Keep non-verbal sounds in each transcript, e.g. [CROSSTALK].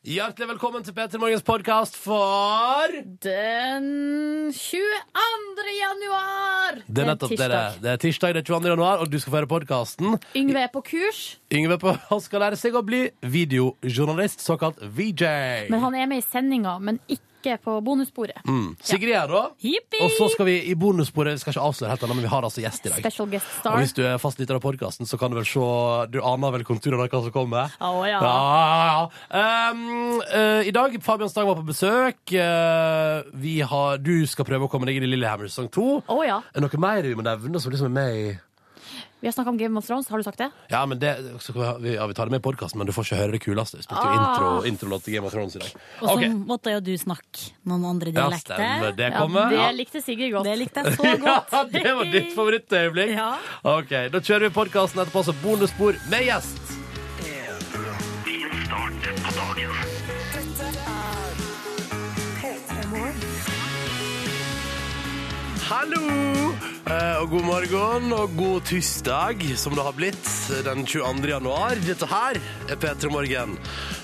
Hjertelig velkommen til Peter Morgens podkast for Den 22. januar! Det er nettopp det det er. Det er tirsdag den 22. januar, og du skal få høre podkasten. Yngve er på kurs, Yngve på, [LAUGHS] han skal lære seg å bli videojournalist, såkalt VJ. men han er med i sendinga, men ikke på bonussporet. Mm. Sigrid er her, da. Jippi! Og så skal vi i bonussporet Vi skal ikke avsløre helt ennå, men vi har altså gjest i dag. Special guest Og star. hvis du er fastlytter av podkasten, så kan du vel se Du aner vel konturene av hva som kommer? Å ja. Ja, ja, ja. Um, eh, I dag, Fabian Stang var på besøk. Eh, vi har, du skal prøve å komme deg inn i Lillehammer sesong to. Å ja. Er det noe mer vi må nevne som liksom er med i Vi har snakka om Game of Thrones, har du sagt det? Ja, men det, så kan vi, ja, vi tar det med i podkasten, men du får ikke høre det kuleste. Vi spilte jo Ah. intro, introlåt til Game of Thrones i dag. Og så Ok. måtte jo du snakke noen andre Ja, dialekter. stemmer. Det Ja, kommer. det Ja. [LAUGHS] likte Sigrid godt. Det likte jeg så godt. Ja, det var [LAUGHS] [LAUGHS] ditt favorittøyeblikk. Ja. Ok, Da kjører vi podkasten etterpå, så bonusspor med gjest. Hallo! Eh, og god morgen og god tirsdag, som det har blitt den 22. januar. Dette her er P3 Morgen,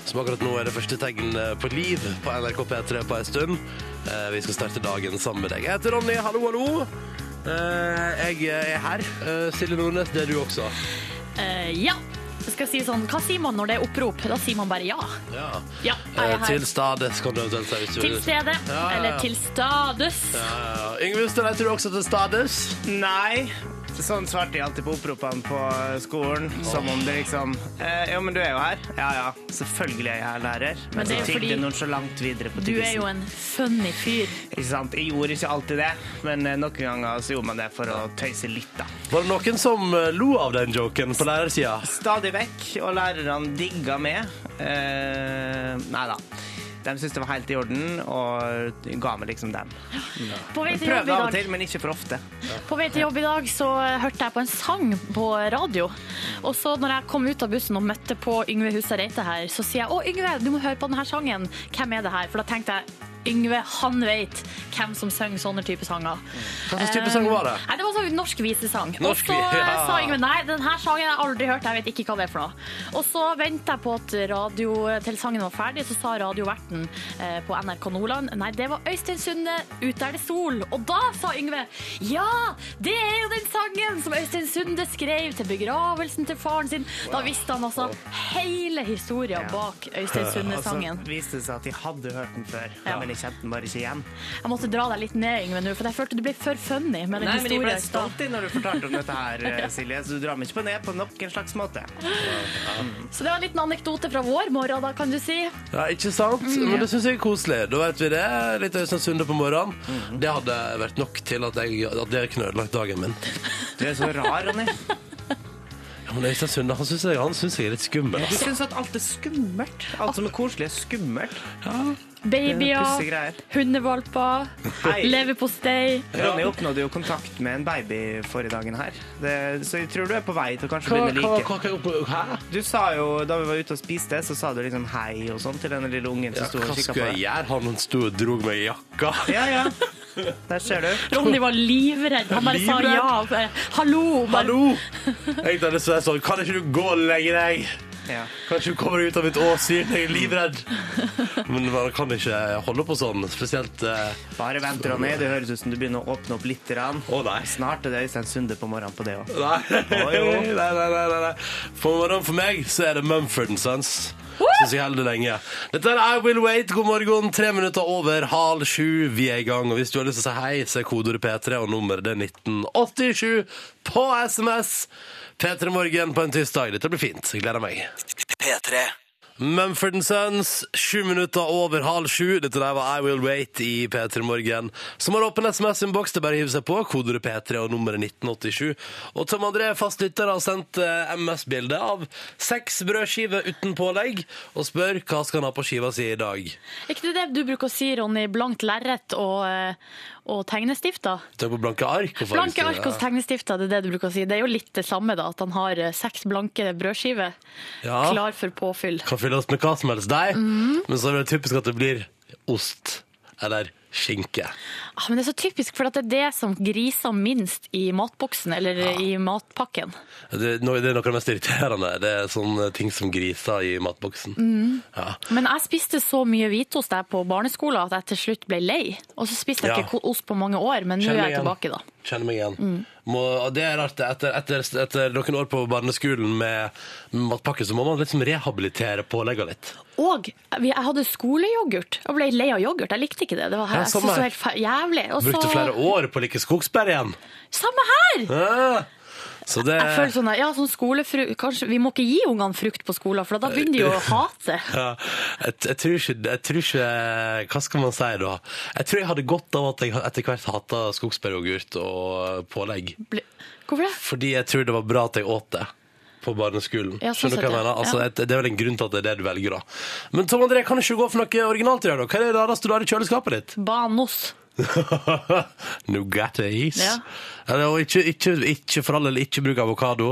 som akkurat nå er det første tegn eh, på liv på NRK P3 på en stund. Eh, vi skal starte dagen sammen med deg. Jeg heter Ronny. Hallo, hallo. Eh, jeg er her. Eh, Silje Nordnes, det er du også. Eh, ja. Jeg skal si sånn, Hva sier man når det er opprop? Da sier man bare ja. Ja. Ja, er jeg Eh, her. til stades kan du eventuelt si. hvis du vil. Til stede. Ja, ja, ja. Eller til stades. Ja, ja. Yngve Ustad, heter du også til stades? Nei. Sånn svarte jeg alltid på oppropene på skolen. Som om det liksom eh, Jo, men du er jo her. Ja ja, selvfølgelig er jeg her, lærer. Men Men det så er jo tygde fordi nonchalant videre på Du er jo tyggisen. en funny fyr. Ikke sant? Jeg gjorde ikke alltid det, men eh, noen ganger så gjorde man det for å tøyse litt, da. Var det noen som eh, lo av den joken på lærersida? Stadig vekk, og lærerne digga med. Eh, nei da. De syntes det var helt i orden, og ga meg liksom dem. På vei til jobb Prøvde i av og dag. til, men ikke for ofte. På vei til jobb i dag så hørte jeg på en sang på radio. Og så når jeg kom ut av bussen og møtte på Yngve Huset Reite her, så sier jeg 'Å, Yngve, du må høre på denne sangen'. Hvem er det her? For da tenkte jeg Yngve, han vet hvem som synger sånne type sanger. Hva slags type sang var det? Nei, Det var sånn norsk visesang. Norsk, og så eh, ja. sa Yngve nei, den her sangen har jeg aldri hørt, jeg vet ikke hva det er for noe. Og så venta jeg på at radio, til sangen var ferdig, så sa radioverten eh, på NRK Nordland nei, det var Øystein Sunde, 'Ute er det sol'. Og da sa Yngve ja, det er jo den sangen som Øystein Sunde skrev til begravelsen til faren sin. Da visste han altså hele historia bak Øystein [LAUGHS] Sunde-sangen. Altså. Og så viste det seg at de hadde hørt den før, Ja. men jeg kjente den bare ikke igjen. Jeg måtte dra deg litt ned, Yngve, nå, for jeg følte du ble for funny med den Nei, men jeg ble historien. stolt i når du fortalte om dette [LAUGHS] her, eh, Silje, så du drar meg ikke på ned på noen slags måte. Så det var en liten anekdote fra vår morgen, da, kan du si. Ja, ikke sant? mm, Men det syns jeg er koselig. Da vet vi det. Litt Øystein Sunde på morgenen. Det hadde vært nok til at, jeg, at det kunne ødelagt dagen min. Du er så rar, Ronny. Ja, men Øystein Sunde han syns jeg, han synes jeg er litt skummel. Jeg Altså. syns at alt er skummelt. Alt som er koselig, er skummelt. Eh, Babyer, Pussige greier. hundevalper, Hei. leverpostei. Ronny oppnådde jo kontakt med en baby forrige dagen her, det, så jeg tror du er på vei til å kanskje Hva, begynne å hva, like. hva, hva, hva, hæ? Du sa jo, Da vi var ute og spiste, så sa du liksom hei og sånn til denne lille ungen som Ja, sto og hva kikka skulle på jeg deg. gjøre? Han sto og dro meg i jakka. [LAUGHS] Ja, ja. Der ser du. Ronny var livredd. Han bare sa Livredd? ja. bare, Hallo. Bare. Hallo! Jeg tenkte så jeg sånn, Kan ikke du gå lenger, jeg? Ja. Kan ikke du komme deg ut av mitt åsyn? Jeg er livredd. Men man kan ikke holde på sånn. Spesielt eh, Bare vent, Ronny. Det høres ut som du begynner å åpne opp litt. Rann. Å, nei. Snart er det Øystein Sunde på morgenen på det òg. Nei. Oi, jo. [LAUGHS] nei, nei, nei, nei, nei. For morgenen for meg så er det Mumford Sons. Syns jeg holder det lenge. Dette er I Will Wait. God morgen. Tre minutter over halv sju. Vi er i gang. Og hvis du har lyst til å si hei, så er kodeordet P3, og nummeret det er 1987 på SMS. P3 Morgen på en tirsdag. Dette blir fint. Jeg gleder meg. Mumford Sons, sju minutter over halv sju. Dette der var I Will Wait i P3 Morgen. Som har åpen SMS-innboks, det er bare å hive seg på. Kodeordet P3 og nummeret 1987. Og Tom André, fastlytter, har sendt eh, MS-bilde av seks brødskiver uten pålegg, og spør hva skal han ha på skiva si i dag. Er ikke det det du bruker å si, Ronny? Blankt lerret og, eh, og tegnestifter? Tenk på blanke ark. og Blanke fargestifter. ark og tegnestifter, det er det du bruker å si. Det er jo litt det samme, da. At han har eh, seks blanke brødskiver Ja. klar for påfyll. Mhm. Kan fylles med hva som helst, deg. Men så er det typisk at det blir ost. Eller skinke. Ah, men det er så typisk, for at det er det som griser minst i matboksen eller i matpakken. Det, nå- det er noe av det mest irriterende. Det er sånne ting som griser i matboksen. Mm. Ja. Men jeg spiste så mye hvitost der på barneskolen at jeg til slutt ble lei. Og så spiste jeg Ja. ikke ko- ost på mange år, men nå Kjenner er meg jeg igjen. tilbake, da. Mm. Kjenner meg igjen. Må, og det er rart. Etter, etter, etter noen år på barneskolen med med matpakke, så må man liksom rehabilitere påleggene litt. Og vi- jeg hadde skoleyoghurt. Jeg ble lei av yoghurt. Jeg likte ikke det. Det var Ja, jeg samme syntes det her. var helt fe- jævlig. Og så- Brukte flere år på å like skogsbær igjen. Samme her! Ah! Så det Jeg føler sånn, at, ja, sånn skolefru- kanskje, Vi må ikke gi ungene frukt på skolen, for Eh, da begynner de jo å hate. ja, jeg, jeg, tror ikke, jeg tror ikke Hva skal man si da? Jeg tror jeg hadde godt av at jeg etter hvert hata skogsbæryoghurt og pålegg. Ble- Hvorfor det? Fordi jeg tror det var bra at jeg åt det på barneskolen. Ja, sånn Skjønner du hva jeg sett, mener? ja. Altså, Ja. et- Det er vel en grunn til at det er det du velger, da. Men Tom André, kan du ikke gå for noe originalt i dag, da? Hva er det rareste du har i kjøleskapet ditt? [LAUGHS] Banos. Nougatis. Ja. Eller, og ikke, ikke, ikke for all del ikke bruk avokado,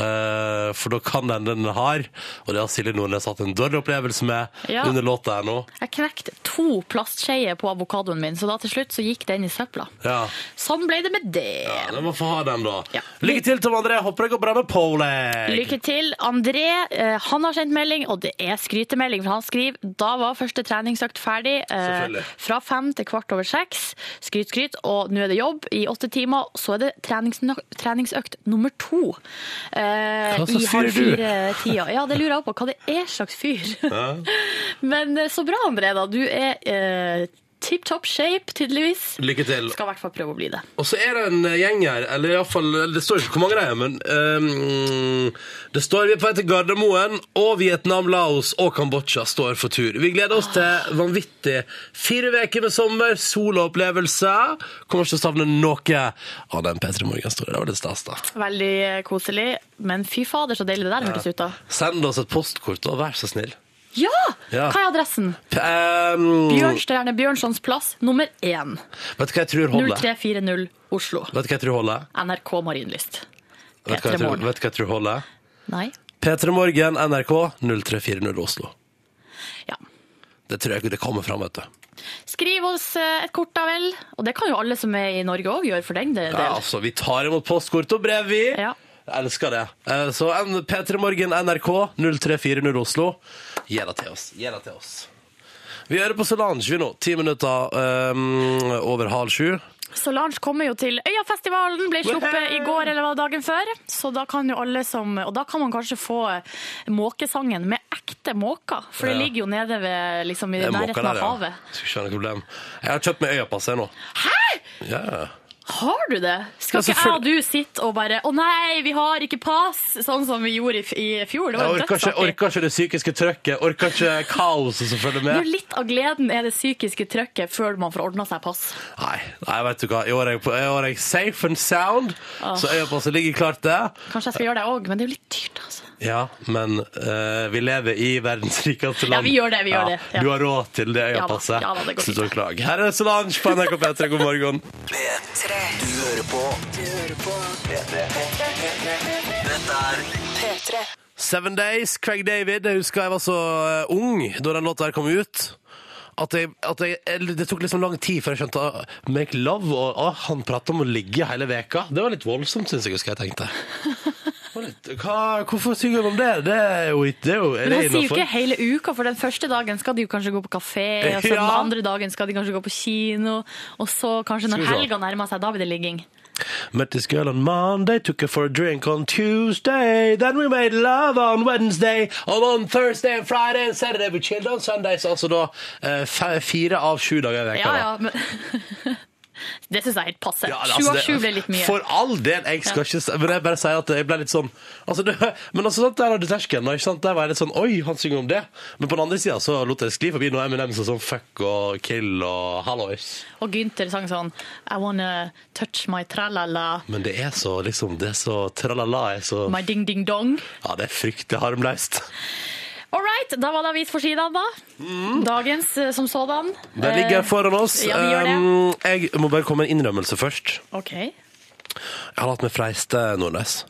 eh, for da kan den den har. Og det har Silje Nordnes hatt en dårlig opplevelse med Ja. under låta her nå. Jeg knekte to plastskeier på avokadoen min, så da til slutt så gikk den i søpla. Ja. Sånn ble det med det. ja, da må få ha den, da. Ja. Lykke til, Tom André. Håper det går bra med Poleg. Lykke til. André eh, han har sendt melding, og det er skrytemelding. for Han skriver da var første treningsøkt ferdig. eh, Selvfølgelig. fra fem til kvart over seks. Skryt, skryt. Og nå er det jobb i åtte timer. Så er det treningsnø- treningsøkt nummer to. eh, Hva slags i halv fyr er du? fire-tida. Ja, det lurer jeg på. Hva det er slags fyr. [LAUGHS] Men eh, så bra, André. da. Du er uh, tipp topp shape, tydeligvis. Lykke til. Skal i hvert fall prøve å bli det. Og så er det en gjeng her, eller iallfall Det står ikke hvor mange det er, men ehm, Det står vi er på vei til Gardermoen, og Vietnam, Laos og Kambodsja står for tur. Vi gleder oss til vanvittig fire uker med sommer, sol og opplevelser. Kommer ikke til å savne noe av den P3 Morgen-historien. Det var litt stas, da. Veldig eh, koselig. Men fy fader, så deilig det der hørtes ut, da. Send oss et postkort, og vær så snill. Ja! Ja. Hva er adressen? P- ehm, Bjørnstjerne Bjørnsons plass, nummer 1. vet du hva jeg tror holder? 0340 Oslo. Vet du hva jeg tror holder? NRK Marienlyst. Vet du hva jeg tror, P3morgen. vet du hva jeg tror holder? Nei? P3 Morgen, NRK, 0340 Oslo. Ja. Det tror jeg ikke det kommer fram, vet du. Skriv oss eh, et kort, da vel. Og det kan jo alle som er i Norge òg gjøre for den del. Ja, altså, vi tar imot postkort og brev, vi. Ja. Jeg elsker det. Eh, Så en- P3 Morgen NRK 0340 Oslo. Gi det til oss. Gi det til oss. Vi hører på Solange vi nå. Ti minutter eh, over halv sju. Solange kommer jo til Øyafestivalen, ble sluppet i går eller var det dagen før. Så da kan jo alle som Og da kan man kanskje få eh, måkesangen med ekte måker, for det Ja. ligger jo nede ved, liksom, i Det er måka nærheten der, av ja. havet. Skal ikke ha noe problem. Jeg har kjøpt meg øyapass jeg nå. Hæ?! Ja. Har du det? Skal Ja, ikke jeg og du sitte og bare 'Å nei, vi har ikke pass', sånn som vi gjorde i, f- i fjor? Det Jeg var orker jo ikke, dødsartig. orker ikke det psykiske trøkket. Orker ikke kaoset som følger Jo, med. litt av gleden er det psykiske trøkket før man får ordna seg pass. Nei, nei vet du hva. I år er jeg, på, i år er jeg safe and sound, så øyapasset ligger klart der. Kanskje jeg skal gjøre det òg, men det er jo litt dyrt, altså. Ja, men eh, vi lever i verdens rikeste land. Ja, vi gjør det, vi gjør det, ja. Du har råd til det øyepasset. Ja da, ja da, det går Slutt å fint. klage. Her er Solange på NRK P3, god morgen. P3. Du hører på. Du hører på. Dette er P3. Seven Days, Craig David. Jeg husker jeg var så eh, ung da den låta her kom ut. At, jeg, at jeg, eller det tok liksom lang tid før jeg skjønte ah, Make love og ah, han prater om å ligge hele veka. Det var litt voldsomt, syns jeg. husker jeg [LAUGHS] tenkte. Det var Litt, hva, hvorfor synger han om det? Det er jo ikke det er jo, er Men det han sier jo innenfor? ikke hele uka, for den første dagen skal de jo kanskje gå på kafé, og så den Ja. andre dagen skal de kanskje gå på kino, og så kanskje Skal når vi se. helga nærmer seg, da blir det ligging. Met this girl on Monday, took her for a drink on Tuesday. Then we made love on Wednesday. And on Thursday and Friday and Saturday we chilled on Sundays. Altså da eh, fe- fire av sju dager i veka. Ja, da. ja, men... [LAUGHS] Det syns jeg er helt passe. Ja, Sju altså, av det- sju ble litt mye. For all del, jeg skal ikke si- Men jeg bare sier at jeg ble litt sånn altså, det, Men altså, sånn, der hadde terskelen, da, ikke sant? Der var jeg litt sånn Oi, han synger om det. Men på den andre sida så lot jeg det skli forbi noe Eminem som sånn fuck og kill og hallois. Og Gynter sang sånn I wanna touch my tralala, Men det er så liksom Det er så tralala er så my ding ding dong. Ja, det er fryktelig harmløst. All right, da var det avis for siden, da. Dagens eh, som sådan. Eh, Den Mm. ligger foran oss. ja, vi gjør det. Um, Jeg må bare komme med en innrømmelse først. Eh, OK. Jeg har hatt meg freiste eh, Nordnes.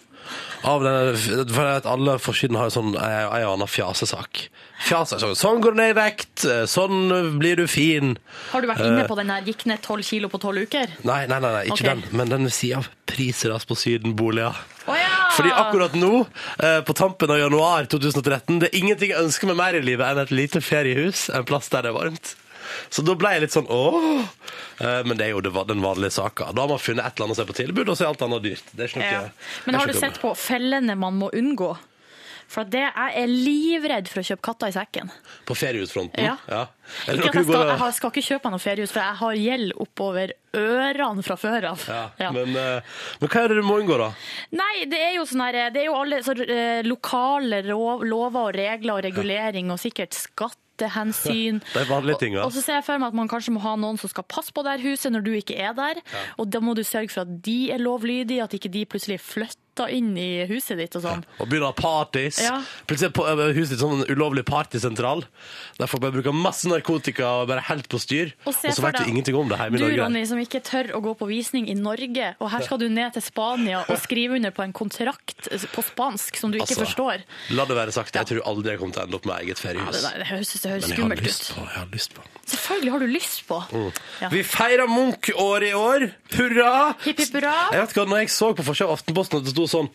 Av den, for at alle forsiden har jo sånn ei ei og anna fjasesak. Fjasesak. Sånn, sånn går du ned i vekt, sånn blir du fin. Har du vært Eh. inne på den der 'gikk ned tolv kilo på tolv uker'? Nei, nei, nei, nei ikke Ok. den, men den ved siden av prisras på sydenboliger. Å ja! Fordi akkurat nå, eh, på tampen av januar 2013, det er ingenting jeg ønsker meg mer i livet enn et lite feriehus, en plass der det er varmt. Så da ble jeg litt sånn åh. Eh, Men det er jo det va- den vanlige saka. Da har man funnet et eller annet å se på tilbud, og så er alt annet dyrt. Det er ikke noe, Ja. det er Men har ikke du noe sett på fellene man må unngå? For at det, jeg er livredd for å kjøpe katta i sekken. På feriehusfronten? Ja. Eller Ikke at noe jeg, skal, går- jeg har- skal ikke kjøpe meg noe feriehus, for jeg har gjeld oppover ørene fra før av. ja. Ja. Men, eh, men hva er det du må unngå, da? Nei, det er jo sånn her Det er jo alle så, eh, lokale rov, lover og regler og regulering og sikkert skattehensyn. De vanlige tinga. Og, og så ser jeg for meg at man kanskje må ha noen som skal passe på det her huset når du ikke er der. Og da må du sørge for at de er lovlydige, at ikke de plutselig flytter inn i huset ditt og sånn. Og begynner å ha parties. Ja. Plutselig er på- er huset ditt sånn en ulovlig partysentral. Der folk bare bruker masse narkotika og bare helt på styr. Og, Og se så for vet du deg, ingenting om det hjemme i Du, Norge. Ronny, som ikke tør å gå på visning i Norge, og her skal du ned til Spania [LAUGHS] og skrive under på en kontrakt på spansk som du ikke Altså, forstår. La det være sagt, jeg tror aldri jeg kommer til å ende opp med eget Ja, feriehus. det, der, det høres, det høres Altså. Men jeg har skummelt ut. lyst på. Mm. Jeg har lyst på. Selvfølgelig har du lyst på. Ja. Vi feirer Munch-året i år. Hurra! Hipp, hipp, hurra. Jeg vet ikke, hva, når jeg så på forsida av Aftenposten at det sto sånn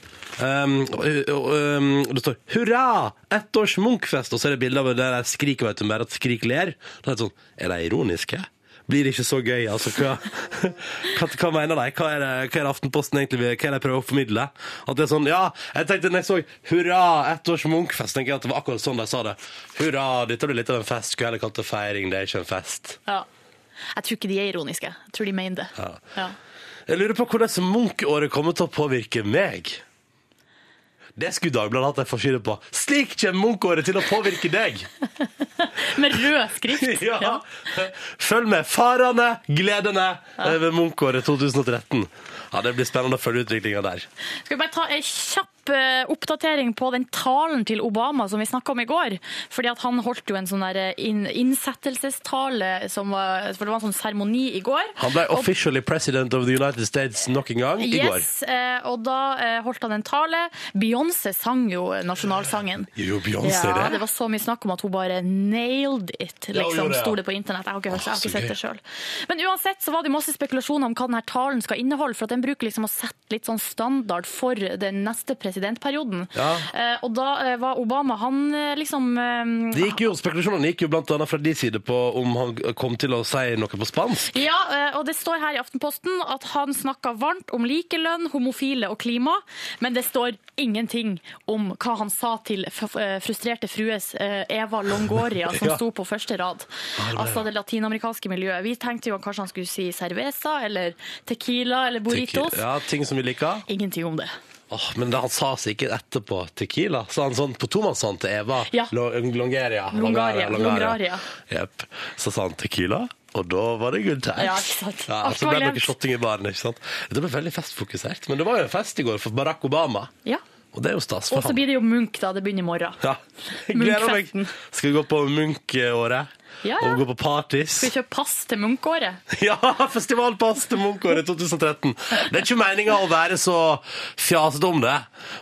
ehm, ø- ø- øhm, Det står 'Hurra! Ettårs Munch-fest!' Og så er det bilde av det der Skrik vet du, bare at Skrik ler. Da er det sånn Er de ironiske? Blir det ikke så gøy? Altså, hva, [LAUGHS] hva, hva mener de? Hva er, det, hva er det Aftenposten egentlig vil- Hva er det de prøver å formidle? At det er sånn Ja, jeg tenkte når jeg så 'Hurra! Ettårs Munch-fest', tenker jeg at det var akkurat sånn de sa det. Hurra! Dette blir litt av en fest. Skulle heller kalt det feiring. Det er ikke en fest. Ja. Jeg tror ikke de er ironiske. Jeg tror de mener det. Ja. Ja. Jeg lurer på hvordan Munch-året kommer til å påvirke meg. Det skulle Dagbladet hatt en forside på. Slik kommer Munch-året til å påvirke [LAUGHS] deg! Med rød skrift. [LAUGHS] ja. Følg med. Farene, gledene eh, ved Munch-året 2013. Ja, Det blir spennende å følge utviklinga der. Skal vi bare ta en kjapp eh, oppdatering på den talen til Obama som vi snakka om i går? Fordi at han holdt jo en sånn der eh, inn, innsettelsestale, som var, for det var en sånn seremoni i går. Han ble Og- officially president of the United States nok en gang i går. Yes, eh, og da eh, holdt han en tale. Beyoncé sang jo nasjonalsangen. Jo, Beyoncé, Ja, det. det var så mye snakk om at hun bare nailed it, eh? Ja, hun liksom, gjorde det, ja. sto det på internett. Jeg har ikke, hørt, jeg har Å, så ikke sett gøy. det sjøl. Men uansett så var det masse spekulasjoner om hva denne talen skal inneholde, for at den bruker liksom å sette litt sånn standard for den neste presidentperioden. Ja. Eh, og da eh, var Obama, han eh, liksom eh, Det gikk jo, Spekulasjonene gikk jo blant annet fra de side på om han kom til å si noe på spansk. Ja, eh, og det står her i Aftenposten at han snakka varmt om likelønn, homofile og klima, men det står ingenting om hva han sa til f- eh, frustrerte frues eh, Eva Longoria, som [LAUGHS] Ja. sto på første rad. Altså det latinamerikanske miljøet. Vi tenkte jo kanskje han skulle si cerveza eller tequila eller burritos. Ja, ting som vi liker. Ingenting om det. Åh, men det han sa sikkert etterpå tequila, sa han sånn på tomannshånd til Eva Ja. Lo- Longeria. Longaria, Longaria. Jepp. Så sa han tequila, og da var det good times. Ja, ikke sant. Ja, Alt så var ble det glemt. noe shotting i baren, ikke sant. Det ble veldig festfokusert. Men det var jo en fest i går for Barack Obama, Ja. og det er jo stas Og for så han. blir det jo Munch, da. Det begynner i morgen. Ja. [LAUGHS] Jeg gleder meg. Munch-festen. Skal vi gå på Munch-året? Ja, ja. Og gå på parties? Skal vi kjøpe pass til Munch-året? [LAUGHS] Ja, festivalpass til Munch-året 2013. Det er ikke meninga å være så fjasete om det,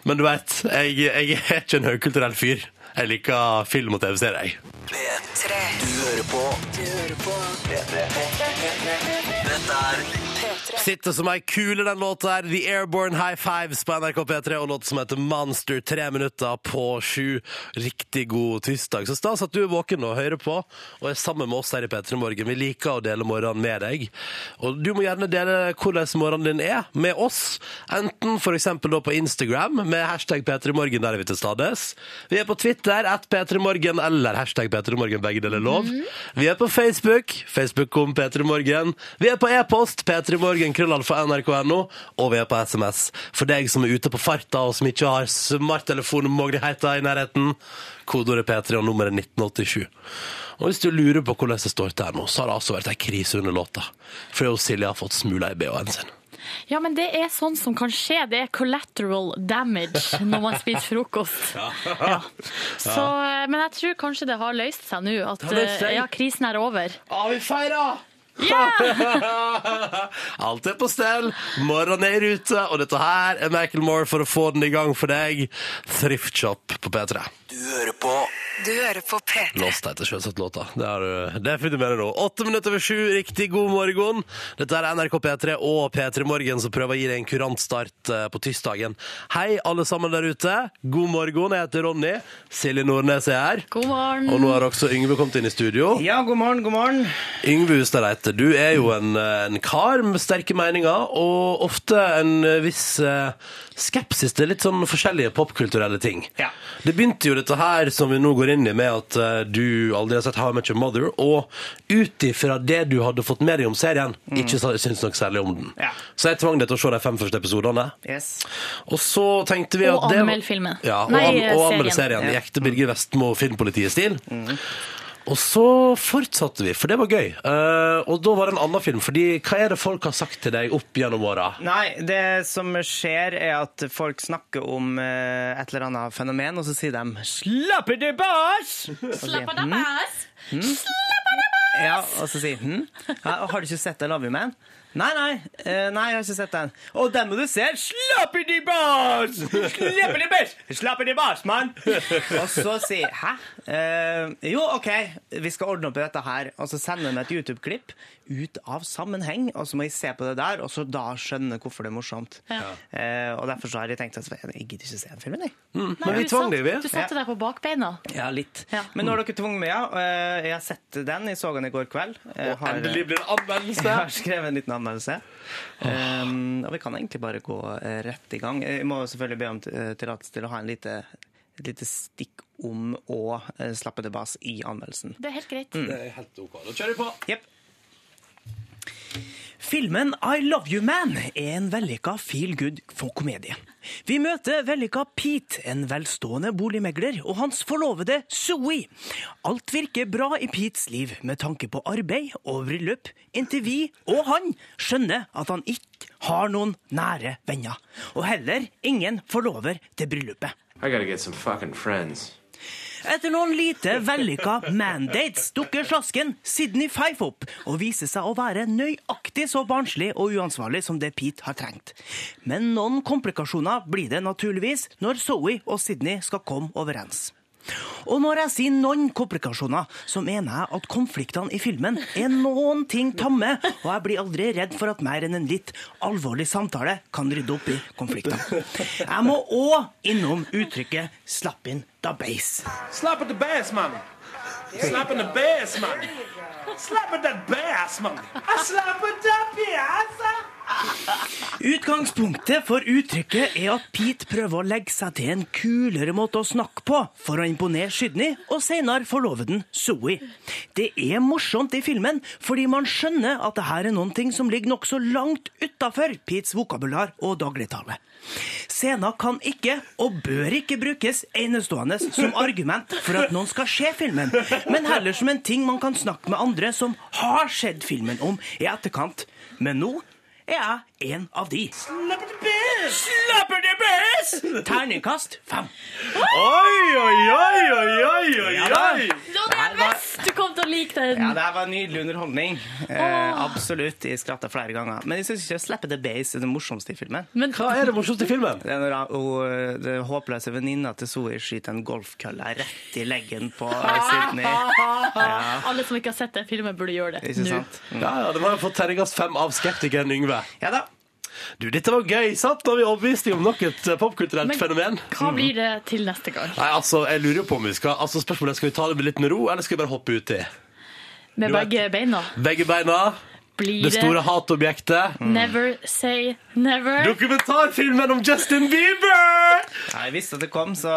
men du vet, jeg, jeg er ikke en høykulturell fyr. Jeg liker film og TV-serier. jeg. P3. Du hører på. Du hører på. Dette er P3. Sitter som ei kule, den låta her. The Airborne High Fives på NRK P3 og låt som heter Monster. Tre minutter på sju. Riktig god tirsdag. Så stas at du er våken og hører på og er sammen med oss her i P3 Morgen. Vi liker å dele morgenen med deg. Og du må gjerne dele hvordan morgenen din er med oss. Enten f.eks. da på Instagram med hashtag P3morgen, der er vi til stades. Vi er på Twitter, at P3morgen eller hashtag P3morgen, begge deler er lov. Vi er på Facebook, Facebook-kom P3morgen. Vi er på e-post, P3morgen, krøllalfa nrk.no. Og vi er på SMS. For deg som er ute på farta, og som ikke har smarttelefonmuligheter i nærheten, kodeordet P3 og nummeret 1987. Og hvis du lurer på hvordan det står til her nå, så har det altså vært ei krise under låta. Fordi hun Silje har fått smula i BH-en sin. Ja, men det er sånn som kan skje. Det er collateral damage når man spiser [LAUGHS] frokost. Ja. Så, eh, men jeg tror kanskje det har løst seg nå. At har løst seg. eh, ja, krisen er over. Ja, vi feirer! [LAUGHS] Alt er på stell, morgenen er i rute, og dette her er Michael Moore for å få den i gang for deg. Thrift Shop på P3. Du hører på Du hører på P3. Lost heter selvsagt låta. Det er, du- det fikk du med deg nå. Åtte minutter over sju, riktig god morgen. Dette er NRK P3 og P3 Morgen som prøver å gi deg en kurant start eh, på tirsdagen. Hei, alle sammen der ute. God morgen, jeg heter Ronny. Silje Nordnes er her. God morgen. Og nå har også Yngve kommet inn i studio. Ja, god morgen, god morgen. Yngve Hustad Reite, du er jo en, en kar med sterke meninger, og ofte en viss eh, skepsis til litt sånn forskjellige popkulturelle ting. Ja. Det begynte jo dette her som vi nå går inn i, med at eh, du aldri har sett How I Met Your Mother, og ut ifra det du hadde fått med deg om serien, ikke sa- syns nok særlig om den. Mm. Ja. Så jeg tvang deg til å se de fem første episodene. Yes. Og så tenkte vi Og at det var- anmeld filmen. Ja, og, Nei, an og anmelde serien. serien. I ekte Mm. Birger Vestmo filmpolitiet-stil. Og så fortsatte vi, for det var gøy. Eh, og da var det en annen film. fordi hva er det folk har sagt til deg opp gjennom åra? Nei, det som skjer er at folk snakker om eh, et eller annet fenomen, og så sier de 'slapper det bars'! Slapp av, da, Mm. bass. Ja, og så sier hm? ja, Har du ikke sett den Love You Man? Nei, nei, eh, nei, jeg har ikke sett den. Og den må du se! Slapper de bars! Slapper de bars! Slapper de bars, mann! Og så sier Hæ? Eh, jo, OK, vi skal ordne opp i dette her. Og så sender de et YouTube-klipp ut av sammenheng, og så må jeg se på det der, og så da skjønne hvorfor det er morsomt. Eh, og derfor så har jeg tenkt at jeg gidder ikke se den filmen, jeg. Men vi Du tvang satt- deg, Du vi. satte deg på bakbeina. Ja, litt. Ja. Men nå har dere tvunget meg, ja. og, eh, Jeg har sett den, jeg så den i går kveld. Jeg har- eh, Endelig blir det jeg har anmeldelse! skrevet en liten anmeldelse. Um, og vi kan egentlig bare gå eh, rett i gang. Jeg må jo selvfølgelig be om t- eh, tillatelse til å ha en lite, et lite stikk om og eh, slappe det bas i anmeldelsen. Det er helt greit. Det er helt ok. Da kjører vi på. Jepp. Filmen I Love You Man er en vellykka feel good for komedie. Vi møter vellykka Pete, en velstående boligmegler, og hans forlovede Zoe. Alt virker bra i Petes liv med tanke på arbeid og bryllup, inntil vi og han skjønner at han ikke har noen nære venner. Og heller ingen forlover til bryllupet. I gotta get some fucking friends. Etter noen lite vellykka mandates dukker slasken Sidney Fife opp og viser seg å være nøyaktig så barnslig og uansvarlig som det Pete har trengt. Men noen komplikasjoner blir det naturligvis når Zoe og Sidney skal komme overens. Og når jeg sier noen komplikasjoner, så mener jeg at konfliktene i filmen er noen ting tamme, og jeg blir aldri redd for at mer enn en litt alvorlig samtale kan rydde opp i konfliktene. Jeg må òg innom uttrykket 'slapp inn da beis'. Slap at the bass, mama. Slap at the bass, mama. Slap at that bass, mama. I slap at that bass. Utgangspunktet for uttrykket er at Pete prøver å legge seg til en kulere måte å snakke på for å imponere Sydney og senere forloveden Zoe. Det er morsomt i filmen fordi man skjønner at det her er noen ting som ligger nokså langt utafor Petes vokabular og dagligtale. Scener kan ikke og bør ikke brukes enestående som argument for at noen skal se filmen, men heller som en ting man kan snakke med andre som har sett filmen om i etterkant. Men nå er jeg en av de. Slapper det bæs! Slapper det bæs! Terningkast fem. Oi, oi, oi, oi, oi, oi, Ja da. oi! Johnny Der var- Elvis, du kom til å like den. Ja, det her var nydelig underholdning. Eh, absolutt. Jeg skratta flere ganger. Men jeg syns ikke 'Slapper the Base' er det morsomste i filmen. Men Hva er det morsomste i filmen? Det er når hun, hun, den håpløse venninna til Zoe skyter en golfkølle rett i leggen på Sydney. alle som ikke har sett den filmen, burde gjøre [LAUGHS] det. Ikke nå. sant? Mm. Ja, ja, Den har jo fått terningkast fem av skeptikeren Yngve. Ja da. Du, Dette var gøy, sant? Da har vi overbevist deg om nok et eh, popkulturelt Men- fenomen. Mm. Hva blir det til neste gang? Nei, altså, jeg lurer jo på om vi skal Altså, spørsmålet er, skal vi ta det med litt med ro, eller skal vi bare hoppe uti? Med Du vet- begge beina? Begge beina, Blir det store det hatobjektet. Mm. Never Say Never? Dokumentarfilmen om Justin Bieber! Ja, Jeg visste at det kom, så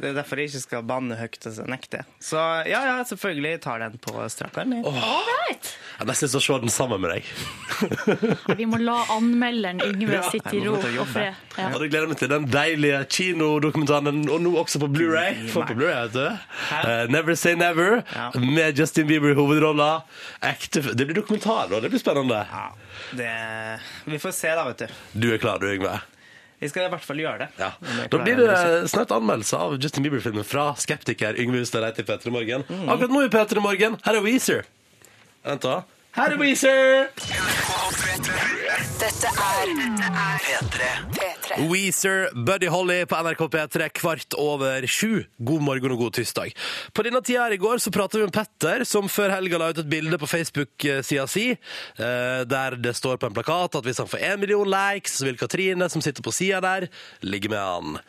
det er derfor jeg ikke skal banne høyt og nekte. Så ja, ja, selvfølgelig tar den på strak arm. jeg. All right. Jeg har nesten lyst til å se den sammen med deg. Vi må la [LAUGHS] anmelderen Yngve Ja, sitte i jeg ro må få til å og jobbe. fred. Ja. Og det gleder jeg meg til den deilige kinodokumentaren, og nå også på Blu-ray. Få på Blu-ray, vet du. Eh, Never Say Never, Ja. med Justin Bieber i hovedrolla. Ekte f- Det blir dokumentar, og det blir spennende. Ja, det Vi får se, da, vet du. Du er klar, du, Yngve? Vi skal i hvert fall gjøre det. Ja. Om jeg Da klarer blir eller ikke. det snart anmeldelse av Justin Bieber-filmen fra skeptiker Yngve Hustad Reite i P3 Morgen. Akkurat nå i P3 Morgen, her er Weezer. Vent, da. Ha det, Weezer! Dette er P3. P3. Weezer, Buddy Holly på NRK P3 kvart over sju. God morgen og god tirsdag. På denne tida her i går så pratet vi om Petter, som før helga la ut et bilde på Facebook-sida si, eh, der det står på en plakat at hvis han får én million likes, så vil Katrine, som sitter på sida der, ligge med han.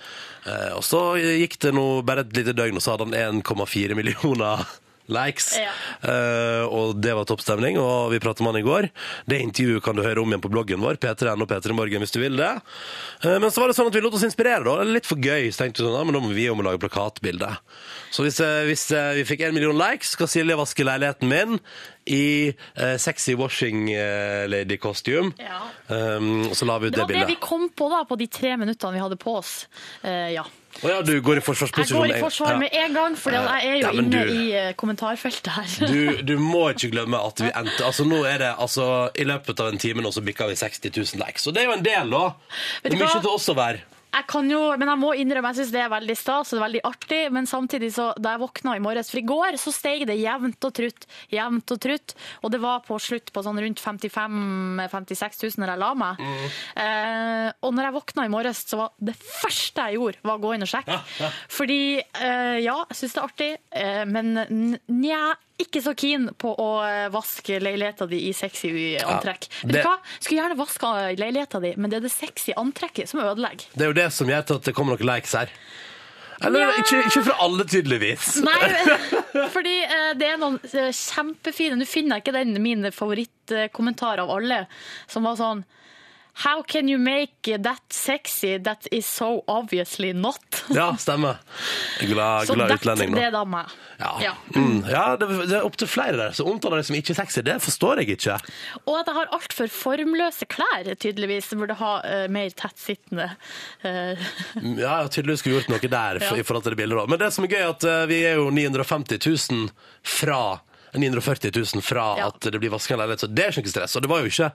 Eh, Og så gikk det nå bare et lite døgn, og så hadde han 1,4 millioner [LAUGHS] likes. Ja. Eh, og det var toppstemning, og vi pratet med han i går. Det intervjuet kan du høre om igjen på bloggen vår, p3.no p3morgen, hvis du vil det. Eh, men så var det sånn at vi lot oss inspirere, da. Det er Litt for gøy, så tenkte vi sånn, ja, men da må vi om å lage plakatbilde. Så hvis, eh, hvis eh, vi fikk en million likes, skal Silje vaske leiligheten min i eh, sexy washing eh, lady-kostyme. Ja. Um, og så la vi ut Det det, var det vi bildet. kom på da, på de tre minuttene vi hadde på oss. Eh, ja. Å ja, du går i Jeg forsvarsposisjon. går i forsvar med en gang, for jeg er jo Ja, men inne du- i eh, kommentarfeltet her. Du, du må ikke glemme at vi endte Altså nå er det, altså I løpet av en time nå så bikka vi 60 000 likes. Og det er jo en del, da. [LAUGHS] Vet Det du er mye hva? til oss å være. Jeg kan jo, men jeg må innrømme, jeg syns det er veldig stas og det er veldig artig. Men samtidig, så da jeg våkna i morges For i går så steg det jevnt og trutt. Jevnt og trutt. Og det var på slutt på sånn rundt 55 56 000 når jeg la meg. Eh, og når jeg våkna i morges, så var det første jeg gjorde, var å gå inn og sjekke. Fordi eh, ja, jeg syns det er artig, eh, men n- nja ikke så keen på å eh, vaske leiligheta di i sexy antrekk. Vet det- du hva? Skulle gjerne vaska leiligheta di, men det er det sexy antrekket som ødelegger. Det er jo det som gjør til at det kommer noen likes her. Eller ikke, ikke fra alle, tydeligvis. Nei, fordi eh, det er noen eh, kjempefine Nå finner jeg ikke den min favorittkommentar av alle, som var sånn How can you make that sexy that is so obviously not? Ja, stemmer. Glad, Så glad that, utlending, det nå. er da meg. Ja, Ja. mm, ja det, det er opptil flere der. Så omtaler det som ikke sexy, det forstår jeg ikke. Og at jeg har altfor formløse klær, tydeligvis. Jeg Burde ha eh, mer tettsittende. eh, Ja, [LAUGHS] jeg har tydeligvis skulle gjort noe der for, i Ja. forhold til det bildet. da. Men det som er gøy, er at eh, vi er jo 950 000 fra 940 000 fra Ja. at det blir vasket en leilighet, så det er ikke noe stress. Og det var jo ikke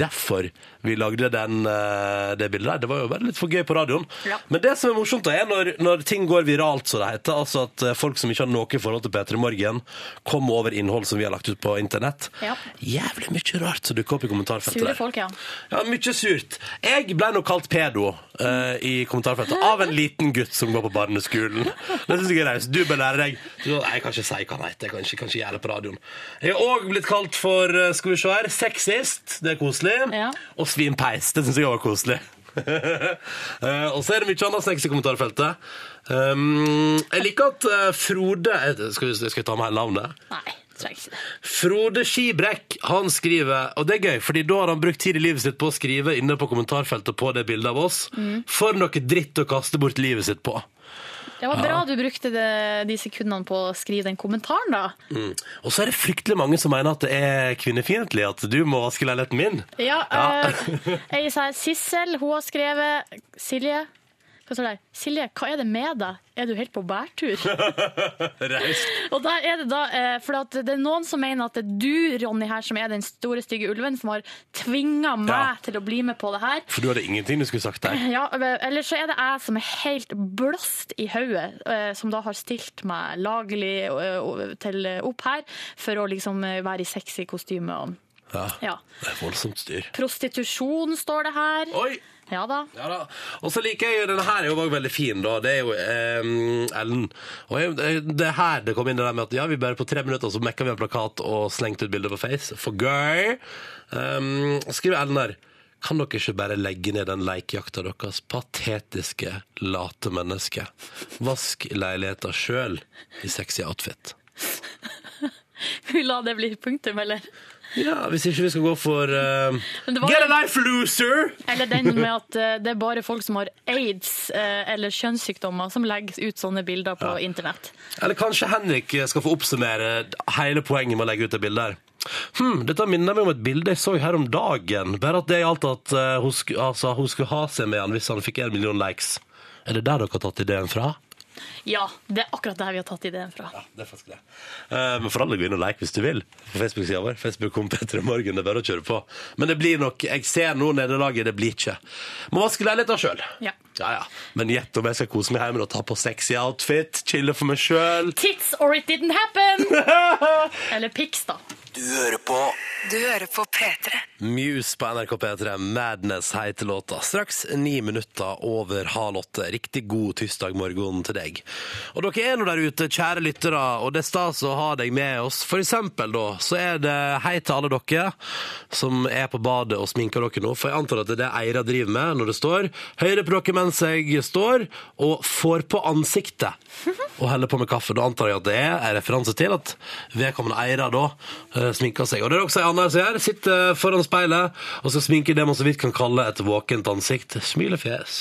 derfor vi lagde den, eh, det bildet der. Det var jo bare litt for gøy på radioen. Ja. Men det som er morsomt, da, er når, når ting går viralt, så det heter, altså at eh, folk som ikke har noe forhold til P3 Morgen, kommer over innhold som vi har lagt ut på internett. Ja. Jævlig mye rart som dukker opp i kommentarfeltet Sure der. folk, ja. Ja, mye surt. Jeg ble nå kalt pedo eh, i kommentarfeltet av en liten gutt som går på barneskolen. Det synes jeg er raust. Du bør lære deg Du, Nei, Jeg kan ikke si hva han heter. Jeg kan ikke, kan ikke gjøre det på radioen. Jeg har òg blitt kalt for eh, skal vi se her, sexist. Det er koselig. Ja. Og svinpeis. Det syns jeg også var koselig. [LAUGHS] Eh, og så er det mye annet snacks i kommentarfeltet. Um, jeg liker at eh, Frode eh, Skal, vi- skal jeg ta med hele navnet? Nei, trenger ikke det. Frode Skibrekk han skriver, og det er gøy, fordi da har han brukt tid i livet sitt på å skrive inne på kommentarfeltet på det bildet av oss. For noe dritt å kaste bort livet sitt på. Det var bra du brukte det, de sekundene på å skrive den kommentaren, da. Og så er det fryktelig mange som mener at det er kvinnefiendtlig at du må vaske leiligheten min. Ja, Ja. eh, jeg sier Sissel, hun har skrevet Silje, hva står det? her? Silje, hva er det med deg? Er du helt på bærtur? [LAUGHS] Raust. Og der er det da, eh, for at det er noen som mener at det er du, Ronny, her som er den store, stygge ulven, som har tvinga meg Ja. til å bli med på det her. For du hadde ingenting du skulle sagt der. Ja, eh, eller så er det jeg som er helt blåst i hodet, eh, som da har stilt meg laglig eh, o- til eh, opp her for å liksom eh, være i sexy kostyme og Ja. [LAUGHS] ja. Det er voldsomt styr. Prostitusjon står det her. Oi! Ja da. Ja da. Og så liker jeg jo denne her er jo også veldig fin, da. Det er jo eh, Ellen. Og jeg, det er her det kom inn det der med at ja, vi bare på tre minutter så mekka vi en plakat og slengte ut bilder på Face. For gøy! Um, skriver Ellen her. Kan dere ikke bare legge ned den lekejakta deres? Patetiske, late mennesker. Vask leiligheta sjøl i sexy outfit. Vi [LAUGHS] la det bli punktum, eller? Ja, hvis ikke vi skal gå for eh, Men det var- Get a life, loser! Eller den med at eh, det er bare folk som har aids eh, eller kjønnssykdommer som legger ut sånne bilder på internett. Eller kanskje Henrik eh, skal få oppsummere hele poenget med å legge ut det bildet her. Hm, dette minner meg om et bilde jeg så her om dagen. Bare at det gjaldt at eh, hun, sku, altså, hun skulle ha seg med han hvis han fikk en million likes. Er det der dere har tatt ideen fra? Ja, det er akkurat der vi har tatt ideen fra. Ja, det er faktisk det. Eh, men for alle gå inn og like hvis du vil på Facebook-sida vår. Facebook kom Petter i morgen, det er bare å kjøre på. Men det blir nok Jeg ser nå nederlaget, det blir ikke. Må vaske leiligheta sjøl. Ja. ja ja. Men gjett om jeg skal kose meg hjemme og ta på sexy outfit, chille for meg sjøl. Tits or it didn't happen! Eller pics, da. Du hører på P3. Muse på NRK P3, Madness heter låta. Straks ni minutter over halv åtte. Riktig god tirsdagmorgen til deg. Og dere er nå der ute, kjære lyttere, og det er stas å ha deg med oss. For eksempel da, så er det hei til alle dere som er på badet og sminker dere nå, for jeg antar at det er det Eira driver med når det står høyre på dere mens jeg står og får på ansiktet og heller på med kaffe. Da antar jeg at det er en referanse til at vedkommende Eira da eh, sminker seg. Og det er også en annen som gjør. Sitter foran speilet og skal sminke det man så vidt kan kalle et våkent ansikt. Smilefjes.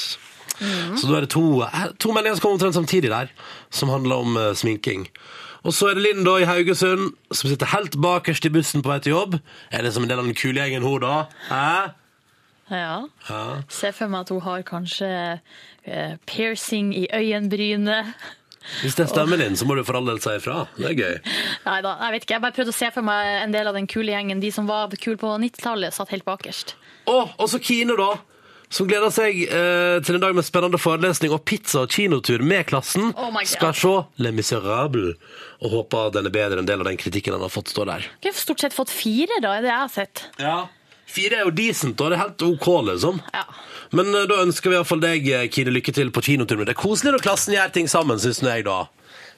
Så da er det to, eh, to meldinger som kommer omtrent samtidig der, som handler om eh, sminking. Og så er det Linn da i Haugesund, som sitter helt bakerst i bussen på vei til jobb. Er det som en del av den kule gjengen hun da? Hæ? Ja. Ja. Se for meg at hun har kanskje eh, piercing i øyenbrynet. Hvis det stemmer, Linn, så må du for all del si ifra. Det er gøy. Nei da, jeg vet ikke. Jeg bare prøvde å se for meg en del av den kule gjengen. De som var kule på 90-tallet, satt helt bakerst. Og, og så Kine, da. Som gleder seg eh, til en dag med spennende forelesning og pizza og kinotur med klassen. Oh my God. skal se Le Miserable og håper den er bedre enn del av den kritikken han har fått stå der. Jeg har stort sett fått fire, da, er det jeg har sett. Ja. Fire er jo decent, og det er helt OK, liksom. Ja. Men eh, da ønsker vi iallfall deg, eh, Kine, lykke til på kinotur. Men det er koselig når klassen gjør ting sammen, syns nå jeg, da.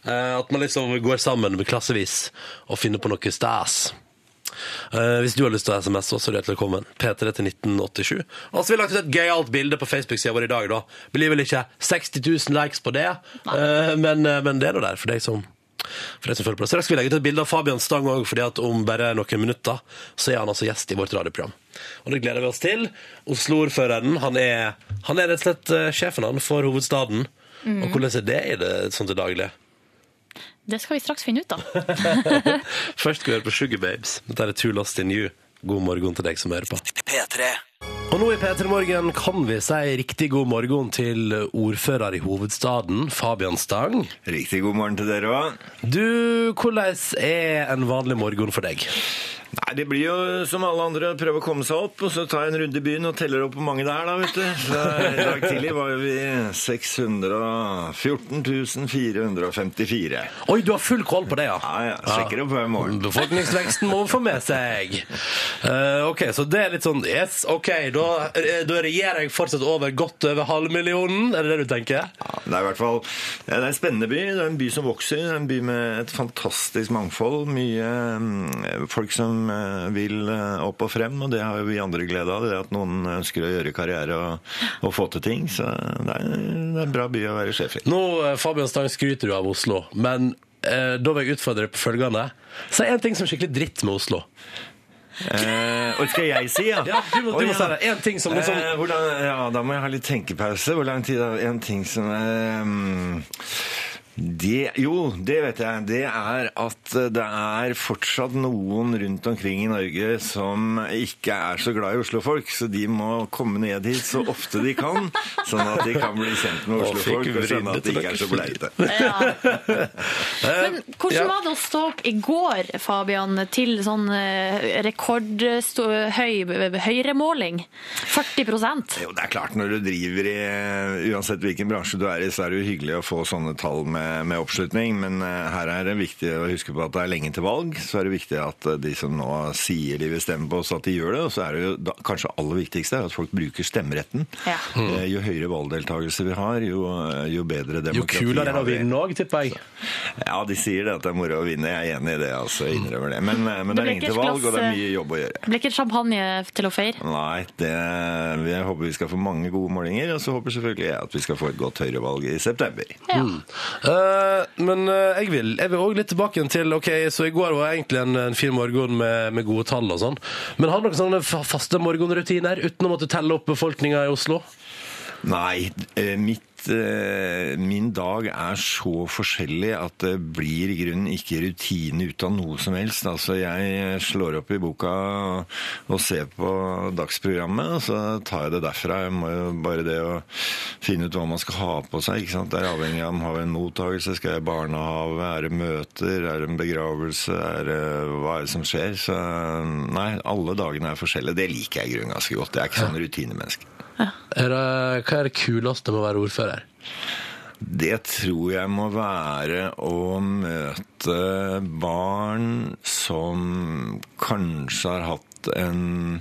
Eh, at man liksom går sammen med klassevis og finner på noe stas. Eh, hvis du har lyst til å SMS oss, så er du hjertelig velkommen. P3 til 1987. Og så har vi lagt ut et gøyalt bilde på Facebook-sida vår i dag, da. Blir vel ikke 60 000 likes på det, eh, men, eh, men det er nå der for deg som for deg som følger på det. Straks skal vi legge ut et bilde av Fabian Stang òg, fordi at om bare noen minutter så er han altså gjest i vårt radioprogram. Og det gleder vi oss til. Oslo-ordføreren, han er, han er rett og slett eh, sjefen han for hovedstaden. Og hvordan er det i det sånn til daglig? Det skal vi straks finne ut av. Først skal vi høre på Sugar Babes. Dette er Too Lost In You. God morgen til deg som hører på. Og nå i P3 Morgen kan vi si riktig god morgen til ordfører i hovedstaden, Fabian Stang. Riktig god morgen til dere òg. Du, hvordan er en vanlig morgen for deg? Nei, det blir jo som alle andre å prøve å komme seg opp, og så ta en runde i byen og teller opp hvor mange det er, da, vet du. Så I dag tidlig var jo vi 614 454. Oi, du har full koll på det, ja. Ja, ja, sjekker opp hver morgen. Befolkningsveksten må få med seg. Eh, ok, så det er litt sånn Yes, OK, da, eh, da regjerer jeg fortsatt over godt over halvmillionen, er det det du tenker? Ja, det er i hvert fall ja, det er en spennende by. Det er en by som vokser. Det er en by med et fantastisk mangfold. Mye mm, folk som eh, vil eh, opp og frem, og det har jo vi andre glede av. Det at noen ønsker å gjøre karriere og, og få til ting. Så det er, det er en bra by å være sjef i. Nå, eh, Fabian Stang, skryter du av Oslo, men eh, da vil jeg utfordre deg på følgende. Si en ting som er skikkelig dritt med Oslo. Eh, og skal jeg si, ja? Ja, du må- du må Å, ja. si det. En ting som liksom- eh, hvordan, Ja, da må jeg ha litt tenkepause. Hvor lang tid da? En ting som eh, mm, det, jo, det vet jeg. Det er at det er fortsatt noen rundt omkring i Norge som ikke er så glad i Oslofolk, så de må komme ned hit så ofte de kan, sånn at de kan bli kjent med Å, Oslofolk fikk og vridd skjønne at de ikke er så bleite. Men hvordan var det å stå opp i går, Fabian, til sånn eh, rekordhøy høyremåling? 40 Jo, det er klart når du driver i eh, Uansett hvilken bransje du er i, så er det jo hyggelig å få sånne tall med, med oppslutning. Men eh, her er det viktig å huske på at det er lenge til valg. Så er det viktig at eh, de som nå sier de vil stemme på oss, at de gjør det. Og så er det jo da, kanskje aller viktigste er at folk bruker stemmeretten. Ja. Eh, Jo høyere valgdeltakelse vi har, jo, eh, jo bedre Jo demokrati kulere er det har å vi. vinne òg, tipper jeg. Ja, de sier det at det er moro å vinne. Jeg er enig i det, altså. Jeg innrømmer det. Men, eh, Det men det er blir ikke eh, lenge til et valg, og det glass, er mye jobb å gjøre. Ble ikke det champagne til å feire? Nei, det, jeg håper vi skal få mange gode målinger, og så håper selvfølgelig jeg at vi skal få et godt høyrevalg i september. Ja. Eh, men eh, jeg vil Jeg vil også litt tilbake igjen til Ok, så i går var egentlig en, en fin morgen med, med gode tall og sånn. Men har du noen sånne fa- faste morgenrutiner utenom at du teller opp befolkninga i Oslo? Nei, eh, mitt, eh, min dag er så forskjellig at det blir i grunnen ikke rutine ut av noe som helst. Altså, jeg slår opp i boka og ser på dagsprogrammet, og så tar jeg det derfra. Jeg må jo bare det å finne ut hva man skal ha på seg, ikke sant? Det er avhengig av om man har en mottagelse, skal jeg i barnehave, er det møter, er det en begravelse, er det hva er det som skjer? Så eh, nei, alle dagene er forskjellige. Det liker jeg i grunnen ganske godt. Jeg er ikke sånn rutinemenneske. Er det, hva er det kuleste med å være ordfører? Det tror jeg må være å møte barn som kanskje har hatt en,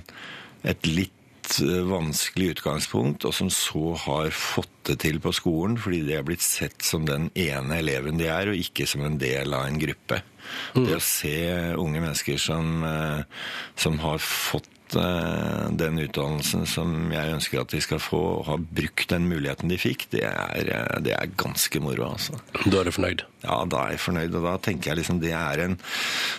et litt eh, vanskelig utgangspunkt, og som så har fått det til på skolen fordi de er blitt sett som den ene eleven de er, og ikke som en del av en gruppe. Det å se unge mennesker som, eh, som har fått eh, den utdannelsen som jeg ønsker at de skal få, og har brukt den muligheten de fikk, det er, eh, det er ganske moro, altså. Da er du fornøyd. Ja, da er jeg fornøyd, og da tenker jeg liksom det er en,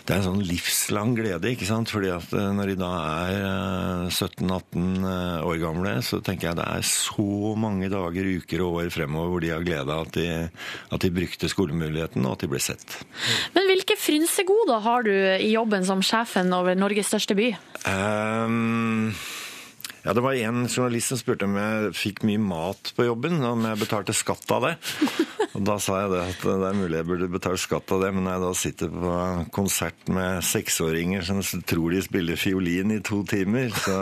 det er en sånn livslang glede, ikke sant? Fordi at eh, når de da er eh, 17-18 eh, år gamle, så tenker jeg det er så mange dager, uker og år fremover hvor de har glede av at de, at de brukte skolemuligheten, og at de ble sett. Men hvilke frynsegoder har du i jobben som sjefen over Norges største by? Ehm, ja, det var en journalist som spurte om jeg fikk mye mat på jobben, og om jeg betalte skatt av det. Og da sa jeg det at det er mulig jeg burde betale skatt av det, men når jeg da sitter på konsert med seksåringer som tror de spiller fiolin i to timer, så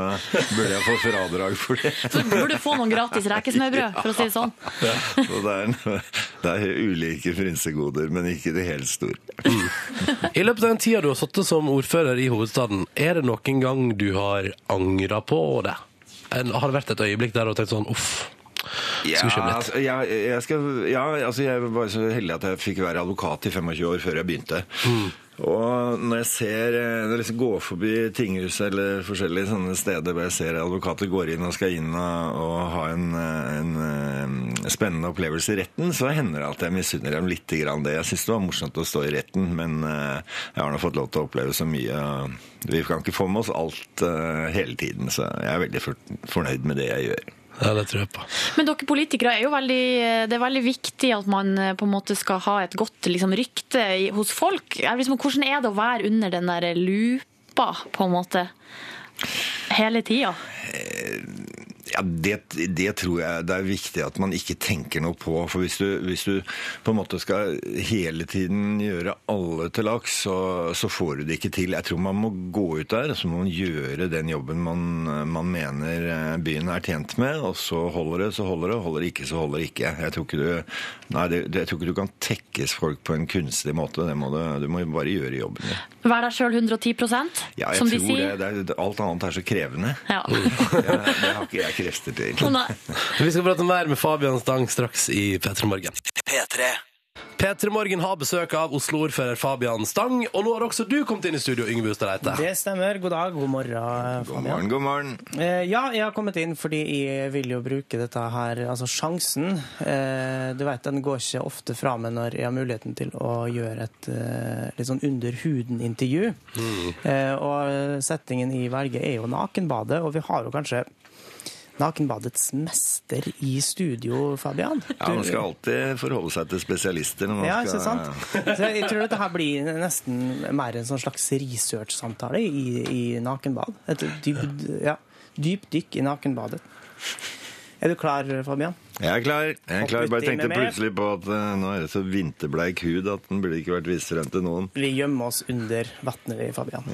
burde jeg få fradrag for det. Så burde du få noen gratis rekesmørbrød, for å si det sånn. Så det er, en- det er ulike frynsegoder, men ikke det helt store. I løpet av den tida du har sittet som ordfører i hovedstaden, er det noen gang du har angra på det? En, har det vært et øyeblikk der du har tenkt sånn uff, Ja, Skal vi kjøpe litt? altså, jeg, jeg skal, ja, altså jeg var så heldig at jeg fikk være advokat i 25 år før jeg begynte. Hmm. Og når jeg ser, eh, når jeg liksom går forbi tinghus eller forskjellige sånne steder hvor jeg ser advokater går inn og skal inn og, og ha en, eh, en, eh, spennende opplevelse i retten, så hender det at jeg misunner dem litt grann det. Jeg syns det var morsomt å stå i retten, men eh, jeg har nå fått lov til å oppleve så mye. og Vi kan ikke få med oss alt eh, hele tiden, så jeg er veldig for, fornøyd med det jeg gjør. Ja, det tror jeg på. Men dere politikere er jo veldig eh, Det er veldig viktig at man eh, på en måte skal ha et godt liksom, rykte i- hos folk. Jeg vil liksom, Hvordan er det å være under den der lupa, på en måte? Hele tida. Ja, det, det tror jeg det er viktig at man ikke tenker noe på. For hvis du, hvis du på en måte skal hele tiden gjøre alle til laks, så, så får du det ikke til. Jeg tror man må gå ut der, og så må man gjøre den jobben man, man mener eh, byen er tjent med. Og så holder det, så holder det. og Holder det ikke, så holder det ikke. Jeg tror ikke du, nei, det, det, jeg tror ikke du kan tekkes folk på en kunstig måte. Det må du, du må jo bare gjøre jobben din. Vær deg sjøl 110 Ja, jeg som de tror det, sier. det, er- alt annet er så krevende. Ja. [LAUGHS] Jeg, det har ikke jeg krefter til. Nei. Vi skal prate mer med Fabian Stang straks i P3 Morgen. P3. P3 Morgen har besøk av Oslo-ordfører Fabian Stang, og nå har også du kommet inn i studio, Yngve Ustadreite. Det stemmer. God dag, god morgen, God Fabian. morgen, god morgen. Eh, ja, jeg har kommet inn fordi jeg vil jo bruke dette her, altså sjansen. Eh, du vet, den går ikke ofte fra meg når jeg har muligheten til å gjøre et eh, litt sånn under huden-intervju. Eh, og settingen i velge er jo nakenbadet, og vi har jo kanskje nakenbadets mester i studio, Fabian. Ja, Man skal alltid forholde seg til spesialister. Når man Ja, skal... ikke sant? Så jeg tror dette her blir nesten mer en sånn slags research-samtale i, i nakenbad. Et dypt ja, dypt dykk i nakenbadet. Er du klar, Fabian? [LAUGHS] Jeg er klar. Jeg er klar. Hopp Bare uti tenkte med meg. plutselig på at eh, nå er det så vinterbleik hud at den burde ikke vært vist frem til noen. Vi gjemmer oss under vannet, vi, Fabian.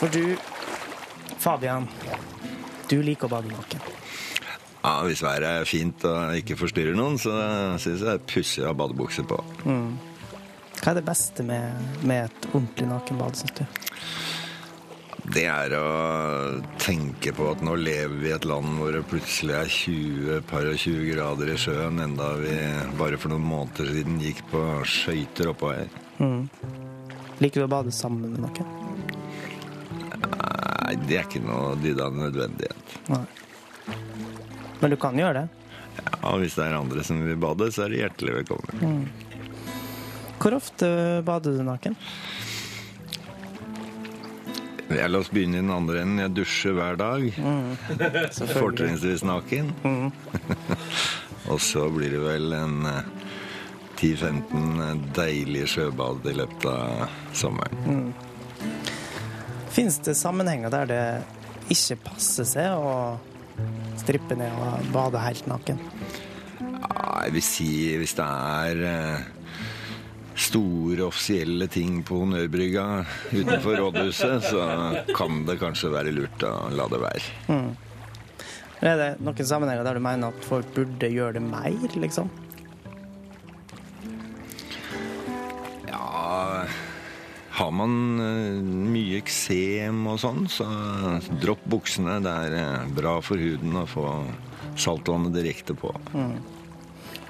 For du, Fabian, du liker å bade naken. Ja, Hvis været er fint og ikke forstyrrer noen, så syns jeg det er pussig å ha badebukse på. Hva er det beste med, med et ordentlig nakenbad, syns du? Det er å tenke på at nå lever vi i et land hvor det plutselig er 20 par og 20 grader i sjøen, enda vi bare for noen måneder siden gikk på skøyter oppå her. Liker du å bade sammen med noen? Nei, det er ikke noe dyd av nødvendighet. Nei. Men du kan gjøre det. Ja, Hvis det er andre som vil bade, så er de hjertelig velkommen. Hvor ofte bader du naken? Ja, la oss begynne i den andre enden. Jeg dusjer hver dag. [LAUGHS] Fortrinnsvis naken. [LAUGHS] og så blir det vel en eh, 10-15 deilige sjøbad i løpet av sommeren. Fins det sammenhenger der det ikke passer seg å strippe ned og bade helt naken? Ja, jeg vil si hvis det er eh, store offisielle ting på Honnørbrygga utenfor rådhuset, så kan det kanskje være lurt å la det være. Er det noen sammenhenger der du mener at folk burde gjøre det mer, liksom? Ja Har man eh, mye eksem og sånn, så dropp buksene. Det er eh, bra for huden å få saltvannet direkte på.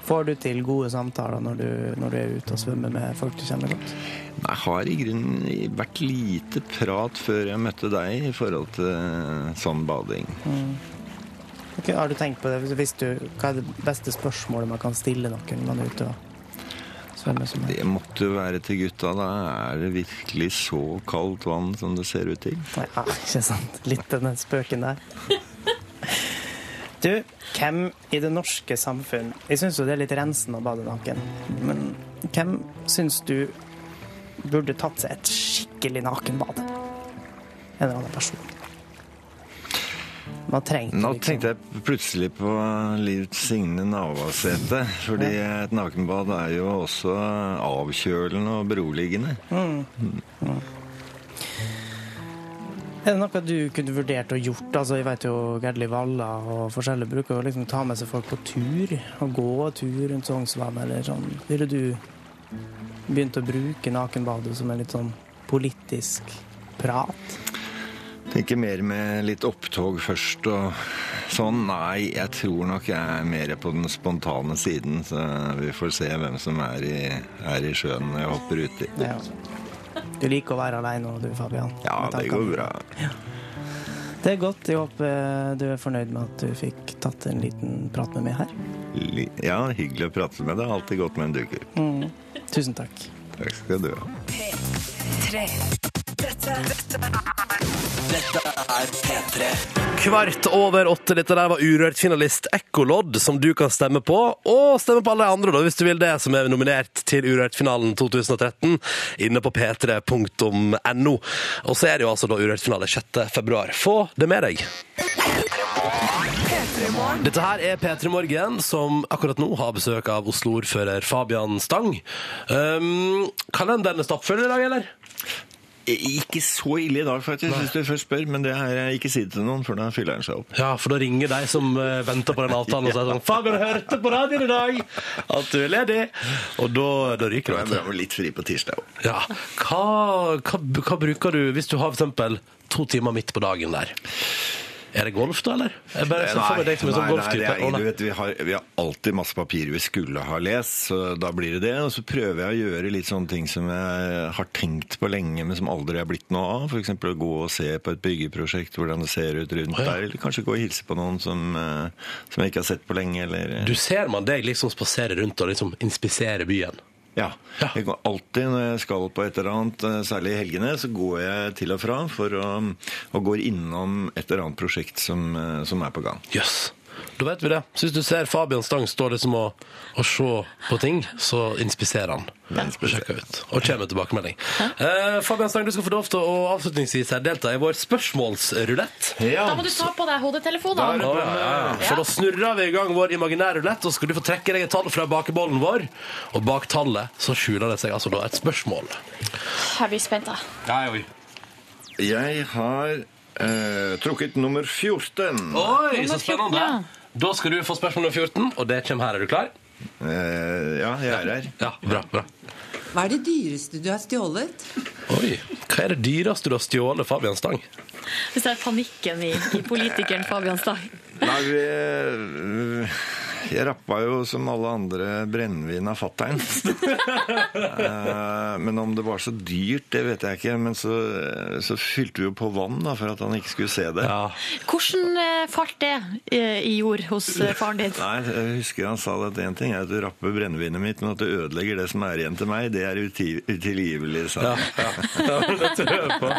Får du til gode samtaler når du, når du er ute og svømmer med folk du kjenner godt? Jeg har i grunnen vært lite prat før jeg møtte deg i forhold til eh, sånn bading. Ok, har du tenkt på det? Hvis- Hvis du, hva er det beste spørsmålet man kan stille noen man er ute og svømmer som Det måtte jo være til gutta. Da er det virkelig så kaldt vann som det ser ut til. Nei, ja, ikke sant? Litt av den spøken der. Du, hvem i det norske samfunn Jeg syns jo det er litt rensende å bade naken. Men hvem syns du burde tatt seg et skikkelig nakenbad? En eller annen person. Man trenger Nå liksom- tenkte jeg plutselig på Liv Signe Navarsete. Fordi et nakenbad er jo også avkjølende og beroligende. Er det noe du kunne vurdert og gjort? Altså, jeg vet jo Gerdli Valla og forskjellige bruker å liksom ta med seg folk på tur. Og gå tur rundt Sognsvann eller sånn. Ville du begynt å bruke nakenbadet som en litt sånn politisk prat? Tenker mer med litt opptog først og sånn. Nei, jeg tror nok jeg er mer på den spontane siden. Så vi får se hvem som er i, er i sjøen når jeg hopper uti. Ja. Du liker å være aleine du, Fabian. Ja, med det tankene. går bra. Det er godt. Jeg håper eh, du er fornøyd med at du fikk tatt en liten prat med meg her. Li- Ja, hyggelig å prate med deg. Alltid godt med en dukker. Tusen takk. Takk skal du ha. Kvart over åtte, dette der var urørt finalist Ekkolodd, som du kan stemme på. Og stemme på alle de andre, da, hvis du vil det, som er nominert til Urørt-finalen 2013 inne på p3.no. Og så er det jo altså da Urørt-finale 6. februar. Få det med deg. Dette her er P3 Morgen, som akkurat nå har besøk av Oslo-ordfører Fabian Stang. Um, kalenderen er stappfull i dag, eller? Eh, Ikke så ille i dag, faktisk, hvis du først spør. Men det her, ikke si det til noen, for da fyller den seg opp. Ja, for da ringer de som eh, venter på den avtalen og sier sånn Fabian hørte på radioen i dag at du er ledig! Og da, da ryker Det er det. bra med litt fri på tirsdag òg. Ja. Hva, hva, hva bruker du hvis du har for eksempel to timer midt på dagen der? Er det golf, da, eller? Jeg bare Eh, ser for meg deg som en sånn det golftype. er, Å, du nei. vet, vi, har, vi har alltid masse papir vi skulle ha lest, så da blir det det. Og så prøver jeg å gjøre litt sånne ting som jeg har tenkt på lenge, men som aldri er blitt noe av. F.eks. å gå og se på et byggeprosjekt, hvordan det ser ut rundt Å, ja. der. Eller kanskje gå og hilse på noen som, eh, som jeg ikke har sett på lenge. Eller, eh, Du ser man deg liksom spasere rundt og liksom inspisere byen. Ja. Ja. Jeg går alltid når jeg skal på et eller annet, eh, særlig i helgene, så går jeg til og fra for å, og går innom et eller annet prosjekt som, eh, som er på gang. Jøss. Yes. Da vet vi det. Så hvis du ser Fabian Stang stå liksom og, og se på ting, så inspiserer han. Og sjekker ut. Og kommer med tilbakemelding. Eh, Fabian Stang, du skal få lov til å avslutningsvis her delta i vår spørsmålsrulett. Da må du ta på deg hodetelefonene. Å, ja, ja. For da snurrer vi i gang vår imaginære rulett, og så skal du få trekke deg et tall fra bakebollen vår. Og bak tallet så skjuler det seg altså da et spørsmål. Jeg blir spent, jeg. Jeg har eh, trukket nummer 14. Oi, så spennende! Da skal du få spørsmål nummer 14, og det kommer her. Er du klar? Eh, ja, jeg er her. Ja, bra, bra. Hva er det dyreste du har stjålet? Oi, Hva er det dyreste du har stjålet, Fabian Stang? Hvis det er panikken i, i politikeren Fabian Stang. Nei, vi, jeg rappa jo som alle andre brennevin av fattern. Eh, men om det var så dyrt, det vet jeg ikke. Men så, eh, så fylte vi jo på vann da, for at han ikke skulle se det. Hvordan eh, falt det eh, i jord hos eh, faren din? Nei, jeg husker han sa at én ting er at du rapper brennevinet mitt, men at du ødelegger det som er igjen til meg, det er uti- utilgivelig, sa han. Det tror jeg på.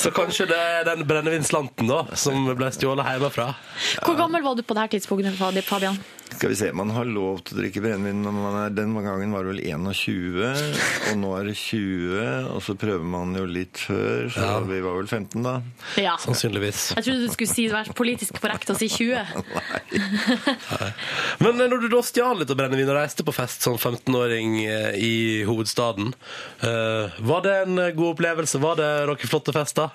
Så kanskje det er den brennevinslanten da, som ble stjålet hjemmefra. Hvor gammel var du på det her tidspunktet, Fabian? Skal vi se, man har lov til å drikke brennevin når man er Den gangen var det vel 21, og nå er det 20, og så prøver man jo litt før, så vi var vel 15 da. [LAUGHS] Ja. Sannsynligvis. Jeg trodde du skulle si være politisk korrekt og si 20. Men eh, når du da stjal litt av brennevin og reiste på fest som 15-åring eh, i hovedstaden, eh, var det en god opplevelse? Var det noen flotte fester?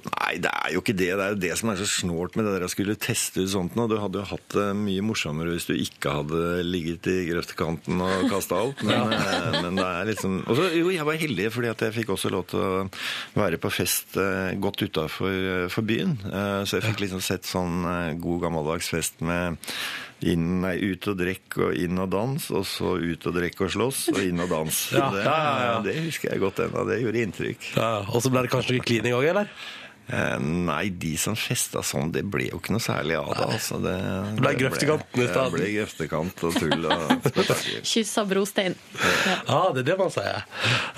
Nei, det er jo ikke det. Det er jo det som er så snålt med det der å skulle teste ut sånt nå. Du hadde jo hatt det mye morsommere hvis du ikke hadde ligget i grøftekanten og kasta alt. [LAUGHS] Men, eh, men det er liksom Og så, jo, jeg var heldig fordi at jeg fikk også lov til å være på fest eh, godt utafor for byen. Eh, Så jeg fikk liksom sett sånn eh, god gammeldags fest med inn, nei, ut og drikk og inn og dans, og så ut og drikk og slåss og inn og dans. Ja, Det, ja, ja, ja. det husker jeg godt ennå. Det gjorde inntrykk. Ja, og så ble det kanskje noe klining òg, eller? Eh, Nei, de som festa sånn, det ble jo ikke noe særlig av det. Altså, det, Det ble grøftekanten i Det stedet. ble grøftekant og tull og spetakkel. Kyssa brostein. Ja, det er det man sier.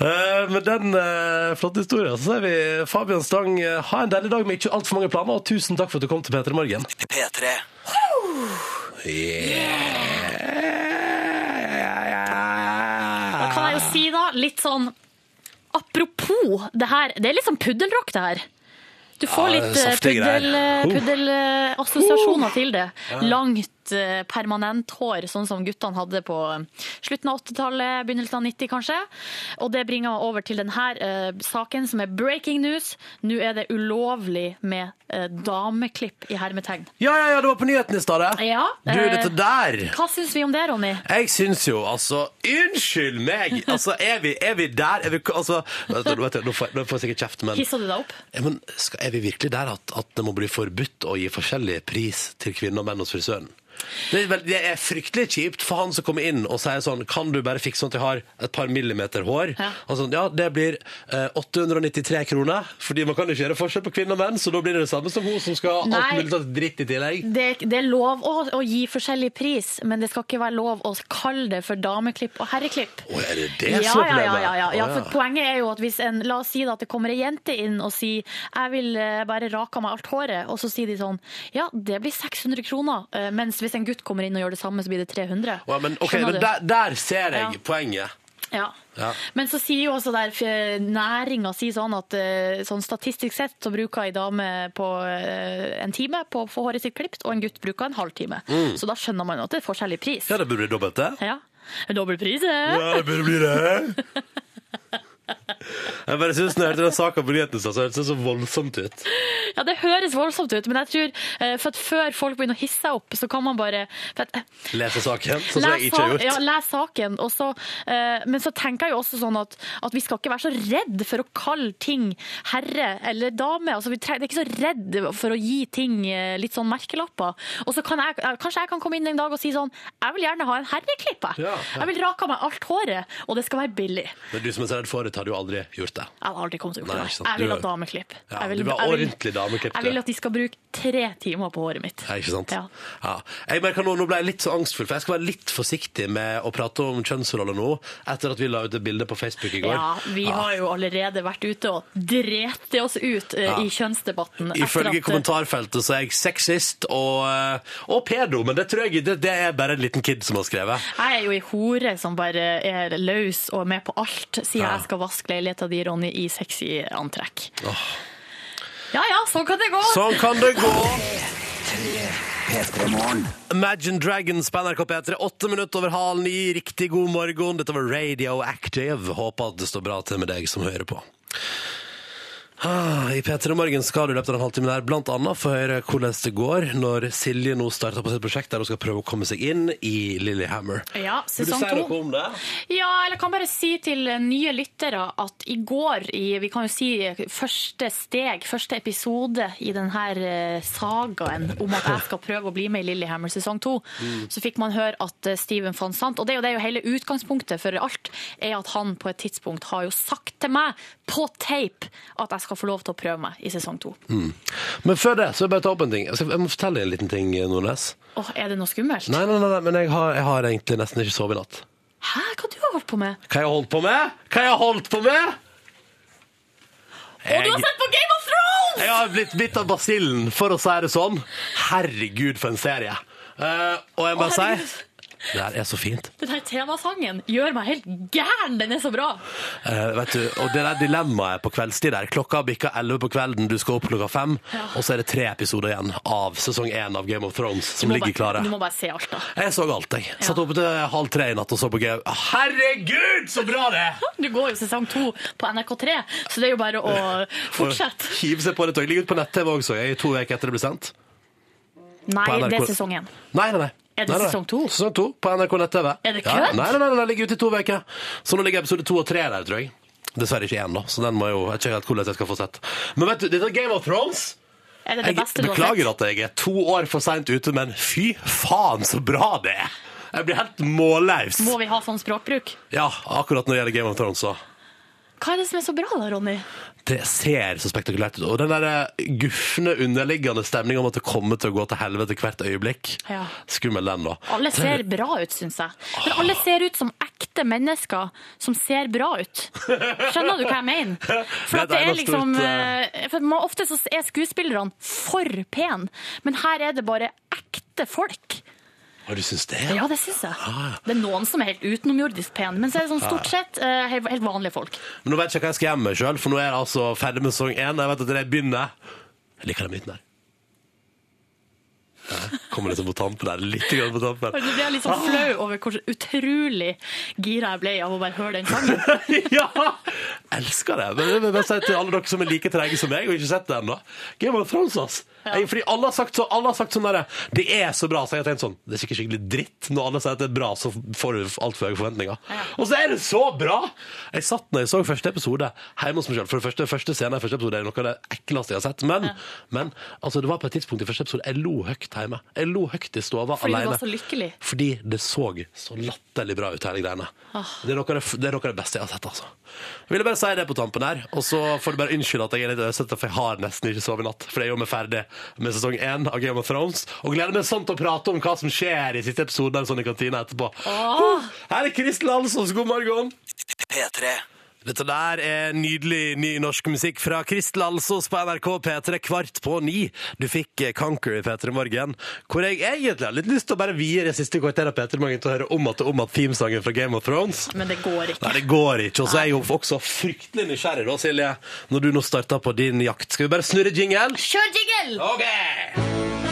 Eh, Med den eh, flotte historien så sier vi Fabian Stang, eh, ha en deilig dag med ikke altfor mange planer, og tusen takk for at du kom til P3 Morgen. P3. Da kan jeg jo si, da, litt sånn Apropos det her, det er litt sånn puddelrock, det her. Du får Ja, litt det er eh, saftige greier. puddel, eh, Oh. puddelassosiasjoner til det. Langt, eh, permanent hår, sånn som guttene hadde på eh, slutten av 80-tallet, begynnelsen av 90 kanskje. Og det bringer meg over til denne saken som er breaking news. Nå er det ulovlig med eh, dameklipp i hermetegn. Ja, ja, ja, det var på nyheten i stedet. Ja, Du, eh, dette der. Hva syns vi om det, Ronny? Jeg syns jo, altså Unnskyld meg! Altså, Er vi, er vi der? Er vi, altså, vet du, vet du, nå, får jeg, nå får jeg sikkert kjeft, men, Hissa du deg opp? ja, men skal, er vi virkelig der at, at det må bli forbudt å gi forskjellig pris til kvinner og menn hos frisøren? Det er, vel, det er fryktelig kjipt for han som kommer inn og sier sånn Kan du bare fikse sånn at jeg har et par millimeter hår? Ja. Og sånn, ja, det blir eh, 893 kroner, fordi man kan jo ikke gjøre forskjell på kvinner og menn, så da blir det det samme som hun som skal ha alt Nei. mulig slags dritt i tillegg. det, det er lov å, å gi forskjellig pris, men det skal ikke være lov å kalle det for dameklipp og herreklipp. Å, er det det Ja, ja, som er ja, problemet? ja, ja, ja, Å, for Poenget er jo at hvis en, la oss si da, at det kommer ei jente inn og sier 'jeg vil eh, bare rake av meg alt håret', og så sier de sånn 'ja, det blir 600 kroner', eh, mens hvis en gutt kommer inn og gjør det samme, så blir det 300. Å, ja, men, ok, Skjønner men du? der, der ser jeg Ja. poenget. Ja. Ja. Men så sier jo også der næringa sier sånn at eh, sånn statistisk sett så bruker ei dame på eh, en time på å få håret sitt klipt, og en gutt bruker en halvtime. Så da skjønner man jo at det er forskjellig pris. Mm. Ja, det burde bli dobbelt det. Ja. Dobbel pris, eh? det burde bli det. Jeg bare synes når jeg hørte den saken på nyhetene, så hørtes det så voldsomt ut. Ja, det høres voldsomt ut, men jeg tror eh, for at før folk begynner å hisse seg opp, så kan man bare for at, eh, Lese saken, sånn som jeg ikke har sa- Ja, gjort. les saken. Og så, eh, men så tenker jeg jo også sånn at, at vi skal ikke være så redd for å kalle ting herre eller dame. Altså, vi treng, det er ikke så redd for å gi ting eh, litt sånn merkelapper. Og så kan jeg, eh, kanskje jeg kan komme inn en dag og si sånn Jeg vil gjerne ha en herreklipp, jeg. Ja, ja. Jeg vil rake av meg alt håret, og det skal være billig. Men du som er så redd for det, hadde jo aldri gjort det. Jeg hadde aldri kommet til å Nei, gjøre ikke det. sant. Jeg vil Du- ha dameklipp. Ja, du jeg vil, vil ha jeg vil- ordentlig dameklipp, Jeg du. vil at de skal bruke tre timer på håret mitt. Ja, ikke sant? Ja. Ja. Jeg merker nå, nå ble jeg litt så angstfull, for jeg skal være litt forsiktig med å prate om kjønnsroller nå, etter at vi la ut et bilde på Facebook i går. Ja, vi har jo allerede vært ute og drete oss ut eh, i kjønnsdebatten. etter Ifølge at- eh, kommentarfeltet så er jeg sexist og, eh, og pedo, men det tror jeg det, det er bare en liten kid som har skrevet. Jeg er jo ei hore som bare er løs og er med på alt, sier Ja. jeg skal vaske leiligheta di, Ronny, i sexy antrekk. Ja ja, sånn kan det gå! Sånn kan det gå. Imagine Dragons på NRK P3, åtte minutter over halen i riktig god morgen. Dette var Radio Active. Håper at det står bra til med deg som hører på. Ah, I P3 Morgen skal du i løpet av den halvtimen her blant annet få høre hvordan det går når Silje nå starter på sitt prosjekt der hun skal prøve å komme seg inn i Lillehammer. Ja, Vil du sesong si noe to. om det? Ja, eller jeg kan bare si til nye lyttere at i går, i, vi kan jo si første steg, første episode i denne sagaen om at jeg skal prøve å bli med i Lillehammer sesong to, Mm. så fikk man høre at eh, Steven fant sant. Og det er jo det er jo hele utgangspunktet for alt, er at han på et tidspunkt har jo sagt til meg på tape at jeg skal få lov til å prøve meg i sesong to. Mm. Men før det, så vil jeg bare ta opp en ting. Jeg skal- Jeg må fortelle deg en liten ting, Nordnes. Åh, er det noe skummelt? Nei, nei, nei, nei men jeg har, jeg har egentlig nesten ikke sovet i natt. Hæ, hva du har holdt på med? Hva jeg har holdt på med? Hva jeg har holdt på med? Å, du har Jeg, sett på Game of Thrones! jeg har blitt bitt av basillen, for å si det sånn. Herregud, for en serie. Eh, og jeg må Å, si herregud. Det her er så fint. Den her temasangen gjør meg helt gæren! Den er så bra! Eh, vet du, og det der dilemmaet på kveldstid der. Klokka bikker 11 på kvelden, du skal opp klokka fem. Og så er det tre episoder igjen av sesong én av Game of Thrones som Du må ligger bare- klare. Du må bare se alt, da. [LAUGHS] Jeg så alt, jeg. Satt oppe til halv tre i natt og så på Game Herregud, så bra det er! Du går jo sesong to på NRK3, så det er jo [LAUGHS] bare å fortsette. Og Hiv seg på det. og Ligger ut på nett-TV også, jeg, i to uker etter det ble sendt. Nei, På det er NRK. sesong én. Nei, nei, nei. Er det nei, nei. sesong to? Sesong to på NRK Nett-TV. Er det Ja, kødd? Nei, nei, nei, den ligger ute i to uker. Så nå ligger episode to og tre der, tror jeg. Dessverre ikke én, da, så den må jeg jo jeg vet ikke helt hvordan jeg skal få sett. Men vet du, dette er Game of Thrones. Er det det Jeg beste du har beklager sett? at jeg er to år for seint ute, men fy faen så bra det er! Jeg blir helt målløs. Må vi ha sånn språkbruk? Ja, akkurat når det gjelder Game of Thrones, så. Hva er det som er så bra da, Ronny? Det ser så spektakulært ut. Og den der eh, gufne, underliggende stemninga om at det kommer til å gå til helvete hvert øyeblikk. Ja. Skummel den, da. Alle ser bra ut, syns jeg. Men alle ser ut som ekte mennesker som ser bra ut. Skjønner du hva jeg mener? For [LAUGHS] Det at det er er noe liksom stort, eh, for man, Ofte så er skuespillerne for pene, men her er det bare ekte folk. Har du syns det? Ja, det syns jeg. Det er noen som er helt utenomjordisk pene, men så er det sånn stort sett eh, helt, helt vanlige folk. Men nå vet jeg ikke hva jeg skal gjemme meg sjøl, for nå er jeg altså ferdig med sesong én. Jeg vet at det begynner. Jeg liker den myten der. Der Kommer litt på tampen der. Litt grann på Og tampen. Nå ble jeg litt sånn flau over hvor utrolig gira jeg ble av å bare høre den sangen. [LAUGHS] [LAUGHS] ja! Elsker det. Men jeg vil bare si til alle dere som er like trege som meg og ikke sett det ennå. Game of Thrones, ass. Jeg, fordi alle har sagt, så, alle har sagt sånn derre Det er så bra, så jeg har tenkt sånn Det er sikkert skikkelig dritt. Når alle sier at det er bra, så får du altfor høye forventninger. Og så er det så bra! Jeg satt når jeg så første episode hjemme hos meg sjøl. For det første, første scenen i første episode er noe av det ekleste jeg har sett. Men, men altså, det var på et tidspunkt i første episode jeg lo høyt hjemme. Jeg lo høyt i stua Fordi du alene. var så lykkelig. Fordi det så så latterlig bra ut, hele greiene. Det, er noe av det, det er noe av det beste jeg har sett, altså. Jeg ville bare si det på tampen her, og så får du bare unnskylde at jeg er litt øsete, for jeg har nesten ikke sovet i natt. For jeg er jo med ferdig med sesong én av Game of Thrones, og gleder meg sånn til å prate om hva som skjer i siste episode eller sånn i kantina etterpå. Uh, Her er Kristel Alsos, god morgen! P3. Dette der er nydelig ny norsk musikk fra Kristel Alsos på NRK P3 kvart på ni. Du fikk eh, Conquer i P3 Morgen, hvor jeg egentlig har litt lyst til å bare vie det siste kvarteret av P3 Morgen til å høre om at om at themesangen fra Game of Thrones. Men det går ikke. Nei, det går ikke. Og så er jeg jo også fryktelig nysgjerrig, da, Silje, når du nå starter på din jakt. Skal vi bare snurre jingle? Kjør jingle! OK!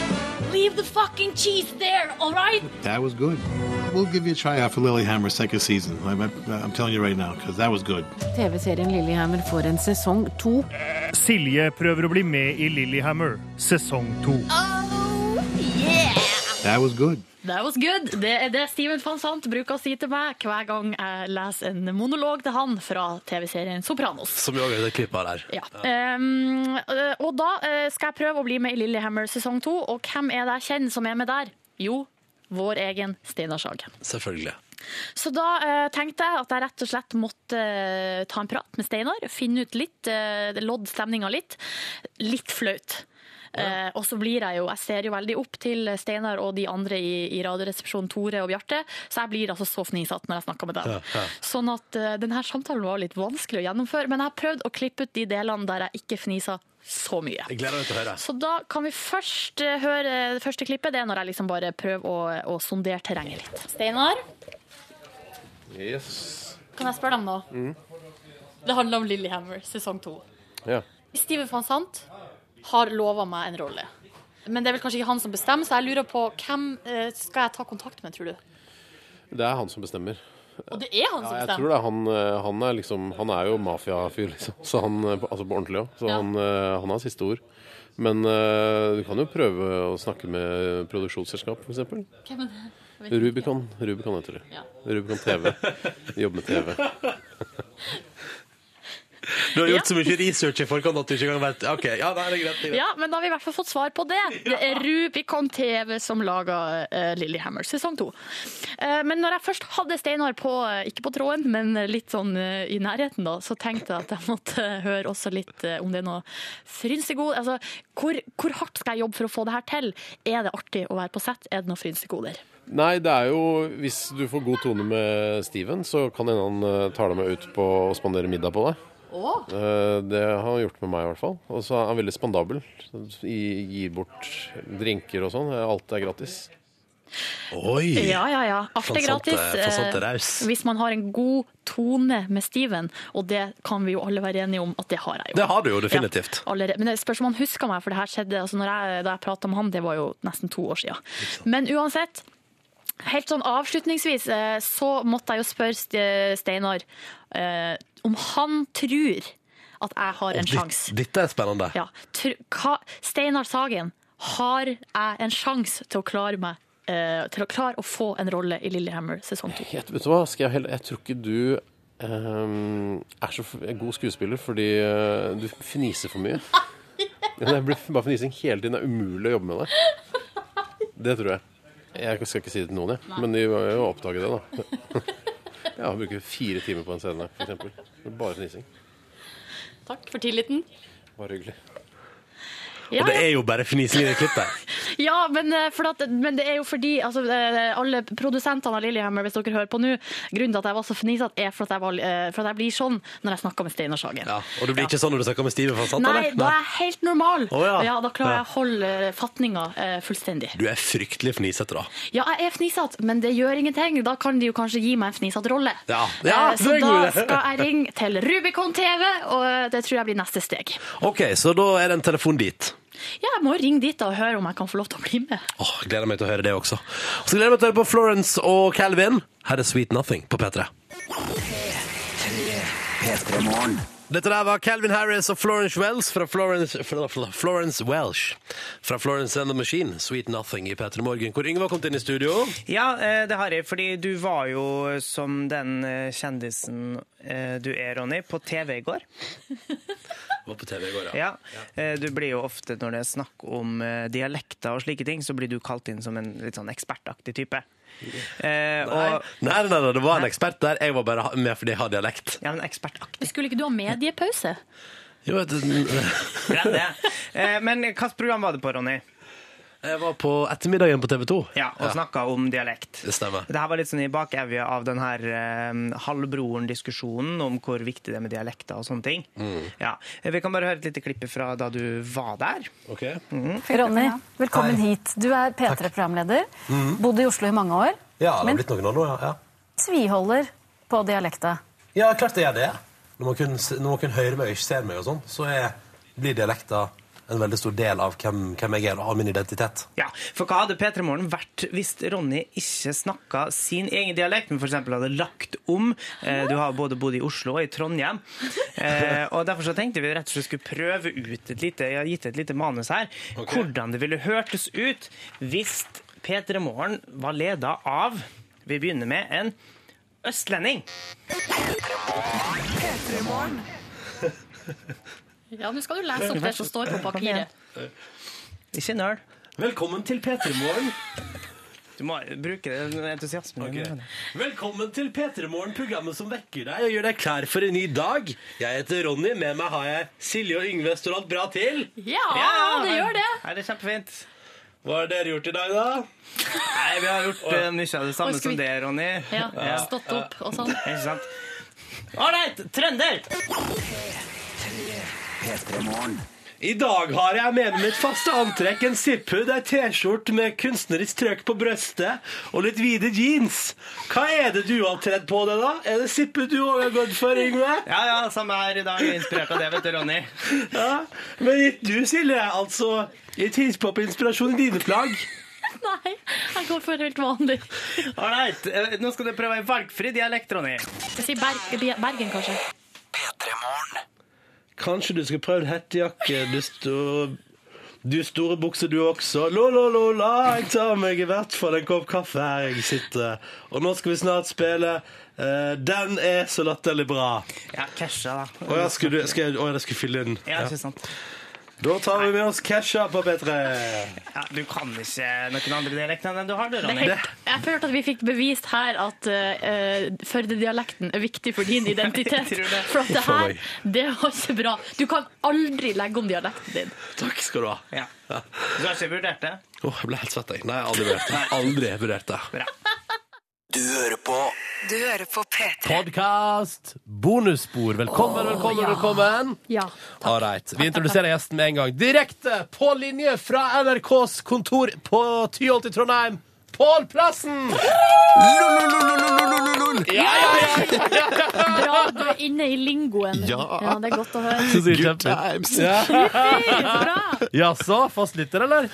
Leave the fucking cheese there, all right? That was good. We'll give you a try out for Lilyhammer second season. I'm, I'm telling you right now, because that was good. TV-serien Lillehammer får en sesong to. Silje prøver å bli med i Lillehammer, sesong to. That was good. That was good. Det er det Steven van Sant bruker å si til meg hver gang jeg leser en monolog til han fra TV-serien Sopranos. Som jo også er det klippet her. Ja. Ehm, øh, og da øh, skal jeg prøve å bli med i Lillehammer sesong to, og hvem er det jeg kjenner som er med der? Jo, vår egen Steinar Sagen. Selvfølgelig. Så da eh, tenkte jeg at jeg rett og slett måtte eh, ta en prat med Steinar, finne ut litt, eh, lodd stemninga litt. Litt flaut. Eh, og så blir jeg jo, jeg ser jo veldig opp til Steinar og de andre i, i Radioresepsjonen, Tore og Bjarte, så jeg blir altså så fnisete når jeg snakker med dem. Sånn at eh, denne samtalen var litt vanskelig å gjennomføre, men jeg har prøvd å klippe ut de delene der jeg ikke fnisa så mye. Jeg gleder meg til å høre. Så da kan vi først eh, høre det første klippet. Det er når jeg liksom bare prøver å, å sondere terrenget litt. Steinar, Yes. kan jeg spørre deg om noe? Det handler om Lillehammer sesong to. Ja. Steven van Sant har lova meg en rolle. Men det er vel kanskje ikke han som bestemmer, så jeg lurer på hvem eh, skal jeg ta kontakt med, tror du? Det er han som bestemmer. Og det er han som Ja, jeg tror bestemmer. det er han, eh, han er liksom Han er jo mafiafyr, liksom. [LAUGHS] Så han, eh, på- altså på ordentlig òg. Så han, eh, han har siste ord. Men eh, du kan jo prøve å snakke med produksjonsselskap, f.eks. Ok, men- jeg vet ikke. Rubicon. Rubicon heter det. Ja. Rubicon TV. De jobber med TV. Du har gjort så mye research i forkant at du ikke engang vet OK, ja, nei, det er greit. det er greit. Ja, men da har vi i hvert fall fått svar på det. Det er Rubicon TV som laga uh, Lillehammer sesong to. Eh, men når jeg først hadde Steinar på, eh, ikke på tråden, men litt sånn eh, i nærheten, da, så tenkte jeg at jeg måtte høre også litt eh, om det er noe frynsegod Altså, hvor, hvor hardt skal jeg jobbe for å få det her til? Er det artig å være på sett? Er det noen frynsegoder? Nei, det er jo Hvis du får god tone med Steven, så kan hende han eh, tar deg med ut på og spanderer middag på deg. Åh. Eh, Det har han gjort med meg, i hvert fall. Og så er han veldig spandabel. I- Gir bort drinker og sånn. Alt er gratis. Oi! Ja, ja, ja. Alt er Faen sant, gratis. eh, faen sant, det er raus. eh, Hvis man har en god tone med Steven, og det kan vi jo alle være enige om at det har jeg jo. Det har du jo definitivt. Allerede. Men det spørs om han husker meg, for det her skjedde altså når jeg, da jeg prata med han, det var jo nesten to år siden. Men uansett, helt sånn avslutningsvis, eh, så måtte jeg jo spørre Ste- Steinar eh, om han tror at jeg har en Ditt- sjanse. Dette er spennende. Ja. Tr hva, Steinar Sagen, har jeg en sjanse til å klare meg? eh, Til å klare å få en rolle i Lillehammer sesong to. Jeg, vet du hva, skal jeg, heller, jeg tror ikke du ehm, er så f- god skuespiller fordi eh, du fniser for mye. Det blir bare fnising hele tiden. Det er umulig å jobbe med deg. Det tror jeg. Jeg skal ikke si det til noen, jeg. Men de må jo oppdage det, da. [LAUGHS] Ja, Bruker fire timer på en scene, f.eks. Bare fnising. Takk for tilliten. Bare hyggelig. Ja, Og det er jo bare fnising i det klippet. ja men, eh, for at, men det er jo fordi altså, eh, alle produsentene av Lillehammer, hvis dere hører på nå, grunnen til at jeg var så fnisete, er for at, jeg var, eh, for at jeg blir sånn når jeg snakker med Steinar [LAUGHS] Sagen. Ja, og det blir ikke sånn når du snakker med Steven, for sant? Nei, eller? da er jeg helt normal. Å, ja. da klarer Ja. jeg å holde eh, fatninga eh, fullstendig. Du er fryktelig fnisete, da. Ja, jeg er fnisete, men det gjør ingenting. Da kan de jo kanskje gi meg en fnisete rolle. Ja, ja det er Eh, så en da god idé. skal jeg ringe til Rubicon TV, og eh, det tror jeg blir neste steg. OK, så da er det en telefon dit. Ja, jeg må ringe dit da og høre om jeg kan få lov til å bli med. Åh, jeg gleder meg til å høre det også. Og så gleder jeg meg til å høre på Florence og Calvin. Her er Sweet Nothing på P3. Dette der var Calvin Harris og Florence Wells fra Florence, fra, fra, Florence Welsh. Fra Florence and the Machine, Sweet Nothing i P3 Morgen, hvor Yngve har kommet inn i studio. Ja, eh, det har jeg, fordi du var jo som den eh, kjendisen eh, du er, Ronny, på TV i går. Var på TV i går, Ja. Eh, Du blir jo ofte, når det er snakk om eh, dialekter og slike ting, så blir du kalt inn som en litt sånn ekspertaktig type. Eh, Nei, og, nei, nei, nei, det var en ekspert der. Jeg var bare ha- med fordi jeg har dialekt. ja, men ekspertaktig. Skulle ikke du ha mediepause? Jo, jeg, Glem det. Eh, Men hvilket program var det på, Ronny? jeg var på ettermiddagen på TV 2. Ja, og snakka om dialekt. Det stemmer. Det her var litt sånn i bakevja av den her eh, halvbroren-diskusjonen om hvor viktig det er med dialekter og sånne ting. Ja. Eh, Vi kan bare høre et lite klipp fra da du var der. Okay. Ronny, velkommen Hei. hit. Du er P3-programleder. Mhm. Bodde i Oslo i mange år. Ja, det har men blitt noen år nå, ja. tviholder på dialekta. Ja, ja klart det gjør det. Når man, kun, når man kun hører meg og ikke ser meg, og sånn, så er, blir dialekta en veldig stor del av hvem, hvem jeg er og av min identitet. Ja, For hva hadde P3 Morgen vært hvis Ronny ikke snakka sin egen dialekt, men f.eks. hadde lagt om? Eh, Du har både bodd i Oslo og i Trondheim. Eh, Og Derfor så tenkte vi rett og slett skulle prøve ut et lite, jeg har gitt et lite manus her, hvordan det ville hørtes ut hvis P3 Morgen var leda av Vi begynner med en østlending. Ja, nå skal du lese opp det som står på papiret. Ikke nøl. Velkommen til P3 Morgen. Du må bruke entusiasmen. din. Velkommen til P3 Morgen, programmet som vekker deg og gjør deg klar for en ny dag. Jeg heter Ronny, med meg har jeg Silje og Yngve. Står alt bra til? Ja, det gjør det. Ja, det er kjempefint. Hva har dere gjort i dag, da? Nei, vi har gjort eh, mye av det samme Oi, skal som vi- det, Ronny. Ja, stått opp og sånn. Ikke sant? Ålreit, trønder! I dag har jeg med meg mitt faste antrekk, en zipphud, ei T-skjorte med kunstnerisk trøkk på brøstet og litt vide jeans. Hva er det du har tredd på deg, da? Er det zipphud du òg har gått for, Yngve? Ja, ja, samme her i dag. Inspirert av det, vet du, Ronny. Ja, Men gitt du, Silje, altså gitt hiphop-inspirasjon i dine plagg? [LAUGHS] Nei, jeg går for helt vanlig. Ålreit, eh, nå skal du prøve en valgfri dialekt, Ronny. Jeg sier Berg Bergen, kanskje. Kanskje du skulle prøvd hettejakke, du sto... Du store bukser, du også. La, la, la, la. Jeg tar meg i hvert fall en kopp kaffe her jeg sitter. Og nå skal vi snart spille eh, Den er så latterlig bra. Ja, casha, da. Å ja, skulle du skal jeg, å, ja, jeg skulle fylle inn? Ja, ikke sant. Da tar vi med oss Kesha på P3. Ja, du kan ikke noen andre dialekt enn den du har, du, Det er Ronny. helt, jeg følte at vi fikk bevist her at eh, førdedialekten er viktig for din identitet. Jeg tror det. For at det Uff a her, meg. det var ikke bra. Du kan aldri legge om dialekten din. Takk skal du ha. Ja. Du har ikke vurdert det? Åh, jeg ble helt svett, jeg. Nei, jeg har aldri vurdert det. Aldri vurdert det. Du hører på Du hører på P3. Podkast bonusspor. Velkommen, velkommen, velkommen. Ja. All right. Vi introduserer gjesten med en gang. Direkte på linje fra NRKs kontor på Tyholt i Trondheim. Pål Plassen! Ja, ja, ja. Bra, du er inne i lingoen. Ja. det er godt å høre. [LAUGHS] Good times. Jaså, fastlytter, eller?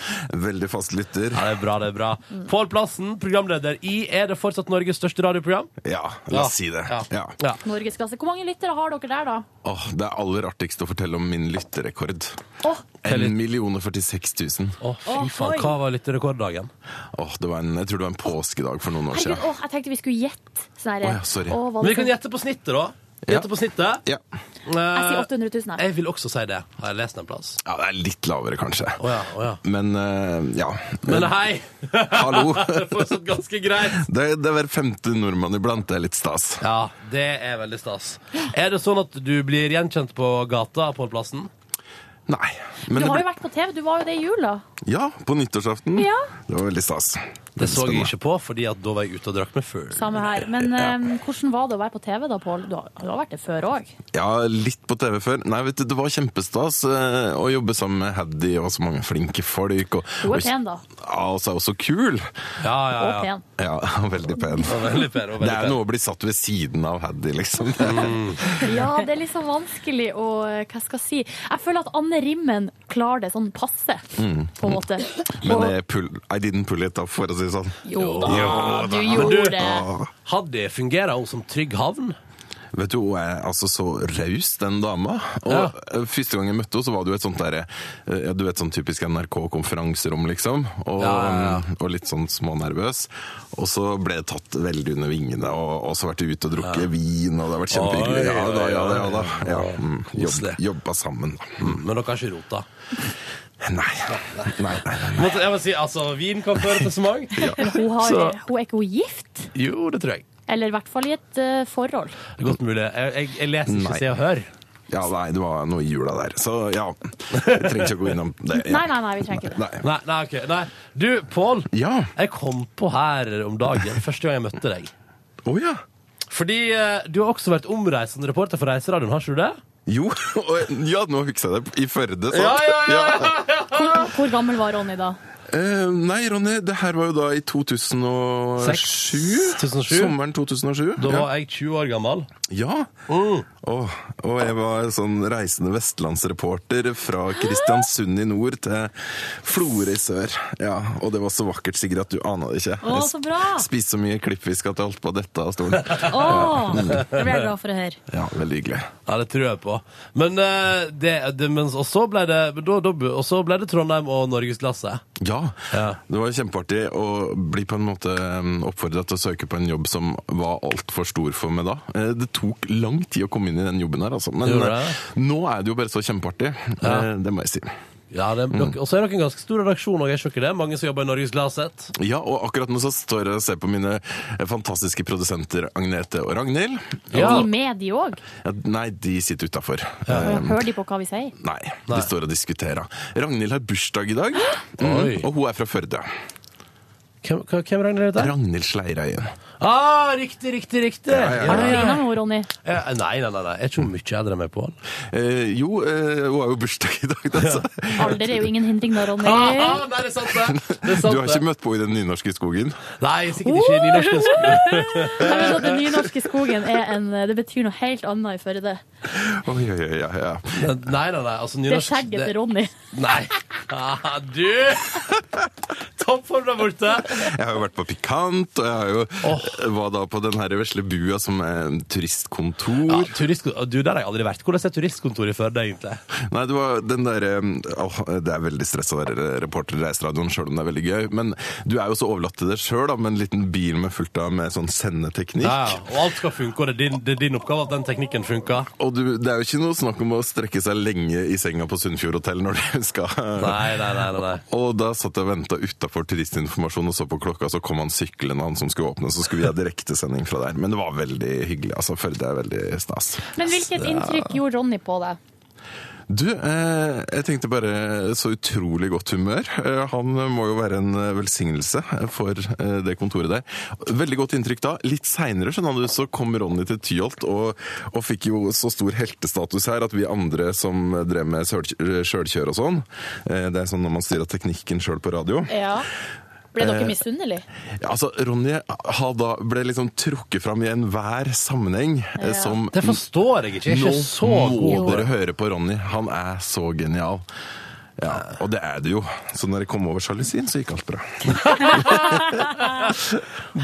Veldig fast lytter. Ja, det er bra, det er bra. Pål Plassen, programleder i Er det fortsatt Norges største radioprogram? Ja, Ja. la oss si det. Ja. Norgesklasse. Hvor mange lyttere har dere der, da? Åh, det er aller artigst å fortelle om min lytterekord. Åh. 1 046 000. Åh, fy faen, Oi. hva var lytterekorddagen? Åh, det var en, jeg tror det var en påskedag for noen år Herregud, siden. åh, jeg tenkte vi skulle gjette. Sånn Åh, ja, sorry. Men vi kan gjette på snittet, da. Ja. Gjette på snittet. Ja. Jeg sier 800 000. Eh, jeg. Jeg vil også si det. Har jeg lest en plass? Ja, det er litt lavere, kanskje. ja, Men eh, ja. Men hei! Hallo. [LAUGHS] det er fortsatt ganske greit. Det, det er hver femte nordmann iblant. Det er litt stas. Ja, det er veldig stas. Er det sånn at du blir gjenkjent på gata, Pål Plassen? Nei. Du har jo vært på TV, du var jo det i jula. Ja, på nyttårsaften. [LAUGHS] Ja. Det var veldig stas. Det så jeg ikke på, fordi at da var jeg ute og drakk meg full. Samme her. Men eh, hvordan var det å være på TV da, Pål? Du, har- du har vært det før òg. Ja, litt på TV før. Nei, vet du, det var kjempestas eh, å jobbe sammen med Haddy og så mange flinke folk. Og, Hun er pen, da. Ja, og så er hun så kul. Ja, ja, ja. Og pen. [LAUGHS] veldig veldig pen, pen. og veldig det er pen. Mm. noe å bli satt ved siden av Haddy, liksom. Ja, det er liksom vanskelig å eh, Hva skal jeg si? Jeg føler at Anne Rimmen klarer det sånn passe, Mm. på en måte. [LAUGHS] Men Og- eh, pull, I didn't pull it up, for å si det sånn. Jo da, du da. gjorde Men det. Åh. Haddy, fungerer hun som trygg havn? Vet du, Hun er altså så raus, den dama. Og Ja. eh, Første gang jeg møtte henne, så var det jo et sånt der, eh, ja, du vet, sånn typisk NRK-konferanserom, liksom. Og, Ja, ja, og litt sånn smånervøs. Og så ble jeg tatt veldig under vingene, og, og så vært ute og drukket vin, og det har vært Oi, kjempehyggelig. Ja da, ja oi, da. ja da. Ja, mm, jobb, Koselig. jobba sammen, da. Men dere har ikke rota? Nei. Nei, nei, nei. Måtte- Jeg må si, altså, Vin kan føre til så mangt. Men hun, har, Så- hun er ikke hun gift? Jo, det tror jeg. Eller i hvert fall i et eh, forhold. Det er godt mulig. Jeg, jeg, jeg leser ikke Nei. Se og Hør. Ja, nei, det var noe i jula der. Så ja, [LAUGHS] jeg trenger ikke å gå innom det. Ja. Nei, nei, nei, vi trenger ikke det. Nei. Nei, nei, ok. Nei. Du, Pål. Jeg kom på her om dagen, første gang jeg møtte deg. Oh, ja. Fordi eh, du har også vært omreisende reporter for Reiseradioen, har ikke du det? Jo, [LAUGHS] og, ja, nå fiksa jeg det i Førde, så. Ja, ja, ja, Hvor, hvor gammel var Ronny da? Eh, nei, Ronny, det her var jo da i 2007. Sommeren 2007. Da var jeg 20 år gammel. Mm. Ja. Og, og jeg var sånn reisende vestlandsreporter fra Kristiansund i nord til Florø i sør. Ja, og det var så vakkert, Sigrid, at du aner det ikke. Å, så bra! Jeg spiste så mye klippfisk at jeg holdt på å dette av [LAUGHS] stolen. Åh, det ble jeg glad for å høre. Ja, veldig hyggelig. Ja, det tror jeg på. Men, eh, det, det, mens, og, så ble det, men da, da, og så ble det Trondheim og Norgesklasse. Ja. Det var kjempeartig å bli på en måte mm, oppfordret til å søke på en jobb som var altfor stor for meg da. Eh, Det tok lang tid å komme inn i den jobben her, altså. Men Gjorde det? eh, nå er det jo bare så kjempeartig. Ja. Eh, Det må jeg si. Ja, det, dere- Og så er dere en ganske stor redaksjon òg, er ikke dere det? Mange som jobber i Norgesglasset. Ja, og akkurat nå så står jeg og ser på mine eh, fantastiske produsenter Agnete og Ragnhild. Er de med, de òg? Ja, Nei, de sitter utafor. Hører de på hva vi sier? Nei, de står og diskuterer. Ragnhild har bursdag i dag, Oi. mm, og hun er fra Førde. Hvem, hva- hvem Ragnhild heter? Ragnhild Sleiereien. Ah, riktig, riktig, riktig! ja, Har du klina ja. med henne, Ronny? Eh, Nei, nei, nei, nei. Jeg er ikke hun mye eldre enn meg, Pål. Eh, jo, eh, hun har jo bursdag i dag, da, så Alder er jo ingen hindring da, Ronny. Ah, ah, nei, det er sant, det. det er sant, [LAUGHS] Du har det. ikke møtt på i den nynorske skogen? Nei, sikkert ikke i nynorsken. [LAUGHS] Jeg vet at Den nynorske skogen er en, det betyr noe helt annet i Førde. Oi, oi, oi, ja, ja. Nei, nei, nei. Altså, Det er nynorsk skjegget det- til Ronny. Nei. Ah, du! Toppform der borte. Jeg har jo vært på Pikant, og jeg har jo, var da på den her vesle bua som er turistkontor. Ja, turistkontor. Du, der har jeg aldri vært. Hvordan er turistkontoret i Førde, egentlig? Nei, det var den der eh, åh, Det er veldig stress å være reporter i Reiseradioen, sjøl om det er veldig gøy. Men du er jo så overlatt til deg sjøl, med en liten bil med fullt av med sånn sendeteknikk. Ja, ja. og alt skal funke, og det er din, det er din oppgave at den teknikken funker. Og du, det er jo ikke noe snakk om å strekke seg lenge i senga på Sunnfjord hotell når du [LAUGHS] skal Nei, nei, nei, nei, nei. Og da satt jeg og venta utafor turistinformasjon og så på klokka, så kom han syklende, han som skulle åpne, så skulle vi ha direktesending fra der. Men det var veldig hyggelig, altså. Førde er veldig stas. Men hvilket inntrykk gjorde Ronny på deg? Du, eh, jeg tenkte bare så utrolig godt humør. Eh, han må jo være en eh, velsignelse for eh, det kontoret der. Veldig godt inntrykk da. Litt seinere, skjønner du, så kom Ronny til Tyholt og, og fikk jo så stor heltestatus her at vi andre som drev eh, med sjølkjør og sånn eh, Det er sånn når man styrer teknikken sjøl på radio. Ja. Ble dere Eh, misunnelige? Ja, altså, Ronny har da ble liksom trukket fram i enhver sammenheng eh, som Det forstår jeg ikke. Jeg er ikke Nå så må god på dere det. høre på Ronny. Han er så genial. Ja, og det er det jo. Så når jeg kom over sjalusien, så gikk alt bra.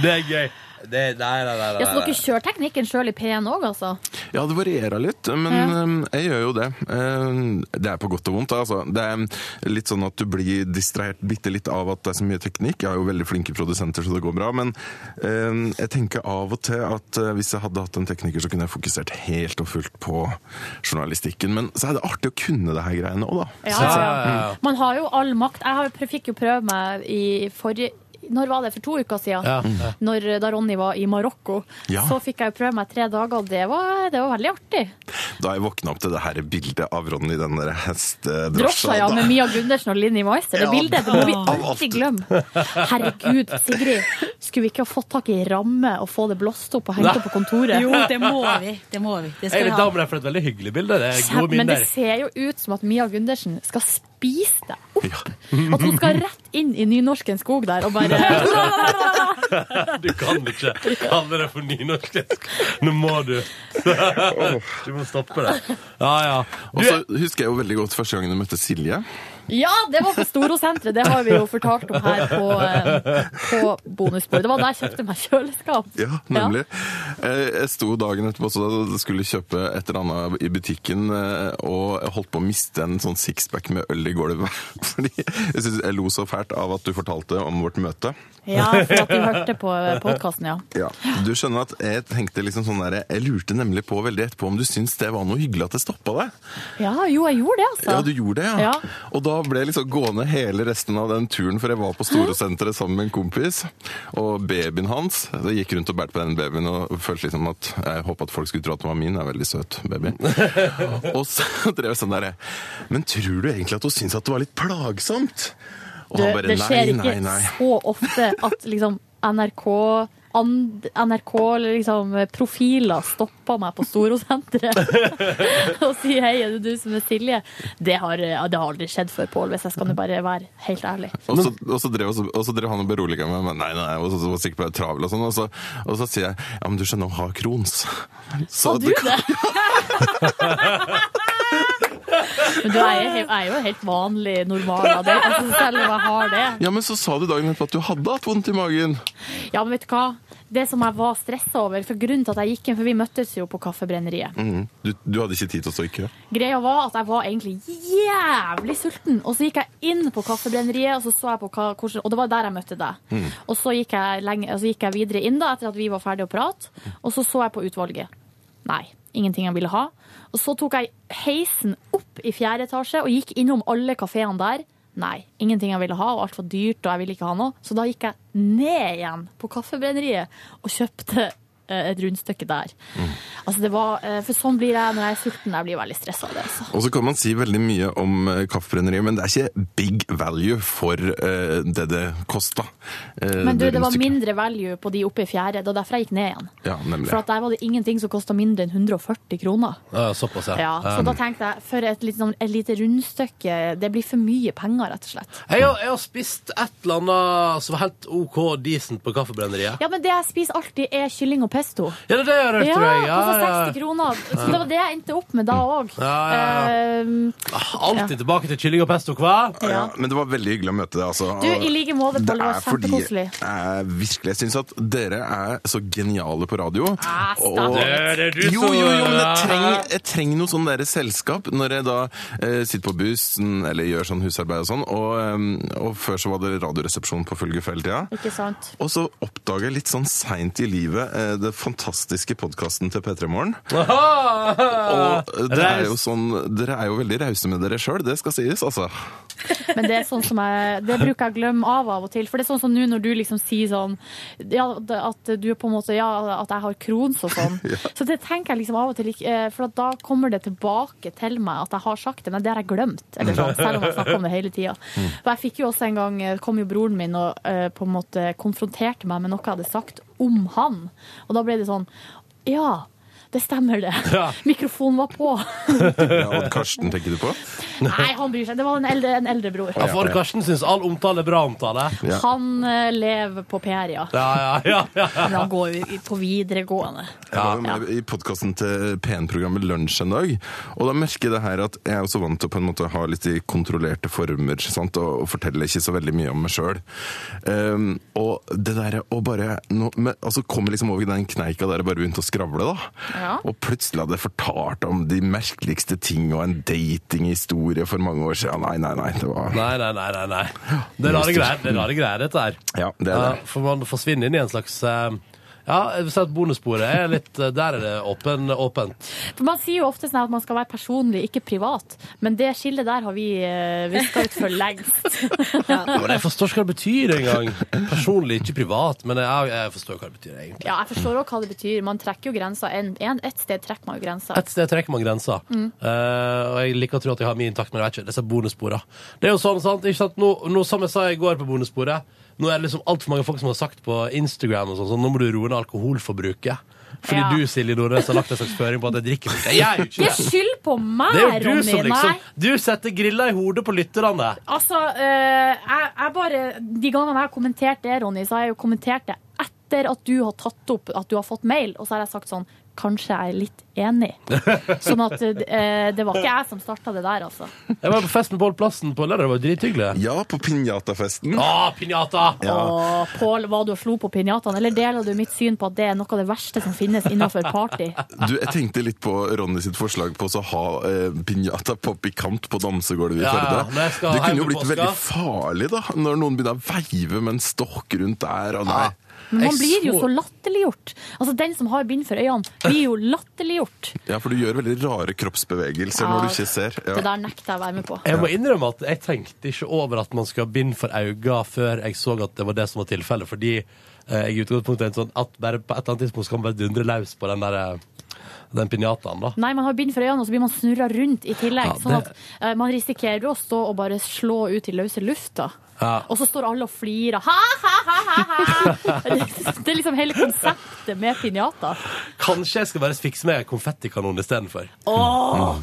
Det er gøy. Det, nei, nei, nei, Ja, så dere kjører teknikken sjøl i P1 òg, altså? Ja, det varierer litt, men Ja. øhm, jeg gjør jo det. Ehm, Det er på godt og vondt. Altså. Det er litt sånn at du blir distrahert bitte litt av at det er så mye teknikk. Jeg har jo veldig flinke produsenter, så det går bra. Men øhm, jeg tenker av og til at øh, hvis jeg hadde hatt en tekniker, så kunne jeg fokusert helt og fullt på journalistikken. Men så er det artig å kunne det her greiene òg, da. Ja, ja, ja. Man har jo all makt. Jeg har, prøv- fikk jo prøve meg i forrige når var det? For to uker siden? Ja, ja. Når, da Ronny var i Marokko. Ja. Så fikk jeg jo prøve meg tre dager, og det var, det var veldig artig. Da jeg våkna opp til det her bildet av Ronny i den der hestedrosja Drosja ja, da- med Mia Gundersen og Linni Meister. Det Ja, bildet det må vi av alt. alltid glemme. Herregud, Sigrid. Skulle vi ikke ha fått tak i ramme og få det blåst opp og hengt Nei. opp på kontoret? Jo, det må vi. Det må vi. Det Jeg er skal vi litt ha. dam der for et veldig hyggelig bilde. Det er gode Men det minner. ser jo ut som at Mia Gundersen skal spise deg opp. At hun skal rett inn i Nynorskens skog der [LAUGHS] og bare Du kan ikke kalle det for nynorsk. Nå må du. Du må stoppe det. Ja, ja. Og så husker jeg jo veldig godt første gangen jeg møtte Silje. Ja, det var på Storosenteret. Det har vi jo fortalt om her på, eh, på bonusbordet. Det var der jeg kjøpte meg kjøleskap. Ja, nemlig. Eh, Jeg sto dagen etterpå så da skulle kjøpe et eller annet i butikken, eh, og jeg holdt på å miste en sånn sixpack med øl i gulvet. [LAUGHS] Fordi jeg synes jeg lo så fælt av at du fortalte om vårt møte. Ja, for at du hørte på podkasten, ja. Ja, Du skjønner at jeg tenkte liksom sånn der, jeg lurte nemlig på veldig etterpå om du syntes det var noe hyggelig at jeg stoppa deg. Ja, jo, jeg gjorde det, altså. Ja, du gjorde det, ja. Ja. Og da ble jeg liksom gående hele resten av den turen, for jeg var på Storosenteret sammen med en kompis, og babyen hans Jeg gikk rundt og bærte på den babyen og følte liksom at jeg håpet at folk skulle tro at den var min. Den er veldig søt, baby. og så drev jeg sånn derre Men tror du egentlig at hun syntes at det var litt plagsomt? Og Det, han bare det skjer nei, nei, ikke nei. så ofte at liksom NRK and- NRK eller liksom profiler stopper meg på Storosenteret [LAUGHS] og sier hei, er det du som er Silje? Det har, ja, det har aldri skjedd før, Pål, hvis jeg skal nå bare være helt ærlig. Og så, og, så drev, og så drev han og beroliga meg med nei, nei, og så, så var jeg sikkert bare travel og sånn. Og så, og så sier jeg ja, men du skjønner, hun har krons. Så du kan- [LAUGHS] Men du er, jo- er jo helt vanlig normal av det, altså, selv om jeg har det. Ja, men så sa du dagen etterpå at du hadde hatt vondt i magen. Ja, men vet du hva? Det som jeg var stressa over, for grunnen til at jeg gikk inn, for vi møttes jo på Kaffebrenneriet. Mhm. Du, du hadde ikke tid til å stå i kø? Greia var at jeg var egentlig jævlig sulten, og så gikk jeg inn på Kaffebrenneriet, og så så jeg på hva, hvordan, og det var der jeg møtte deg. Mhm. Og så gikk, jeg lenge, og så gikk jeg videre inn da, etter at vi var ferdige å prate, og så så jeg på utvalget. Nei, ingenting jeg ville ha. Og så tok jeg heisen opp i fjerde etasje og gikk innom alle kaféene der. Nei, ingenting jeg ville ha, og alt var dyrt, og jeg ville ikke ha noe. Så da gikk jeg ned igjen på Kaffebrenneriet og kjøpte eh, et rundstykke der. Altså det var, eh, for sånn blir jeg når jeg er sulten. Jeg blir veldig stressa av det. Altså. Og så kan man si veldig mye om eh, kaffebrenneriet, men det er ikke big value for eh, det det kosta. Eh, Men du, det var rundstykket. mindre value på de oppe i fjerde. Det var derfor jeg gikk ned igjen. Ja, nemlig. For at der var det ingenting som kosta mindre enn 140 kroner. Ja, såpass, ja. Ja, så Um, da tenkte jeg, for et, litt sånn- et lite rundstykke, det blir for mye penger, rett og slett. jeg, har, jeg har spist et eller annet som var helt OK decent på Kaffebrenneriet. Ja, men det jeg spiser alltid, er kylling og pesto. Ja, det er det jeg har hørt, tror jeg. Ja, ja, altså ja. 60 kroner. Så det var det jeg endte opp med da Um, òg. Ja, ja, Ah, Alltid tilbake til kylling og pesto, hva? Ja, men det var veldig hyggelig å møte deg. Altså. Du, i like måte, Pål. Det var er fordi kjempekoselig. Jeg virkelig jeg syns at dere er så geniale på radio. Ah, stopp. jo, Det er det du jo, som- jo, men jeg trenger, jeg trenger noe sånn deres selskap når jeg da eh, sitter på bussen eller gjør sånn husarbeid og sånn. Og, eh, og før så var det Radioresepsjonen på full guffe hele tida. Ikke sant? Og så oppdager jeg litt sånn seint i livet eh, det fantastiske podkasten til P3 Morgen. Og eh, det er jo sånn, dere er jo veldig rause med dere sjøl, det skal sies, altså. Men det er sånn som jeg Det bruker jeg å glemme av av og til. For det er sånn som nå når du liksom sier sånn ja, det- At du er på en måte Ja, at jeg har krons og sånn. Så det tenker jeg liksom av og til ikke- eh, For at da kommer det tilbake til meg at jeg har sagt det, men det har jeg glemt. Eller sånn, selv om jeg snakker om det hele tida. For jeg fikk jo også en gang eh, Kom jo broren min og eh, på en måte konfronterte meg med noe jeg hadde sagt om han. Og da ble det sånn Ja. Det stemmer, det. Ja. [LAUGHS] Mikrofonen var på. Ja, Odd Karsten tenker du på? Nei, han bryr seg. Det var en eldre, en eldre bror. Ja, for Karsten syns all omtale er bra omtale. Han eh, lever på PR, ja. Ja, ja, ja. Men han går jo i- på videregående. Jeg var jo med i podkasten til P1-programmet Lunsj en dag, og da merker jeg det her at jeg er også vant til å på en måte ha litt i kontrollerte former sant? Og, og fortelle ikke så veldig mye om meg sjøl. Um, og det derre å bare nå, men, altså Kom jeg liksom over den kneika der jeg bare begynte å skravle, da. Ja. Og plutselig hadde jeg fortalt om de merkeligste ting og en datinghistorie for mange år siden. Nei, nei, nei. Det var Nei, nei, nei. nei, nei. Det er rare greier, det er rare greier dette her. Ja, det er det. Ja, for man forsvinner inn i en slags eh, Ja, jeg vil si at bonussporet er litt eh, Der er det åpen, åpent. For Man sier jo ofte sånn at man skal være personlig, ikke privat. Men det skillet der har vi eh, viska ut for lengst. [LAUGHS] Ja, men jeg forstår ikke hva det betyr engang. Personlig, ikke privat, men jeg, jeg forstår hva det betyr egentlig. Ja, jeg forstår òg hva det betyr. Man trekker jo grensa. En, en, et sted trekker man jo grensa. Et sted trekker man grensa. Mm. Eh, og jeg liker å tro at jeg har mye intakt, men jeg vet ikke. Disse bonussporene. Det er jo sånn, sant? Ikke sant? Nå, nå, som jeg sa i går på bonussporet, nå er det liksom altfor mange folk som har sagt på Instagram og sånn, sånn, nå må du roe ned alkoholforbruket. Fordi Ja. du, Silje Nordnes, har lagt en slags føring på at jeg drikker for Jeg gjør jo Det ikke er det! skyld på meg, Det er jo du Ronny. som liksom Nei. Du setter grilla i hodet på lytterne. Altså, eh, jeg, jeg bare De gangene jeg har kommentert det, Ronny, så har jeg jo kommentert det etter at du har tatt opp at du har fått mail, og så har jeg sagt sånn Kanskje jeg er litt [LAUGHS] enig. Sånn at eh, det var ikke jeg som starta det der, altså. Jeg var på fest med Pål Plassen på lørdag, det var drithyggelig. Ja, på pinjatafesten. Ah, pinjata! Og Pål, var du og slo på pinjataene? Eller deler du mitt syn på at det er noe av det verste som finnes innenfor party? Du, jeg tenkte litt på Ronny sitt forslag på å så ha eh, pinjata på pikant på dansegulvet i Ja, Førde. ja, når jeg skal det hjem kunne jo til blitt påska. veldig farlig da, når noen begynner å veive med en stokk rundt der. Og nei. Men man Jeg blir jo så latterliggjort. Altså, den som har bind for øynene, blir jo latterliggjort. Ja, for du gjør veldig rare kroppsbevegelser Ja, når du ikke ser. Ja. Det der nekter jeg å være med på. Jeg må innrømme at jeg tenkte ikke over at man skal ha bind for øynene før jeg så at det var det som var tilfellet, fordi eh, jeg i utgangspunktet er en sånn at bare på et eller annet tidspunkt skal man bare dundre løs på den der eh, den pinjataen, da. Nei, man har bind for øynene, og så blir man snurra rundt i tillegg. Ja, Sånn at det- eh, man risikerer å stå og bare slå ut i løse lufta. Ja. Og så står alle og flirer. Ha, ha, ha, ha, ha. Det er liksom hele konseptet med pinjata. Kanskje jeg skal bare fikse meg en konfettikanon istedenfor. Åh!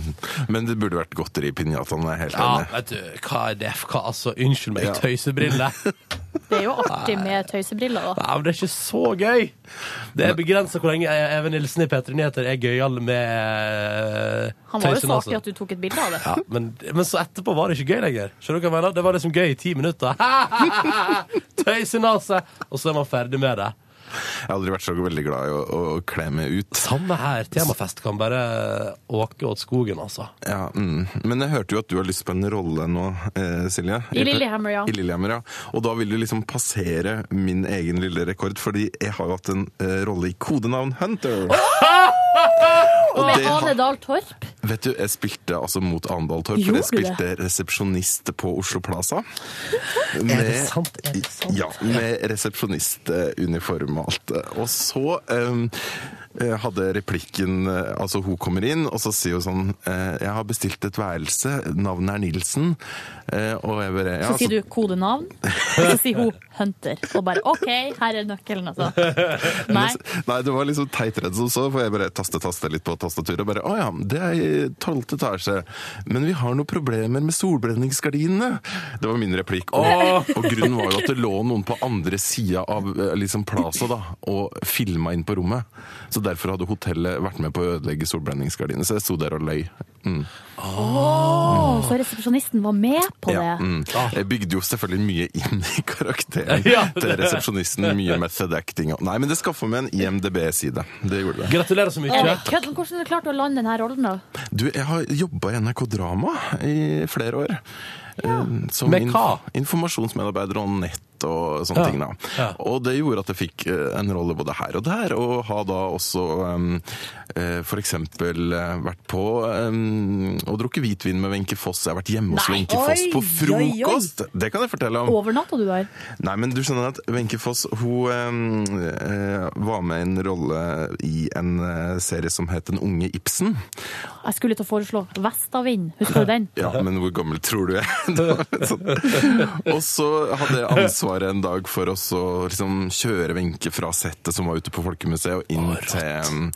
Men det burde vært godteri i pinjataen, jeg er helt Ja, enig. vet du, hva er det? Hva, altså, unnskyld meg, Ja. tøysebriller. Det er jo artig med tøysebriller, da. Ja, men det er ikke så gøy. Det er begrensa hvor lenge Even Nilsen i P3 Nyheter er gøyal med Han var jo tøysen, så altså. artig at du tok et bilde av det. Ja, men, men så etterpå var det ikke gøy lenger. Skjønner du hva jeg mener? Det var liksom gøy i ti [LAUGHS] minutter. Tøys i naset! Og så er man ferdig med det. Jeg har aldri vært så veldig glad i å, å kle meg ut. Samme her. Temafest kan bare åke åt skogen, altså. Ja, mm. Men jeg hørte jo at du har lyst på en rolle nå, eh, Silje. I Lillehammer, ja. I Lillehammer, ja. Og da vil du liksom passere min egen lille rekord, fordi jeg har jo hatt en eh, rolle i kodenavn Hunter. Og med det har- Ane Dahl Torp. Vet du, jeg spilte altså mot Arendal Torp, for Gjorde jeg spilte resepsjonist på Oslo Plaza. Er det sant? Er det sant? Ja, med resepsjonistuniform og alt. Og så eh, hadde replikken eh, Altså, hun kommer inn, og så sier hun sånn eh, Jeg har bestilt et værelse, navnet er Nilsen. Eh, og jeg bare Så sier du kodenavn, og så sier hun Hunter. Og bare OK, her er nøkkelen, altså. Nei. Nei. [LAUGHS] Nei, det var liksom teitredd som så, for jeg bare taste, taste litt på tastaturet. og Bare, å ja, det er i 12. etasje. Men vi har noen problemer med solbrenningsgardinene. Det var min replikk. Åh! Og, og grunnen var jo at det lå noen på andre sida av eh, liksom Plaza da, og filma inn på rommet. Så derfor hadde hotellet vært med på å ødelegge solbrenningsgardinene. Så jeg sto der og løy. Mm. Åh, så resepsjonisten var med på Ja, det. mm. Jeg bygde jo selvfølgelig mye inn i karakteren Ah. [LAUGHS] Ja, det- til resepsjonisten. Mye method acting. og- Nei, men det skaffa meg en IMDb-side. Det gjorde det. Gratulerer så Er det kødd? Men Hvordan har du klart å lande denne rollen, da? Du, jeg har jobba i NRK Drama i flere år. Eh, Som Med inf- hva? Informasjonsmedarbeider og nett og sånne Ja. ting. da. Og det gjorde at jeg fikk eh, en rolle både her og der, og har da også um, f.eks. eh, vært på um, og drukket hvitvin med Wenche Foss. Jeg har vært hjemme hos Nei. Wenche Foss på Oi, oi, oi. frokost! Det kan jeg fortelle om. Overnatta du der? Nei, men du skjønner at Wenche Foss hun eh, eh, var med i en rolle i en eh, serie som het Den unge Ibsen. Jeg skulle til å foreslå Vestavind, husker du den? Ja, men hvor gammel tror du jeg er? Det var litt sånn. Og så hadde jeg var en dag for oss å liksom kjøre Wenche fra settet som var ute på Folkemuseet, og inn til um,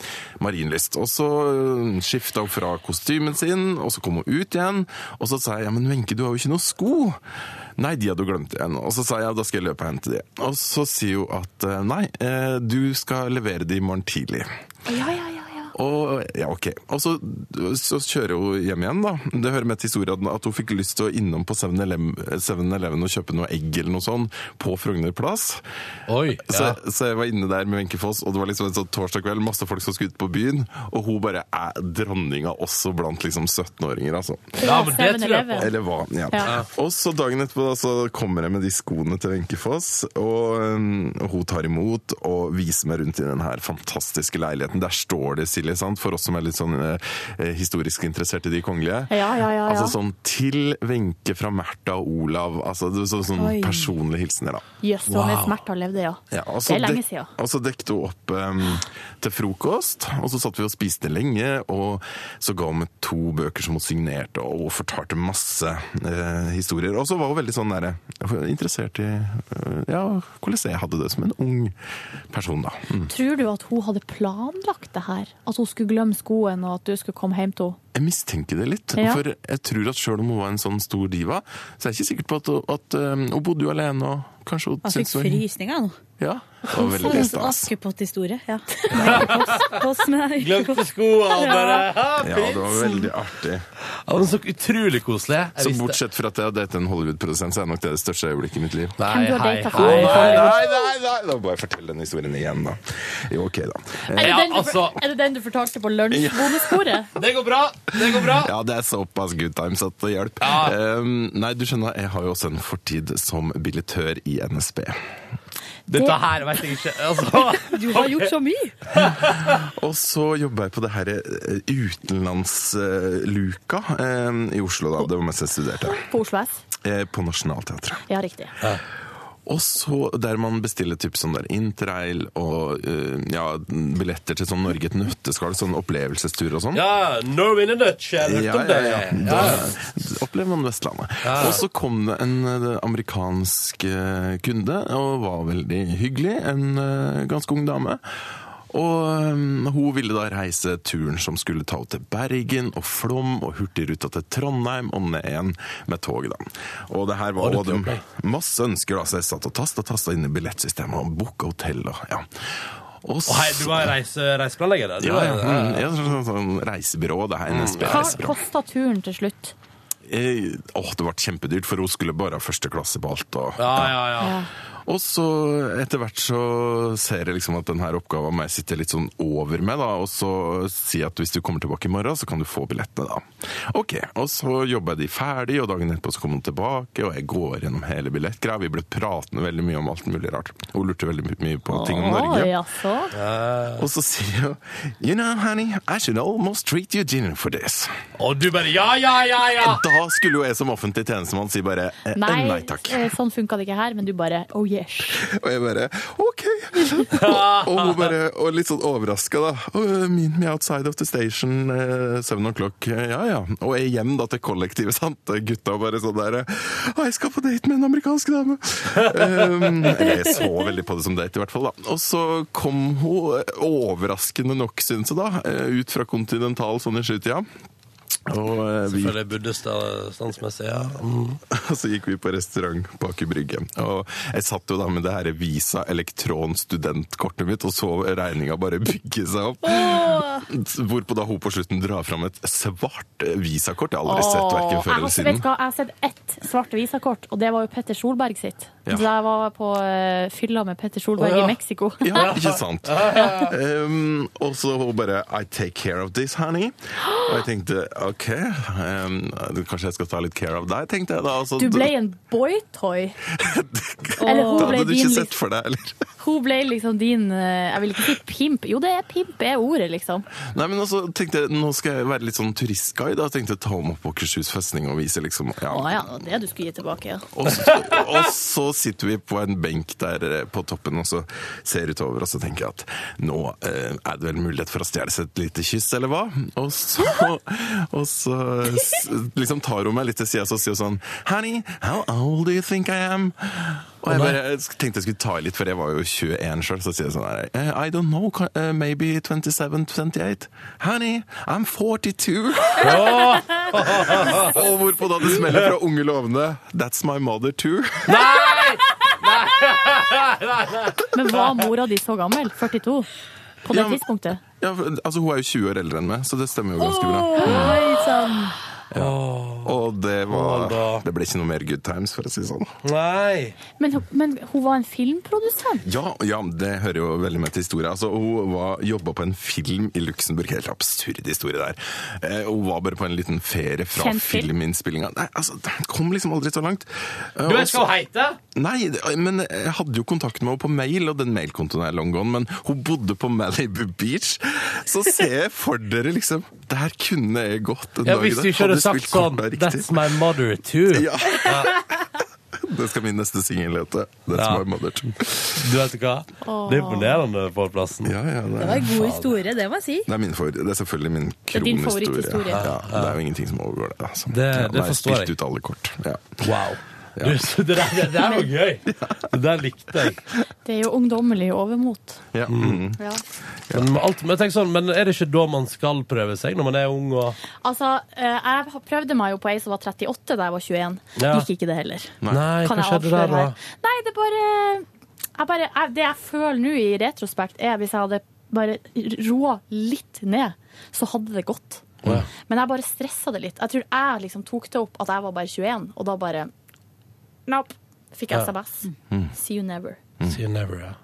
Marienlyst. Og så um, skifta hun fra kostymen sin, og så kom hun ut igjen. Og så sa jeg ja, men Wenche, du har jo ikke noen sko. Nei, de hadde hun glemt igjen. Og så sa jeg da skal jeg løpe og hente de. Og så sier hun at eh, nei, eh, du skal levere de i morgen tidlig. Ja, ja, ja. Og, ja, ok. og så, så kjører hun hjem igjen, da. Det hører med til historien at hun fikk lyst til å innom på 7-Eleven og kjøpe noe egg eller noe sånt på Frogner plass. så, så jeg var inne der med Wenche Foss, og det var liksom en sånn torsdag kveld, masse folk som skulle ut på byen, og hun bare er dronninga også blant liksom 17-åringer, altså. Ja, men det tror jeg på. Eller hva, ja. Ja. Og så dagen etterpå da, så kommer jeg med de skoene til Wenche Foss, og øhm, hun tar imot og viser meg rundt i den her fantastiske leiligheten. Der står det Silje, sant? for oss som er litt sånn eh, historisk interessert i de kongelige. Ja, ja, ja, ja. Altså sånn til Wenche fra Märtha og Olav. Altså det er så, sånn Oi. personlige hilsener, da. Jøss, så mye smerte han levde, ja. Ja, og Det så er lenge dek- siden. Og så dekket hun opp em, til frokost, og så satt vi og spiste lenge, og så ga hun meg to bøker som hun signerte, og hun fortalte masse eh, historier. Og så var hun veldig sånn der, interessert i eh, ja, hvordan jeg hadde det som en ung person, da. Mm. Tror du at hun hadde planlagt det her? At hun skulle glemme skoen, og at du skulle komme hjem til henne? Jeg mistenker det litt, Ja. for jeg tror at selv om hun var en sånn stor diva, så er jeg ikke sikker på at, at em, hun bodde jo alene, og kanskje hun Han fikk syntes det var- frysninger nå. Ja, det var veldig Sånn stas. Askepott-historie. [LAUGHS] Ja. På- på snø. Glemte skoene og bare «Ah, Ja, det var prinsen!» veldig artig. Ja, men så utrolig koselig. Jeg Så visste- bortsett fra at jeg har datet en Hollywood-produsent, så er nok det det største øyeblikket i mitt liv. Nei, Hvem du har hei, datet fra Nei, Hollywood? nei, nei, nei, nei, da må jeg fortelle den historien igjen, da. Jo, ok, da. Er, det den du- altså, er det den du fortalte på lunsjbonusbordet? Det går bra! Det går bra! Ja, det er såpass good times at det hjelper. Um, nei, du skjønner, jeg har jo også en fortid som billettør i NSB. Dette her vet jeg ikke. Altså, Du har gjort så mye! Og så jobba jeg på det her eh, utenlandsluka eh, i Oslo, da. Det var mens jeg studerte. På Oslo S? Eh, På Nationaltheatret. Ja, riktig. Og så der man bestiller typ sånn der interrail og eh, ja, billetter til sånn Norge et nøtteskall, sånn opplevelsestur og sånn. Ja, Norway in a nutshell. Hørte om det? Da opplever man Vestlandet. Ja. Og så kom det en eh, amerikansk eh, kunde, og var veldig hyggelig. En eh, ganske ung dame. Og eh, hun ville da reise turen som skulle ta henne til Bergen og Flom og Hurtigruta til Trondheim og ned igjen med tog, da. Og det her var Var det og de- tog, masse ønsker, da, så jeg satt og tasta tasta inn i billettsystemet og booka hotell og ja. Og Og hei, du var reise, reiseplanlegger? da. Du ja, var- ja, mm, ja, sånn, sånn reisebyrå, det her Hva NSB-reisebyrå. kosta turen til slutt? Eh, Åh, det ble kjempedyrt, for hun skulle bare ha første klasse på alt. Og, Ja, ja, ja. og så etter hvert så ser jeg liksom at den her oppgaven må jeg sitte litt sånn over med, da, og så si at hvis du kommer tilbake i morgen, så kan du få billettene, da. Ok, og så jobber jeg de ferdig, og dagen etterpå så kommer hun tilbake, og jeg går gjennom hele billettgreia. Vi ble pratende veldig mye om alt mulig rart. Hun lurte veldig my- mye på ting om Norge. Oi, altså. Og så sier hun You know, honey, I should almost treat you dinner for this. Og du bare ja, ja, ja, ja! Da skulle jo jeg som offentlig tjenestemann si bare eh, eh, Nei, nei takk. eh, sånn funka det ikke her, men du bare oh yes. Og jeg bare OK! Og, og hun bare, og litt sånn overraska, da. «Oh, Meet me outside of the station, eh, seven o'clock. Eh, Ja ja. Og jeg hjem da til kollektivet, sant. Gutta bare sånn der Å, jeg skal på date med en amerikansk dame! um, jeg så veldig på det som date, i hvert fall. da Og så kom hun, eh, overraskende nok, syns jeg, da, eh, ut fra Continental sånn i sjutida. Og eh, vi Selvfølgelig buddhister standsmessig, ja. [LAUGHS] Og så gikk vi på restaurant bak i brygge. Og jeg satt jo da med det her Visa elektronstudentkortet mitt og så regninga bare bygge seg opp. Hvorpå da hun på slutten drar fram et svart visakort. Jeg har aldri sett Åh, verken jeg før har- eller vet siden. du hva, Jeg har sett ett svart visakort, og det var jo Petter Solberg sitt. Ja. Da jeg var på eh, fylla med Petter Solberg Å, ja. i Mexico. Ja, ikke [LAUGHS] sant? Um, og så hun bare I take care of this, honey. Og jeg tenkte OK, um, kanskje jeg skal ta litt care of deg, tenkte jeg da. og så- Du ble en [LAUGHS] boytoy. Eller hun Da ble hadde du din liv. ikke sett for deg, eller? Hun ble liksom din eh, Jeg vil ikke si pimp. Jo, det er pimp er ordet, liksom. Nei, men også tenkte jeg, Nå skal jeg være litt sånn turistguide. Da tenkte jeg ta henne opp på Akershus festning og vise liksom ja. Å ja, det var det du skulle gi tilbake, ja. Og så, og så sitter vi på en benk der eh, på toppen og så ser utover, og så tenker jeg at nå eh, er det vel mulighet for å stjele seg et lite kyss, eller hva? Og så, og så s- liksom tar hun meg litt til sida og sier hun sånn Honey, how old do you think I am? Og jeg bare jeg tenkte jeg skulle ta i litt, for jeg var jo 21 sjøl, så sier jeg sånn her eh, I don't know, ka- eh, maybe 27-28. Honey, I'm 42! Ja. [LAUGHS] Og hvorpå da det smeller fra Unge lovende That's my mother too. Men var mora di så gammel? 42? På det Ja, men- tidspunktet? Ja, for- altså Hun er jo 20 år eldre enn meg, så det stemmer jo ganske bra. Oi sann! Ja. Og det var Det ble ikke noe mer good times, for å si det sånn. Nei. Men, hun- men hun var en filmprodusent? Ja, ja, det hører jo veldig med til historien. Altså, hun var- jobba på en film i Luxembourg. Helt absurd historie der. Eh, hun var bare på en liten ferie fra Kjent film? filminnspillinga. Nei, altså, det kom liksom aldri så langt. Eh, Du, og jeg skal så- heite! Nei, det- men jeg hadde jo kontakt med henne på mail, og den mailkontoen er long gone, men hun bodde på Malibu Beach. Så ser jeg for dere liksom Der kunne jeg gått en Ja, dag hvis der. du ikke hadde sagt spilt kortene sånn riktig. That's my mother too. Ja. [LAUGHS] Det skal min neste singel hete. That's Ja. my mother too. Du vet hva? Åh. Det er imponerende på plassen. Ja, ja, Det var en altså. god historie, det må jeg si. Det er, min favor- det er selvfølgelig min er din kronhistorie. favoritthistorie. Ja, det er jo ingenting som overgår det. Altså. det Ja, da har forstår jeg. Spilt ut alle kort. Ja. Wow. Du, så det der, det der var gøy! Det der likte jeg. Det er jo ungdommelig overmot. Ja. Mm. mm, Ja. Men, med alt, men, tenk sånn, men er det ikke da man skal prøve seg, når man er ung og Altså, eh, jeg har- prøvde meg jo på ei som var 38 da jeg var 21. Ja. Gikk ikke det heller. Nei. Nei, kan hva jeg skjedde der avsløre da? her? Nei, det bare, jeg bare jeg, Det jeg føler nå i retrospekt, er hvis jeg hadde bare roa litt ned, så hadde det gått. Men jeg bare stressa det litt. Jeg tror jeg liksom tok det opp at jeg var bare 21, og da bare Nope. Fikk jeg Ja. SMS. Mm. See you never. See you never, ja.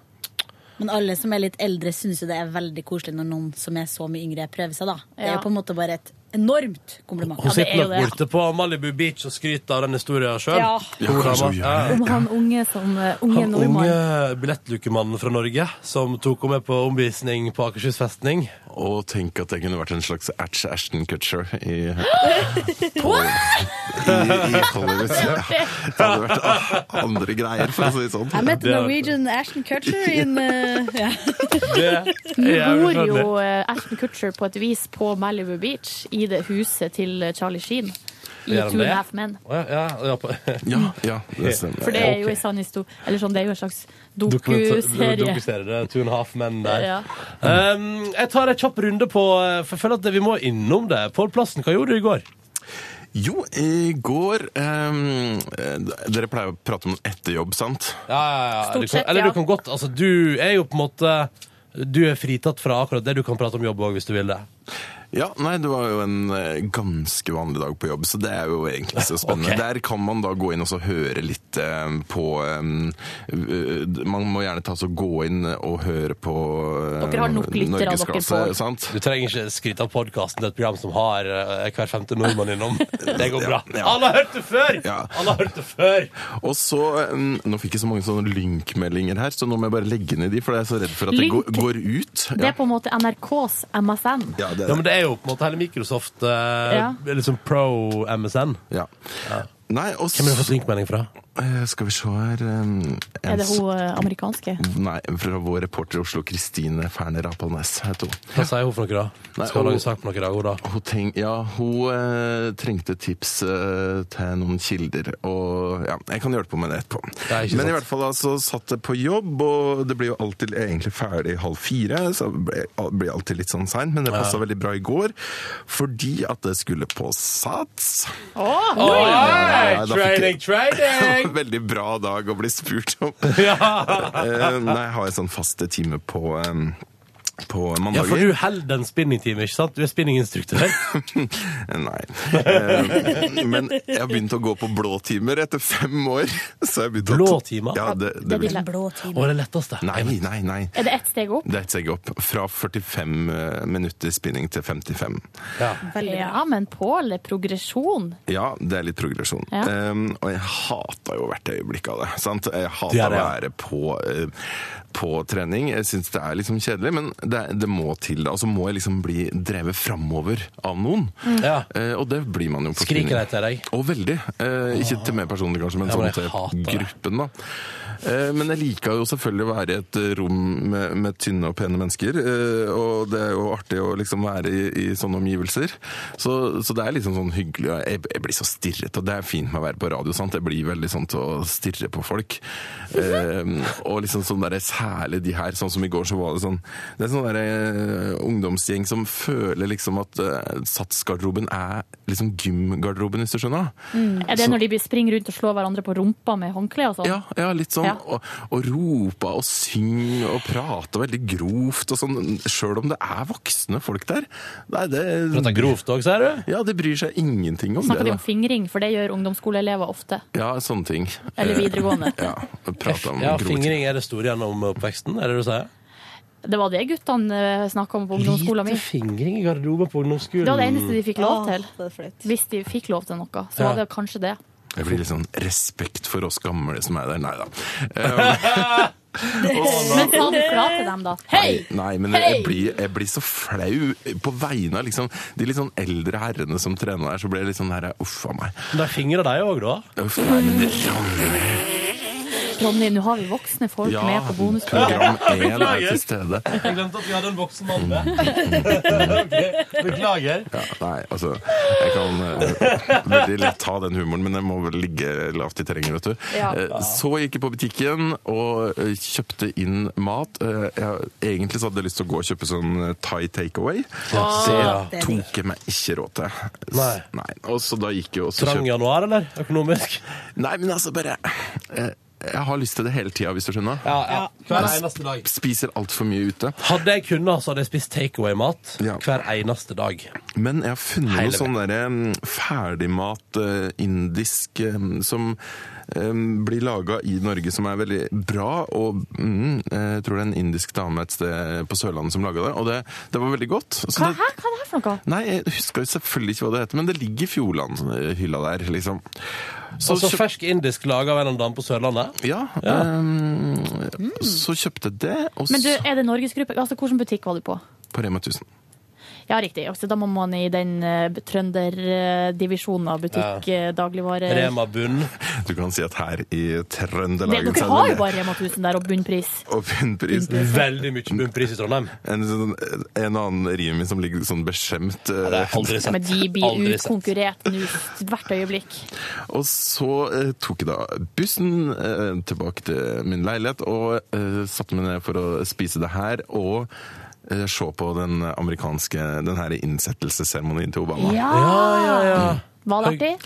Men alle som er litt eldre, syns jo det er veldig koselig når noen som er så mye yngre, prøver seg, da. Det er Ja. jo på en måte bare et enormt kompliment. Hun sitter nok borte på Malibu Beach og skryter av den historien sjøl. Ja. Ja, kanskje hun Om han unge som eh, Unge Han nordmann. unge billettlukemannen fra Norge som tok henne med på omvisning på Akershus festning. Og tenk at jeg kunne vært en slags Atch Ashton Kutcher i, i, i Hollywood. Ja. Det hadde vært ah, andre greier, for å si det sånn. Jeg møtte Norwegian Ashton Cutcher i en eh, ja. Nå bor jo eh, Ashton Kutcher på et vis på Malibu Beach, i det huset til Charlie Sheen. I Gjør han Two and det? a Half Men. Å, Ja, ja, ja, på- ja, det stemmer. For det er jo en sann histo- Eller sånn, det er jo en slags dokuserie. Dokuserie. det er Two and a half men der. Ja. Um, jeg tar en kjapp runde på eh, For jeg føler at vi må innom det. Pål Plassen, hva gjorde du i går? Jo, i går ehm, eh, Dere pleier å prate om etter jobb, sant? Ja, ja, ja. Du Stort kan, sett, eller ja. du kan godt Altså, du er jo på en måte Du er fritatt fra akkurat det. Du kan prate om jobb òg, hvis du vil det. Ja, nei, det var jo en eh, ganske vanlig dag på jobb, så det er jo egentlig [LAUGHS] ikke så spennende. Ok. Der kan man da gå inn og så høre litt eh, på eh, eh, Man må gjerne ta så gå inn og høre på eh, Dere har nok lyttere av dere Norgesklasse, på. sant? Du trenger ikke skryte av podkasten. Det er et program som har eh, hver femte nordmann [LAUGHS] innom. Det går bra. Ja, ja. Alle har hørt det før! Alle har hørt det før! Og så, um, Nå fikk jeg så mange sånne lynkmeldinger her, så nå må jeg bare legge ned de, for jeg er så redd for at det Lynk? går, går ut. Det er på en måte NRKs MSN. det er Ja, men det er jo på en måte hele Microsoft eh, Ja. er liksom pro MSN. Ja. Nei, og Hvem har du fått lynkmelding fra? Eh, Skal vi se her um, en Er det s- hun eh, amerikanske? Nei, fra vår reporter i Oslo, Kristine Ferner Apalnes. heter hun. Hva sier hun for noe, da? Nei, Skal hun hun- lage sak på noe i dag, hun, da? Hun, tenk, ja, hun eh, trengte tips eh, til noen kilder, og ja, jeg kan hjelpe henne med det etterpå. ikke Men sant. i hvert fall da, så satt jeg på jobb, og det blir jo alltid egentlig ferdig halv fire, så det ble- al- blir alltid litt sånn seint, men det passa veldig bra i går, fordi at det skulle på Sats. Oh, Oi! Da fikk training, jeg- training! [LAUGHS] Veldig bra dag å bli spurt [LAUGHS] om. Eh, Nei, jeg har en sånn faste time på, eh, på Ja, mandager. for du holder en spinningtime, ikke sant? Du er spinninginstruktør. [LAUGHS] Nei. Eh, Men jeg har begynt å gå på blåtimer etter fem år. [LAUGHS] Så jeg begynte å- Blåtimer? Ja, det, det, Det blir blir- blå time. det letteste. Nei, nei, nei. Er det ett steg opp? Det er et steg opp. Fra 45 minutter spinning til 55. Ja, Ja, men Pål, progresjon. Ja, det er litt progresjon. Ja. Ehm, og jeg hata jo hvert øyeblikk av det. Sant? Jeg Det hata er å det, ja. være på, eh, på trening. Jeg syns det er liksom kjedelig, men det, det må til. da. Og så må jeg liksom bli drevet framover av noen. Mm. Ja. Eh, og det blir man jo på Skriker spinning. de til deg? Og veldig. Eh, ikke til meg personlig, kanskje, men Ja, men sånn jeg til hater det. gruppen, da. Eh, Men jeg liker jo selvfølgelig å være i et eh, rom med, med tynne og pene mennesker. eh, Og det er jo artig å liksom være i, i sånne omgivelser. Så, så det er liksom sånn hyggelig. og Jeg, jeg blir så stirret, og det er fint med å være på radio. sant? Jeg blir veldig sånn til å stirre på folk. Eh, og liksom sånn der, særlig de her, sånn som i går så var det sånn Det er sånn der eh, ungdomsgjeng som føler liksom at eh, satsgarderoben er liksom gymgarderoben, hvis du skjønner? da. Er det Så- når de springer rundt og slår hverandre på rumpa med håndkle og sånn? Ja, ja, litt sånn. Ja. Og, og rope og synge og prate veldig grovt og sånn. Sjøl om det er voksne folk der. Nei, det Prater grovt òg, sier du? Ja, de bryr seg ingenting om Snakker de det. om fingring, for det gjør ungdomsskoleelever ofte. da. Ja, sånne ting. Eller Eh, videregående. Ja, prate om Ja, grove ting. fingring er det store gjennom oppveksten, er det det du sier? Det var det guttene eh, snakka om på ungdomsskolen min. fingring i garderoben på ungdomsskolen. Det var det eneste de fikk lov til. Åh, Hvis de fikk lov til noe, så Ja. var det kanskje det. Jeg blir litt sånn respekt for oss gamle som er der. [LAUGHS] Nei da. Eh, Men sa du fra til dem, da? Hei! Nei, men jeg, jeg, blir, jeg blir så flau på vegne av liksom, de litt sånn eldre herrene som trener der. Så blir jeg litt sånn her Uff a meg. Men det er fingre deg òg, da? Uff, nei, men det ramler. Ronny, nå har vi voksne folk Ja, med på [LAUGHS] program bonusbordet. én er til stede. Jeg glemte at vi hadde en voksen mann med. [LAUGHS] Ok, Beklager. Ja, nei, altså Jeg kan eh, veldig lett ta den humoren, men jeg må vel ligge lavt i terrenget, vet du. Ja. Eh, så gikk jeg på butikken og eh, kjøpte inn mat. Eh, jeg, egentlig så hadde jeg lyst til å gå og kjøpe sånn eh, Thai takeaway. Ja. Det tok jeg meg ikke råd til. Nei. Nei. Og så da gikk jeg også Trang januar, eller? Økonomisk? Nei, men altså bare eh, Jeg har lyst til det hele tida, hvis du skjønner. ja. Hver eneste dag. Spiser altfor mye ute. Hadde jeg kunnet, så hadde jeg spist takeaway-mat hver eneste dag. Men jeg har funnet Hele noe sånn derre mm, ferdigmat eh, indisk eh, som eh, blir laga i Norge, som er veldig bra. Og mm, eh, jeg tror det er en indisk dame et sted på Sørlandet som laga det, og det, det var veldig godt. Så Hva, det- hæ? Hva er det her for noe? Nei, jeg husker jo selvfølgelig ikke hva det heter, men det ligger i Fjordland-hylla der, liksom. Så altså fersk indisk laga av en eller annen dame på Sørlandet? Ja. Ja. eh, Så kjøpte jeg det, og Mm. Men du, så er det norgesgruppe? Altså, hvilken butikk var du på? på Rema 1000. Ja, riktig. Altså, da må man i den uh, trønderdivisjonen av butikk, Ja. eh, dagligvare bunn. Du kan si at her i Det, Trøndelag Dere så er har jo det- bare Rema 1000 der og bunnpris. Og bunnpris. Veldig mye bunnpris i Trondheim. En, sånn, en annen rimi som ligger sånn beskjemt. eh, Det har aldri Men de blir utkonkurrert nå hvert øyeblikk. Og så eh, tok jeg da bussen eh, tilbake til min leilighet og eh, satte meg ned for å spise det her. og eh, Se på den amerikanske den her innsettelsesseremonien til Obama. Var det artig?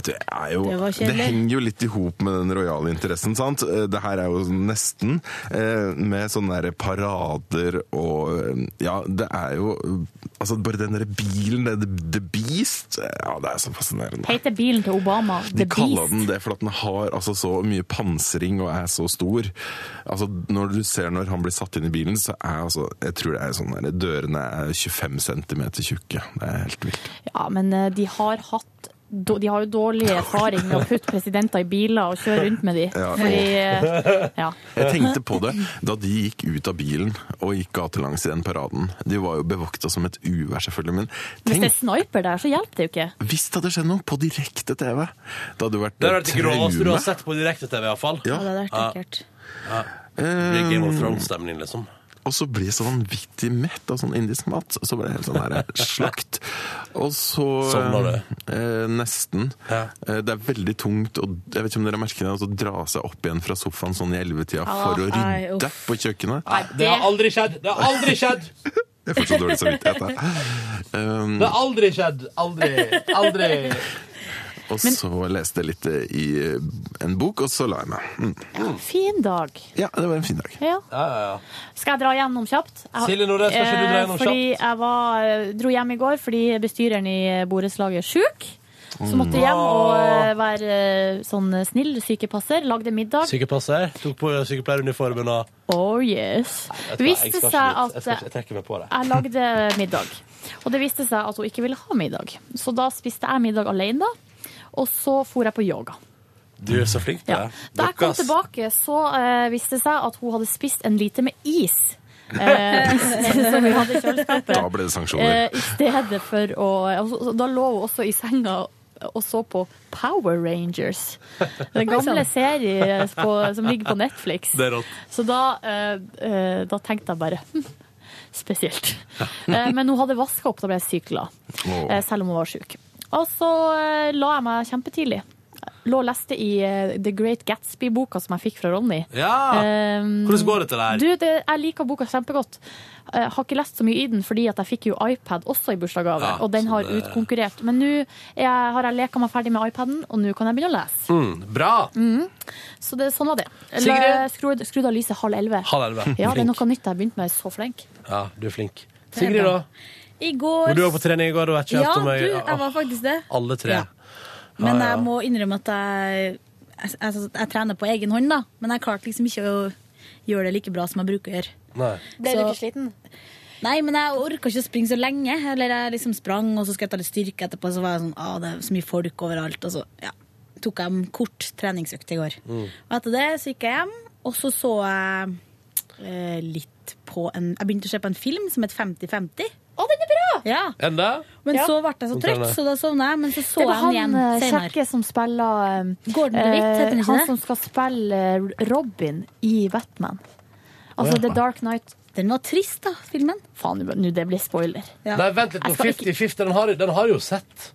Det, er jo, Det var det, kjedelig. henger jo litt i hop med den rojale interessen, sant? Eh, Det her er jo sånn nesten eh, med sånne der parader og eh, Ja, det er jo Altså, bare den derre bilen, det, The Beast eh, Ja, det er så fascinerende. Heter bilen til Obama De The kaller Beast? den det fordi den har altså så mye pansring og er så stor. Altså Når du ser når han blir satt inn i bilen, så er altså Jeg tror det er sånn der, dørene er 25 cm tjukke. Det er helt vilt. Ja, men eh, de har hatt de har jo dårlig erfaring med å putte presidenter i biler og kjøre rundt med de. Ja. Fordi, eh, ja. Jeg tenkte på det da de gikk ut av bilen og gikk gatelangs i den paraden. De var jo bevokta som et uvær, selvfølgelig. Men Hvis det tenk er sniper der, så hjelper det jo ikke. hvis det hadde skjedd noe på direkte TV! Det hadde jo vært Det har vært det groveste du traume. har sett på direkte-TV, iallfall. Ja, det hadde vært ekkelt. Ja. Det Eh, blir Game of Thrones-stemning, liksom. Og så blir jeg så vanvittig mett av sånn indisk mat. Så ble jeg helt sånn her slakt. Og så Sovner Eh, nesten. Eh, det er veldig tungt, og jeg vet ikke om dere merker det, altså, å dra seg opp igjen fra sofaen sånn i ellevetida Ah, for å nei, rydde på kjøkkenet. Det har aldri skjedd! Det har aldri skjedd! Jeg får så dårlig samvittighet. [LAUGHS] jeg. Um, Det har aldri skjedd! Aldri! Aldri! og så leste jeg litt eh, i eh, en bok, og så la jeg meg. Mm. Fin dag. Ja, det var en fin dag. Ja. Ja, Skal jeg dra gjennom kjapt? Jeg- Silje Nordnes, skal ikke du dra gjennom Eh, Fordi jeg var, eh, dro hjem i går fordi bestyreren i borettslaget er sjuk. Så måtte jeg hjem og eh, være eh, sånn snill sykepasser. Lagde middag. Sykepasser. Tok på sykepleieruniformen og Oh yes. Vet du hva, jeg Viste skal seg ikke dit. Jeg, skal at ikke, jeg trekker meg på det. Jeg lagde middag, og det viste seg at hun ikke ville ha middag. Så da spiste jeg middag alene, da. Og så for jeg på yoga. Du er så flink til det. Da jeg Dere, kom ass. tilbake, så eh, viste det seg at hun hadde spist en liter med is. [LAUGHS] Eh, [LAUGHS] som hun hadde Eh, i kjøleskapet. Da ble det sanksjoner. altså, Eh, I stedet for å altså, Da lå hun også i senga og så på Power Rangers. [LAUGHS] Den gamle serien på, som ligger på Netflix. Det er rått. Så da, eh, eh, da tenkte jeg bare hm, spesielt. Eh, men hun hadde vaska opp, da ble jeg syk glad. Åh. Eh, selv om hun var syk. Og så eh, la jeg meg kjempetidlig. Lå og leste i eh, The Great Gatsby-boka som jeg fikk fra Ronny. Ja! Eh, Hvordan går det til det her? Du, det, jeg liker boka kjempegodt. Jeg har ikke lest så mye i den, fordi at jeg fikk jo iPad også i bursdagsgave, Ja, og den så har det- utkonkurrert. Men nå er jeg- har jeg leka meg ferdig med iPaden, og nå kan jeg begynne å lese. Mm, bra! Mhm. Så det, sånn var det. Sigrid? La- Skru, skru av lyset halv elleve. Halv elleve. Ja, det er Flink. noe nytt jeg har begynt med. Så flink. Ja, du er flink. Det er Sigrid, bra. da? I Hvor går du var på trening i går, og vet ikke Ja, helt om du, jeg, jeg var faktisk det. Alle tre. Ja. Men jeg må innrømme at jeg, jeg, jeg, jeg trener på egen hånd, da. Men jeg klarte liksom ikke å gjøre det like bra som jeg bruker å gjøre. Nei. Ble du Så- ikke sliten? Nei, men jeg orka ikke å springe så lenge. Eller jeg liksom sprang, og så skulle jeg ta litt styrke etterpå, så var jeg sånn ah, det er så mye folk overalt. Og så ja, tok jeg en kort treningsøkt i går. Mm. Og etter det så gikk jeg hjem, og så så jeg eh, litt på en Jeg begynte å se på en film som het 50-50. Å, den er bra! Ja. Enda? Men så ble jeg så Sånn trøtt, trener. så da sovna jeg. Men så det så jeg var han den igjen eh, senere. kjekke som spiller eh, Gordon DeWitt, heter han ikke Han det? som skal spille eh, Robin i Batman. Altså Å, ja. The Dark Knight. Den var trist, da, filmen. Faen, nå det blir spoiler. Nei, vent litt. Jeg på skal 50-50, den, har- den har jeg jo sett.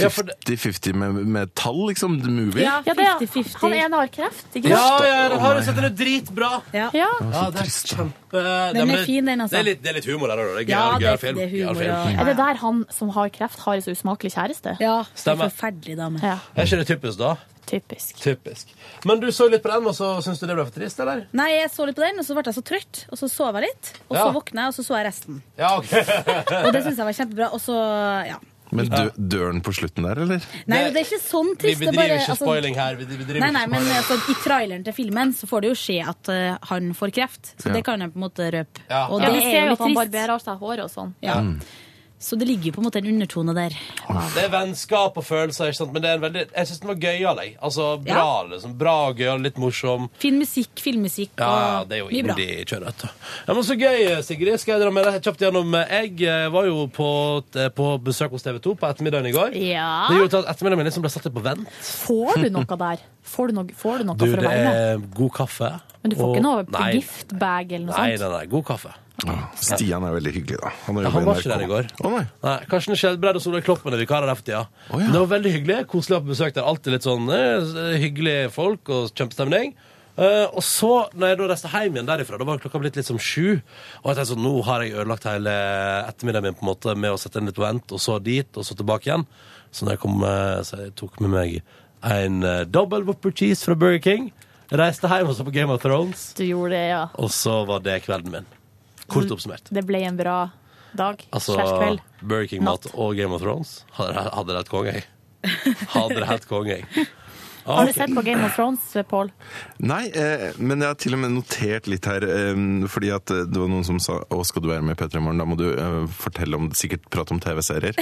Ja, for det- 50-50 Eh, med, med tall, liksom? The movie? Ja, det er- Han ene har kreft, ikke Ja, sant? ja, den har jeg sett. Den er dritbra. Ja. Ja. Ja, det er kjempe... Den er Ja, men- fin, den, altså. Det er litt, det er litt humor der òg. Det er Ja, gøyal det- gøyal film. det er Gøyal humor, film. ja. Er det der han som har kreft, har en så usmakelig kjæreste? Ja. Stemmer. Forferdelig dame. Er ikke det typisk, da? Typisk. Typisk. Men du så litt på den, og så syns du det ble for trist, eller? Nei, jeg så litt på den, og så ble jeg så trøtt, og så sov jeg litt. Og så Ja. våkna jeg, og så så jeg [LAUGHS] resten. Ja, OK. Og det syns jeg var kjempebra. Og så, ja. [LAUGHS] Men dø, døren på slutten der, eller? Nei, men det er ikke sånn Vi trist. det er bedriver bare, ikke altså- spoiling her. Vi bedriver Nei, nei, ikke men spoiling. altså, I traileren til filmen så får det jo se at eh, han får kreft, så Ja. det kan jeg på en måte røpe. Ja. Mm. Og Ja, det vi ser er jo jo at han litt trist. barberer av seg håret og sånn. Ja. Så det ligger jo på en måte en undertone der. Det er vennskap og følelser, ikke sant? men det er en veldig, jeg syns den var gøyal. jeg. Altså, bra, liksom. bra og gøyal, litt morsom. Fin musikk, filmmusikk Ja, og det er jo mye bra. indie-kjør, vet du. Ja, men så gøy, Sigrid. Skal jeg dra med deg kjapt gjennom? Jeg eh, var jo på, eh, på besøk hos TV 2 på ettermiddagen i går. Ja. Det gjorde at ettermiddagen min liksom ble satt litt på vent. Får du noe der? Får du noe, får du noe Du, for å det være med? er Eh, god kaffe. Men du får og- ikke noe Nei. giftbag eller noe Nei, sånt? nei, nei, god kaffe. Stian er veldig hyggelig, da. Han, Ja, han var ikke der i går. nei. Karsten Skjelbred og Solveig Kloppen er vikarer der for tida. Men Det var veldig hyggelig. Koselig å ha på besøk der. Alltid litt sånn eh, hyggelige folk og kjempestemning. Eh, og så, når jeg da reiste hjem igjen derifra, da var klokka blitt litt som sju. Og jeg tenkte sånn, nå har jeg ødelagt hele ettermiddagen min på en måte med å sette den litt på vent, og så dit, og så tilbake igjen. Så når jeg kom, eh, så jeg tok med meg en eh, double whopper cheese fra Burger King. Reiste hjem og så på Game of Thrones. Du gjorde det, ja. Og så var det kvelden min. Kort oppsummert. Det ble en bra dag Altså, slash kveld. Burger King-mat og Game of Thrones hadde det- hadde det hett konge, jeg. Hadde det hett konge, jeg. Ah, Har du ok. sett på Game of Thrones, Pål? Nei, eh, men jeg har til og med notert litt her, eh, fordi at eh, det var noen som sa å, skal du være med i P3 Morgen, da må du eh, fortelle om Sikkert prate om [LAUGHS] TV-serier.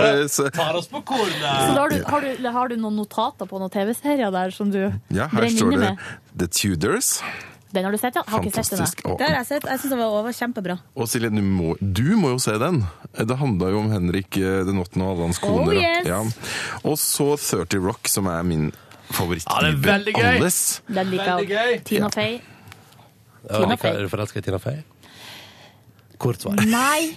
Eh, så Tar oss på Så da har, kornet! du, har, du, har du noen notater på noen TV-serier der som du ja, her brenner står inne det med? The Tudors. Den har du sett, ja? Har ikke sett den, Fantastisk. Å, jeg. Det har jeg sett. Jeg syns det var over kjempebra. Og Silje, du må, du må jo se den. Eh, Det handla jo om Henrik eh, den åttende og alle hans Oh, koner. da. yes. ja. Og så 30 Rock, som er min favoritt. Ja, det er i veldig gøy. alles. Den liker Veldig jeg. gøy. Tina Fey. Ja, Tina like, Fey. er du forelska i Tina Fey? Kort svar. Nei.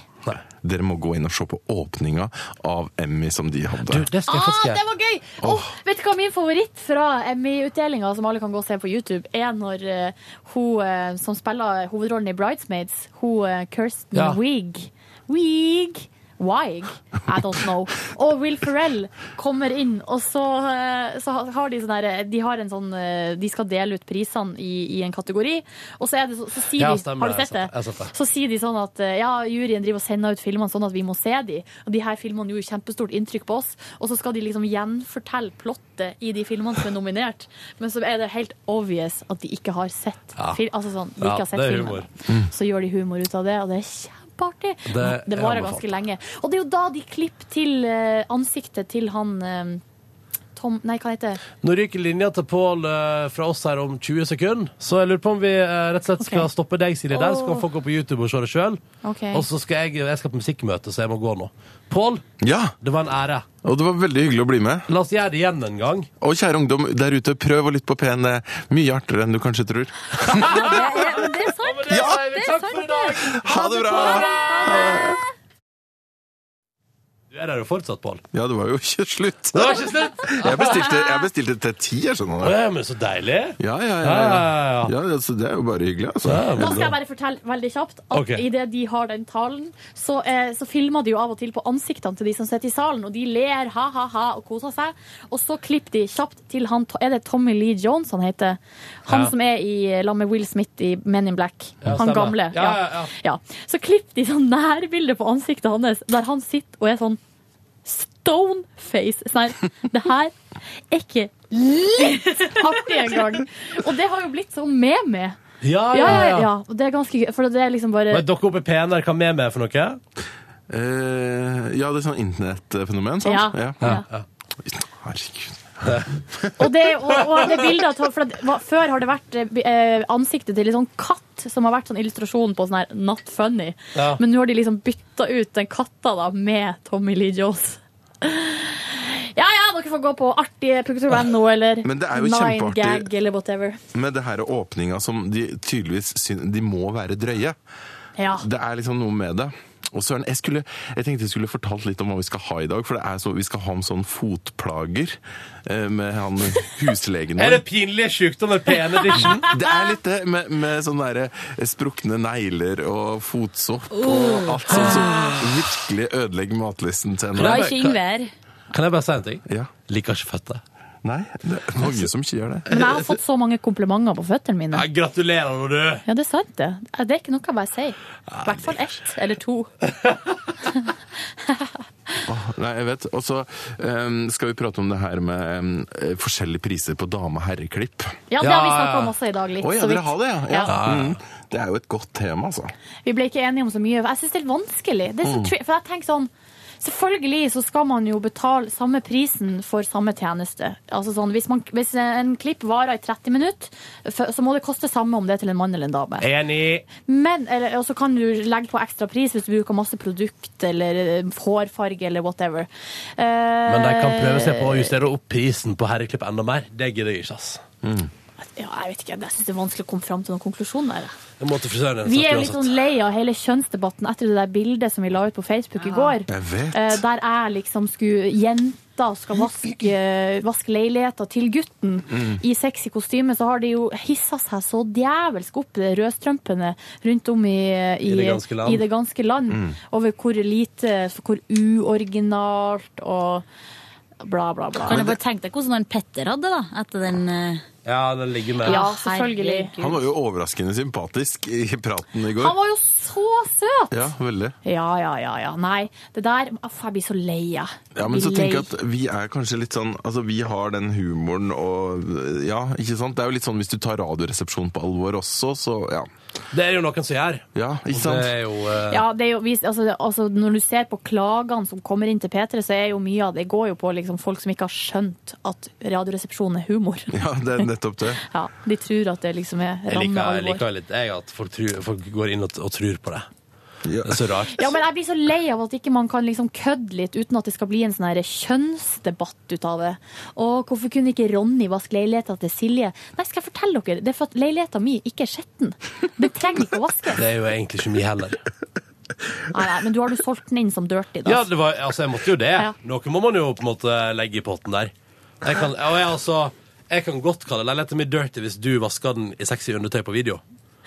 Dere må gå inn og se på åpninga av Emmy som de hadde. Ah, det var gøy! Åh, vet du hva min favoritt fra Emmy-utdelinga, som alle kan gå og se på YouTube, er når eh, hun eh, som spiller hovedrollen i Bridesmaids, hun eh, Kirsten Ja. Wiig Wiig Wiig? I don't know. Og Will Ferrell kommer inn, og så, eh, så har de sånn der De har en sånn eh, De skal dele ut prisene i, i en kategori, og så er det så, så sier Ja, de stemmer, Har du jeg sett det? har sett det. Så sier de sånn at eh, ja, juryen driver og sender ut filmene sånn at vi må se de. Og de her filmene gjorde kjempestort inntrykk på oss. Og så skal de liksom gjenfortelle plottet i de filmene som er nominert. Men så er det helt obvious at de ikke har sett Ja. fil altså sånn, de Ja, ikke har sett det er humor. Mm. filmen. Så gjør de humor ut av det, og det er kjempeartig. Det, Det- jeg anbefaler. varer ganske lenge. Og det er jo da de klipper til eh, ansiktet til han eh, Tom Nei, hva heter det? Nå ryker linja til Pål eh, fra oss her om 20 sekunder, så jeg lurer på om vi eh, rett og slett skal stoppe deg, Silje, der, så kan Åh. folk gå på YouTube og se det sjøl. Ok. Og så skal jeg, jeg skal på musikkmøte, så jeg må gå nå. Pål, Ja, det var en ære. og det var veldig hyggelig å bli med. La oss gjøre det igjen en gang. Og kjære ungdom der ute, prøv å lytte på P1. Det er Mye artigere enn du kanskje tror. Det er sant! [LAUGHS] Ja, det er takk sant. for i dag! Ha det bra! Du er der jo fortsatt, Pål. Ja, det var jo ikke slutt. Det var ikke slutt! Jeg bestilte, jeg bestilte til ti, jeg skjønner Å det. ja, men så deilig. Ja, ja, ja. Ja, ja. ja altså, det er jo bare hyggelig, altså. Da skal jeg bare fortelle veldig kjapt at Ok. idet de har den talen, så, eh, så filmer de jo av og til på ansiktene til de som sitter i salen, og de ler ha-ha-ha og koser seg. Og så klipper de kjapt til han Er det Tommy Lee Jones han heter? Han Ja. som er i lag med Will Smith i Men in Black. Ja, han stemmer. gamle. Ja, ja, ja. Ja. Så klipper de sånn nærbilde på ansiktet hans, der han sitter og er sånn stone face. Sånn, her, [LAUGHS] det her er ikke litt artig engang. Og det har jo blitt sånn med meg. Ja, Ja, ja, ja. Og det er ganske gøy, for det er liksom bare Men dere oppe i P1 der, hva med meg for noe? Eh, ja, det er sånn internettfenomen, sant? Ja. ja. Herregud. Og det, og, og det bildet at, for at, hva- Før har det vært eh, bi- eh, ansiktet til en sånn katt som har vært sånn illustrasjon på sånn her Not funny. Ja. Men nå har de liksom bytta ut den katta da med Tommy Lee Jones. Ja ja, dere får gå på artige.no eller Men det er jo Nine kjempeartig. Gag eller whatever. Med det her åpninga som de tydeligvis syns De må være drøye. Ja. Det er liksom noe med det. Og Søren, jeg, skulle, jeg tenkte jeg skulle fortalt litt om hva vi skal ha i dag. For det er så, vi skal ha en sånn fotplager eh, med han huslegen [LAUGHS] Er det pinlige sjukdommer P1 edition? [LAUGHS] Det er litt det, med, med sånne der sprukne negler og fotsopp og Oh. alt sånt som virkelig ødelegger matlisten til Bra henne. ikke Ingvær. Kan jeg bare si en ting? Ja. Liker ikke føtter. Nei, det er mange som ikke gjør det. Men jeg har fått så mange komplimenter på føttene mine. Ja, gratulerer nå, du. Ja, det er sant, det. Det er ikke noe jeg bare sier. I hvert fall ett eller [LAUGHS] to. Åh, Nei, jeg vet. Og så em, skal vi prate om det her med em, eh, forskjellige priser på dame- og herreklipp. Ja, det har vi snakket om også i dag, litt, Å ja, så dere vidt. har det, ja. ja. Ja. Mm. Det er jo et godt tema, altså. Vi ble ikke enige om så mye. Jeg syns det er vanskelig. Det er så Mm. tri for jeg tenker sånn Selvfølgelig så skal man jo betale samme prisen for samme tjeneste. Altså sånn, hvis, man, hvis en klipp varer i 30 minutter, f- så må det koste samme om det er til en mann eller en dame. Enig. Men, eller, og så kan du legge på ekstra pris hvis du bruker masse produkt eller eh, hårfarge eller whatever. Eh, Men de kan prøve seg på å justere opp prisen på herreklipp enda mer. Det gidder jeg ikke, ass. Ja, jeg vet ikke, jeg synes det er vanskelig å komme fram til noen konklusjon der. jeg. Jeg må til frisøren igjen, Vi så er jo litt uansett. sånn lei av hele kjønnsdebatten etter det der bildet som vi la ut på Facebook i går. Jeg vet. Eh, Der jeg liksom skulle Jenter skal vaske, vaske leiligheter til gutten Mm. i sexy kostyme. Så har de jo hissa seg så djevelsk opp, de rødstrømpene rundt om i, I det ganske land. i det ganske land, Mm. Over hvor lite, hvor uoriginalt og bla, bla, bla. Kan jeg bare tenke deg hvordan han Petter hadde da, etter den eh, Ja, den ligger med. Ja, selvfølgelig. Han var jo overraskende sympatisk i praten i går. Han var jo så søt! Ja, veldig. Ja, ja, ja. ja. Nei, det der Uff, jeg blir så lei, jeg. Ja, men Blir så lei. tenker jeg at vi er kanskje litt sånn Altså, vi har den humoren og Ja, ikke sant? Det er jo litt sånn hvis du tar Radioresepsjonen på alvor også, så ja. Det er jo noen som gjør. Ja, Og ikke sant? Det er jo, eh, Ja, det er jo, vi- altså, altså, når du ser på klagene som kommer inn til P3, så er jo mye av det går jo på liksom, folk som ikke har skjønt at Radioresepsjonen er humor. Ja, det er nettopp det. [LAUGHS] Ja, de tror at det liksom er Jeg ramme liker, jeg alvor. liker litt jeg at folk, tror, folk går inn og, og tror på [LAUGHS] det. Det er så rart. Ja, men jeg blir så lei av at ikke man kan liksom kødde litt uten at det skal bli en sånn her kjønnsdebatt ut av det. Og hvorfor kunne ikke Ronny vaske leiligheta til Silje? Nei, skal jeg fortelle dere, det er for at leiligheta mi ikke er skitten. Det trenger ikke å vaskes. Det er jo egentlig ikke mye heller. Nei, nei, men du har du solgt den inn som dirty, da. Ja, det var, altså, jeg måtte jo det. Noe må man jo på en måte legge i potten der. Jeg kan, og jeg, altså, jeg kan godt kalle leiligheten min dirty hvis du vasker den i sexy undertøy på video.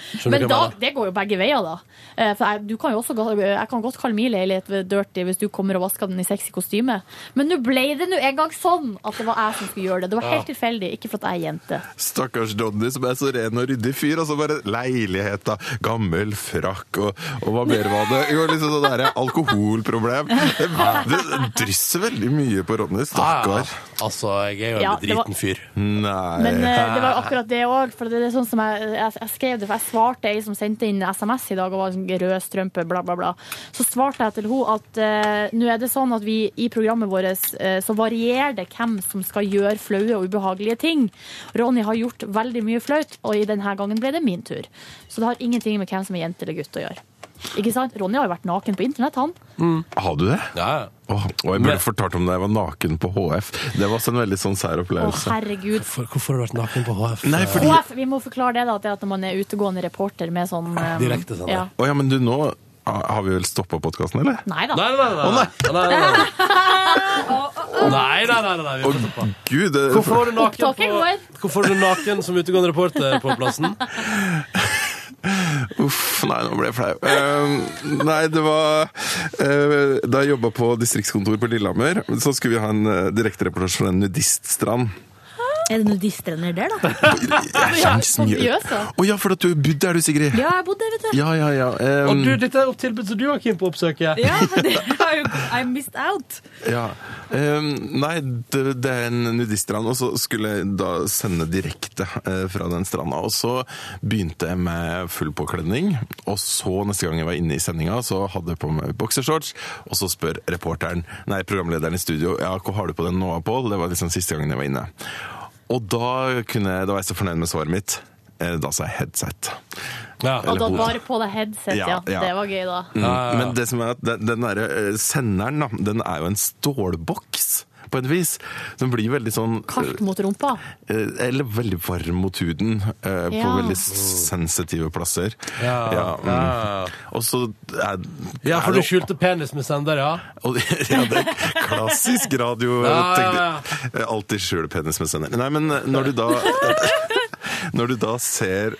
Skjønner du hva Men da, jeg mener? det går jo begge veier, da. Eh, For jeg, du kan jo også, ga- jeg kan godt kalle min leilighet ved dirty hvis du kommer og vasker den i sexy kostyme. Men nå ble det nå en gang sånn at det var jeg som skulle gjøre det. Det var helt Ja. tilfeldig, ikke for at jeg er jente. Stakkars Donny som er så ren og ryddig fyr, og så bare leilighet, da. Gammel frakk, og, og hva mer var det? Jo, liksom sånn derre alkoholproblem. Det, det drysser veldig mye på Ronny, stakkar. Altså, jeg er jo en Ja, det var- bedriten fyr. Nei. eh, Men eh, det var jo akkurat det òg, for det er sånn som jeg, jeg, jeg skrev det, for jeg svarte ei som sendte inn SMS i dag og var sånn rød strømpe, bla, bla, bla. Så svarte jeg til henne at eh, nå er det sånn at vi i programmet vårt eh, så varierer det hvem som skal gjøre flaue og ubehagelige ting. Ronny har gjort veldig mye flaut, og i denne gangen ble det min tur. Så det har ingenting med hvem som er jente eller gutt å gjøre. Ikke sant? Ronny har jo vært naken på internett, han. Har du det? Ja. Åh, og jeg burde fortalt om da jeg var naken på HF. Det var også en veldig sånn sær Å, opplevelse. herregud. Hvorfor har du vært naken på HF? Nei, fordi... HF, vi må forklare det, da, at det er at når man er utegående reporter med sånn eh, Ja. Å ja, men du, nå har vi vel stoppa podkasten, eller? Nei da. Nei, nei, nei. nei, nei, nei. Nei, nei, nei, nei, vi får stoppe. Gud, det... Hvorfor var du naken, Opptaket går. på, hvorfor var du naken som utegående reporter på plassen? Uff, nei, nå ble jeg flau. Eh, nei, det var eh, Da jeg jobba på distriktskontor på Lillehammer, så skulle vi ha en uh, direktereportasje fra [LAUGHS] en nudiststrand. Er det nudiststrender der, da? Ja, Å ja, for at du bodde der, du, Sigrid. altså. Ja, jeg bodde der, vet du. Ja, ja, ja. eh, Og du, dette er et tilbud som du var keen på å oppsøke. [LAUGHS] Ja, for det har jo I missed out. Ja. Ehm, nei, det, det er en nudiststrand, og så skulle jeg da sende direkte eh, fra den stranda. Og så begynte jeg med full påkledning, og så neste gang jeg var inne i sendinga, så hadde jeg på meg boksershorts, og så spør reporteren, nei, programlederen i studio, ja, hva har du på den nå, Pål? Det var liksom siste gangen jeg var inne. Og da, kunne, jeg- da var jeg så fornøyd med svaret mitt. Eh, Da sa jeg headset. Og da hode. bare på deg headset, ja. Ja, ja. Det var gøy, da. Mm. Men det som er at den, den der, eh, senderen da, den er jo en stålboks på et vis. Den blir veldig sånn Hardt mot rumpa. eh, Eller veldig varm mot huden eh, på Ja. veldig s- sensitive plasser. Ja, mm. ja. Og så er, Ja, er for du det- skjulte penis med sender, ja? og- ja, det er klassisk radio. Ja, ja, ja. tenkte- eh, Alltid skjule penis med sender. Nei, men eh, når du da [LAUGHS] Når du da ser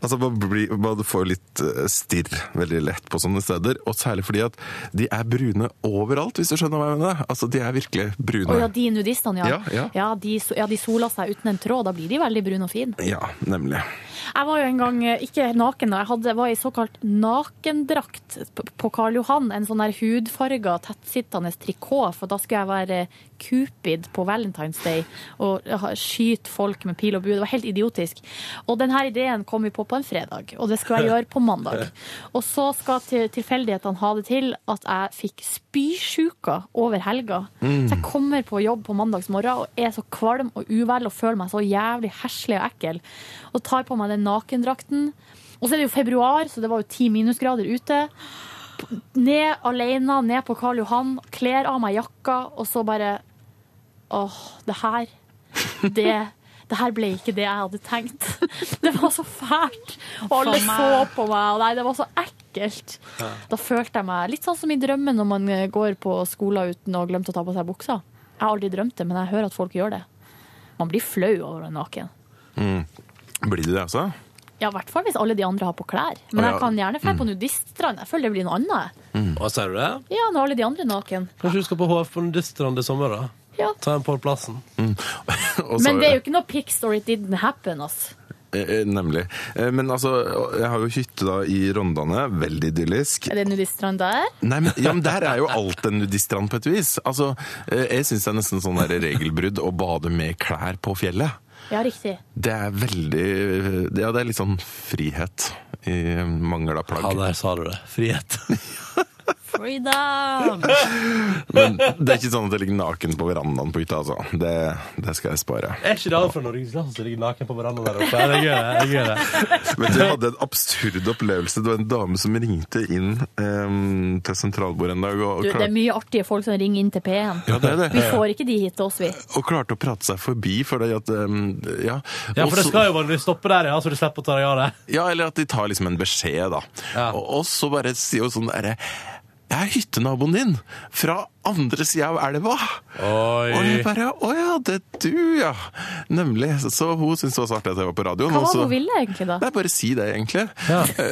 Altså, man, blir, man får litt eh, stirr veldig lett på sånne steder. Og særlig fordi at de er brune overalt, hvis du skjønner hva jeg mener. Altså, de er virkelig brune. Å ja, de nudistene, ja. Ja, ja. de, so- ja, de sola seg uten en tråd. Da blir de veldig brune og fine. Ja, nemlig. Jeg var jo en gang eh, ikke naken, da. Jeg hadde, var i såkalt nakendrakt p- på Karl Johan. En sånn der hudfarga, tettsittende trikot. For da skulle jeg være eh, Cupid på Valentine's Day og ha- skyte folk med pil og bue. Det var helt idiotisk. Og denne ideen kom vi på på en fredag, og det skal [LAUGHS] jeg gjøre på mandag. Og så skal til, tilfeldighetene ha det til at jeg fikk spysjuka over helga. Mm. Så jeg kommer på jobb på mandagsmorgen og er så kvalm og uvel og føler meg så jævlig herselig og ekkel. Og tar på meg den nakendrakten. Og så er det jo februar, så det var jo ti minusgrader ute. P- Ned alene, ned på Karl Johan, kler av meg jakka, og så bare Åh, det her Det det her ble ikke det jeg hadde tenkt. [LAUGHS] Det var så fælt. Og alle For meg. så på meg. og Nei, det var så ekkelt. Da følte jeg meg litt sånn som i drømmen når man eh, går på skolen uten å ha glemt å ta på seg buksa. Jeg har aldri drømt det, men jeg hører at folk gjør det. Man blir flau over å være naken. Mm. Blir de det, altså? Ja, i hvert fall hvis alle de andre har på klær. Men Å, ja. jeg kan gjerne dra Mm. på nudiststrand. Jeg føler det blir noe annet. jeg. Hva sier du det? Ja, når alle de andre er naken. Kanskje du skal på HF på nudiststrand i sommer, da? Ja. Ta en på plassen. Mm. [LAUGHS] Men det er jo ikke noe pick story it didn't happen, ass. Eh, eh, Nemlig. Eh, Men altså, jeg har jo hytte da i Rondane. Veldig idyllisk. Er det nudiststrand der? Nei, men, ja, men Der er jo alt en nudiststrand på et vis. Altså, eh, jeg syns det er nesten sånn der regelbrudd å bade med klær på fjellet. Ja, riktig. Det er veldig eh, Ja, det er litt sånn frihet i mangel av plagg. Ja, der sa du det. Frihet. [LAUGHS] Freedom! men det er ikke sånn at jeg ligger naken på verandaen på hytta, altså. Det, det skal jeg spare. Er ikke det alle fra Norgesland som ligger naken på verandaen der oppe? Jeg gjør det. Jeg gjør det. Vet du, Jeg hadde en absurd opplevelse. Det var en dame som ringte inn eh, til sentralbordet en dag og, Du, og det er klarte mye artige folk som ringer inn til P1. Ja, det er det. Vi får ikke de hit til oss, vi. Eh, og klarte å prate seg forbi fordi at eh, Ja, Ja, Og for det så- skal jo vanligvis stoppe der, ja, så du slipper å ta deg av det. [LAUGHS] Ja, eller at de tar liksom en beskjed, da. Og, og så bare sier hun sånn derre Jeg er hyttenaboen din! Fra andre sida av elva! Oi. Og jeg bare Å ja, det er du, ja! Nemlig. Så, så hun syntes det var så artig at jeg var på radioen. Hva og var altså- så- det hun ville egentlig, da? Nei, bare si det, egentlig. [LAUGHS]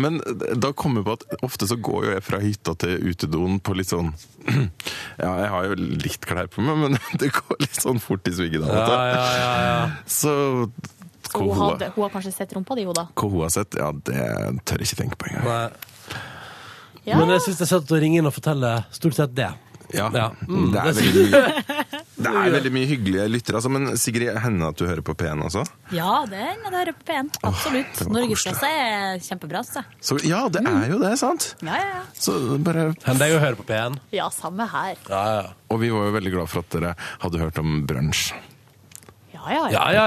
Men da kom jeg på at ofte så går jo jeg fra hytta til utedoen på litt sånn [CLEARS THROAT] Ja, jeg har jo litt klær på meg, men [LAUGHS] det går litt sånn fort i svingene. av og til. Ja, ja, ja, Så Så hun, hadde, hun har kanskje sett rumpa di, hun da. Hva hun har sett, ja, det tør jeg ikke tenke på engang. Ja. Men jeg syns det er søtt å ringe inn og fortelle stort sett det. Ja, Mm, det er det veldig synes- Det er veldig mye hyggelige lyttere, altså. Men Sigrid, hender at du hører på P1 også? Ja, det er det er P1. Absolutt. det var Norgesklasse er kjempebra. Så. Så, ja, det er jo det, sant? Ja, ja, ja. Så bare Hender jeg å høre på P1. Ja, samme her. Og vi var jo veldig glad for at dere hadde hørt om brunsj. Ja, ja.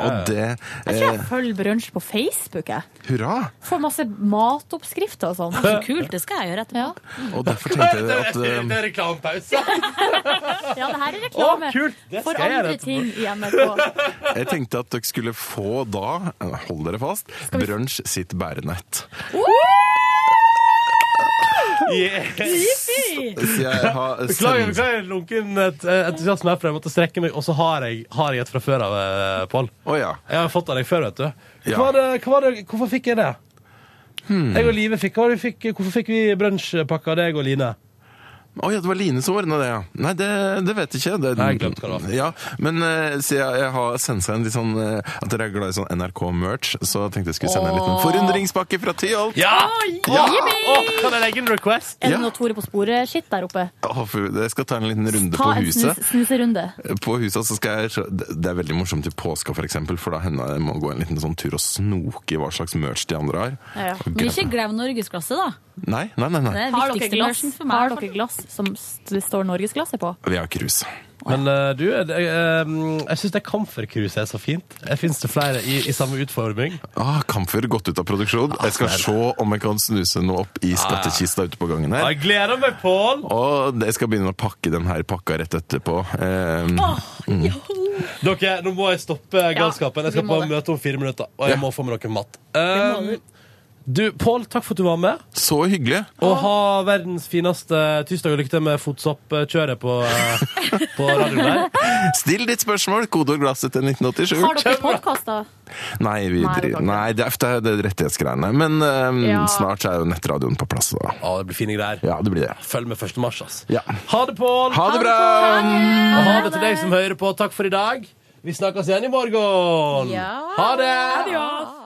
Og det Jeg tror jeg eh, følger brunsj på Facebook. Jeg. Hurra! Får masse matoppskrifter og sånn. Så kult, det skal jeg gjøre etterpå. Og derfor tenkte jeg at eh, Det er reklamepause. Ja, det her er reklame Å, kult! Det for skal jeg andre gjøre ting i NRK. Jeg tenkte at dere skulle få da, eh, hold dere fast, Brunsj sitt bærenett. Så jeg har sendt- Beklager, beklager lunken et, entusiasme herfra. Jeg måtte strekke meg, og så har jeg, har jeg et fra før av, eh, Pål. Jeg har fått av deg før, vet du. Hva Ja. var det, hva var det, hvorfor fikk jeg det? Jeg og Live fikk, hva var det vi fikk Hvorfor fikk vi brunsjpakka av deg og Line? Å ja, det var Line som ordna det, ja. Nei, det, det vet jeg ikke. Det, Nei, jeg glemte hva det var. Ja, men eh, så jeg, jeg har sendt seg en litt sånn eh, At dere er glad i sånn NRK-merch, så jeg tenkte jeg skulle sende en liten Åh. forundringspakke fra Tyholt. Ja! Ja! kan jeg legge en request? Er Ja. det noe Tore på sporet-skitt der oppe? Å, fy, Jeg skal ta en liten runde Ta på en snus, huset. snuserunde. På huset så skal jeg Det det er veldig morsomt til påska, for eksempel, for da hender jeg må gå en liten sånn tur og snoke i hva slags merch de andre har. Ja. Og Men glem- ikke glem norgesklasse, da. Nei, nei, nei. Det nei. er Har dere viktigste glass, merchen for meg. har dere glass som s- det står norgesglasset på? Vi har krus. Men eh, du, eh, eh, jeg syns det kamferkruset er så fint. Fins det flere i, i samme utforming? Ah, Kamfer gått ut av produksjon. Jeg skal se om jeg kan snuse noe opp i ja. skattkista ute på gangen her. Jeg gleder meg, Pål! Og jeg skal begynne å pakke den her pakka rett etterpå. Ehm, mm. Dere, nå må jeg stoppe galskapen. Jeg skal vi på må et møte om fire minutter, og jeg må få med dere mat. Um, du, Pål, takk for at du var med. Så hyggelig. Og ha verdens fineste tirsdag og lykke til med fotsoppkjøret på, eh, på radioen der. Still ditt spørsmål! Kodeord glasset til Har 1987. dere podkaster? Nei, vi Nei, det driver kan Nei, det er, det er det rettighetsgreiene. Men ehm, Ja. snart så er jo nettradioen på plass, da. Ja, det blir fine greier. Ja, det blir det. Følg med 1. mars, ass. Ja. Ha det, Pål! Ha det bra! Og ha det til deg som hører på. Takk for i dag. Vi snakkes igjen i morgen. Ja. Ha det! Adios.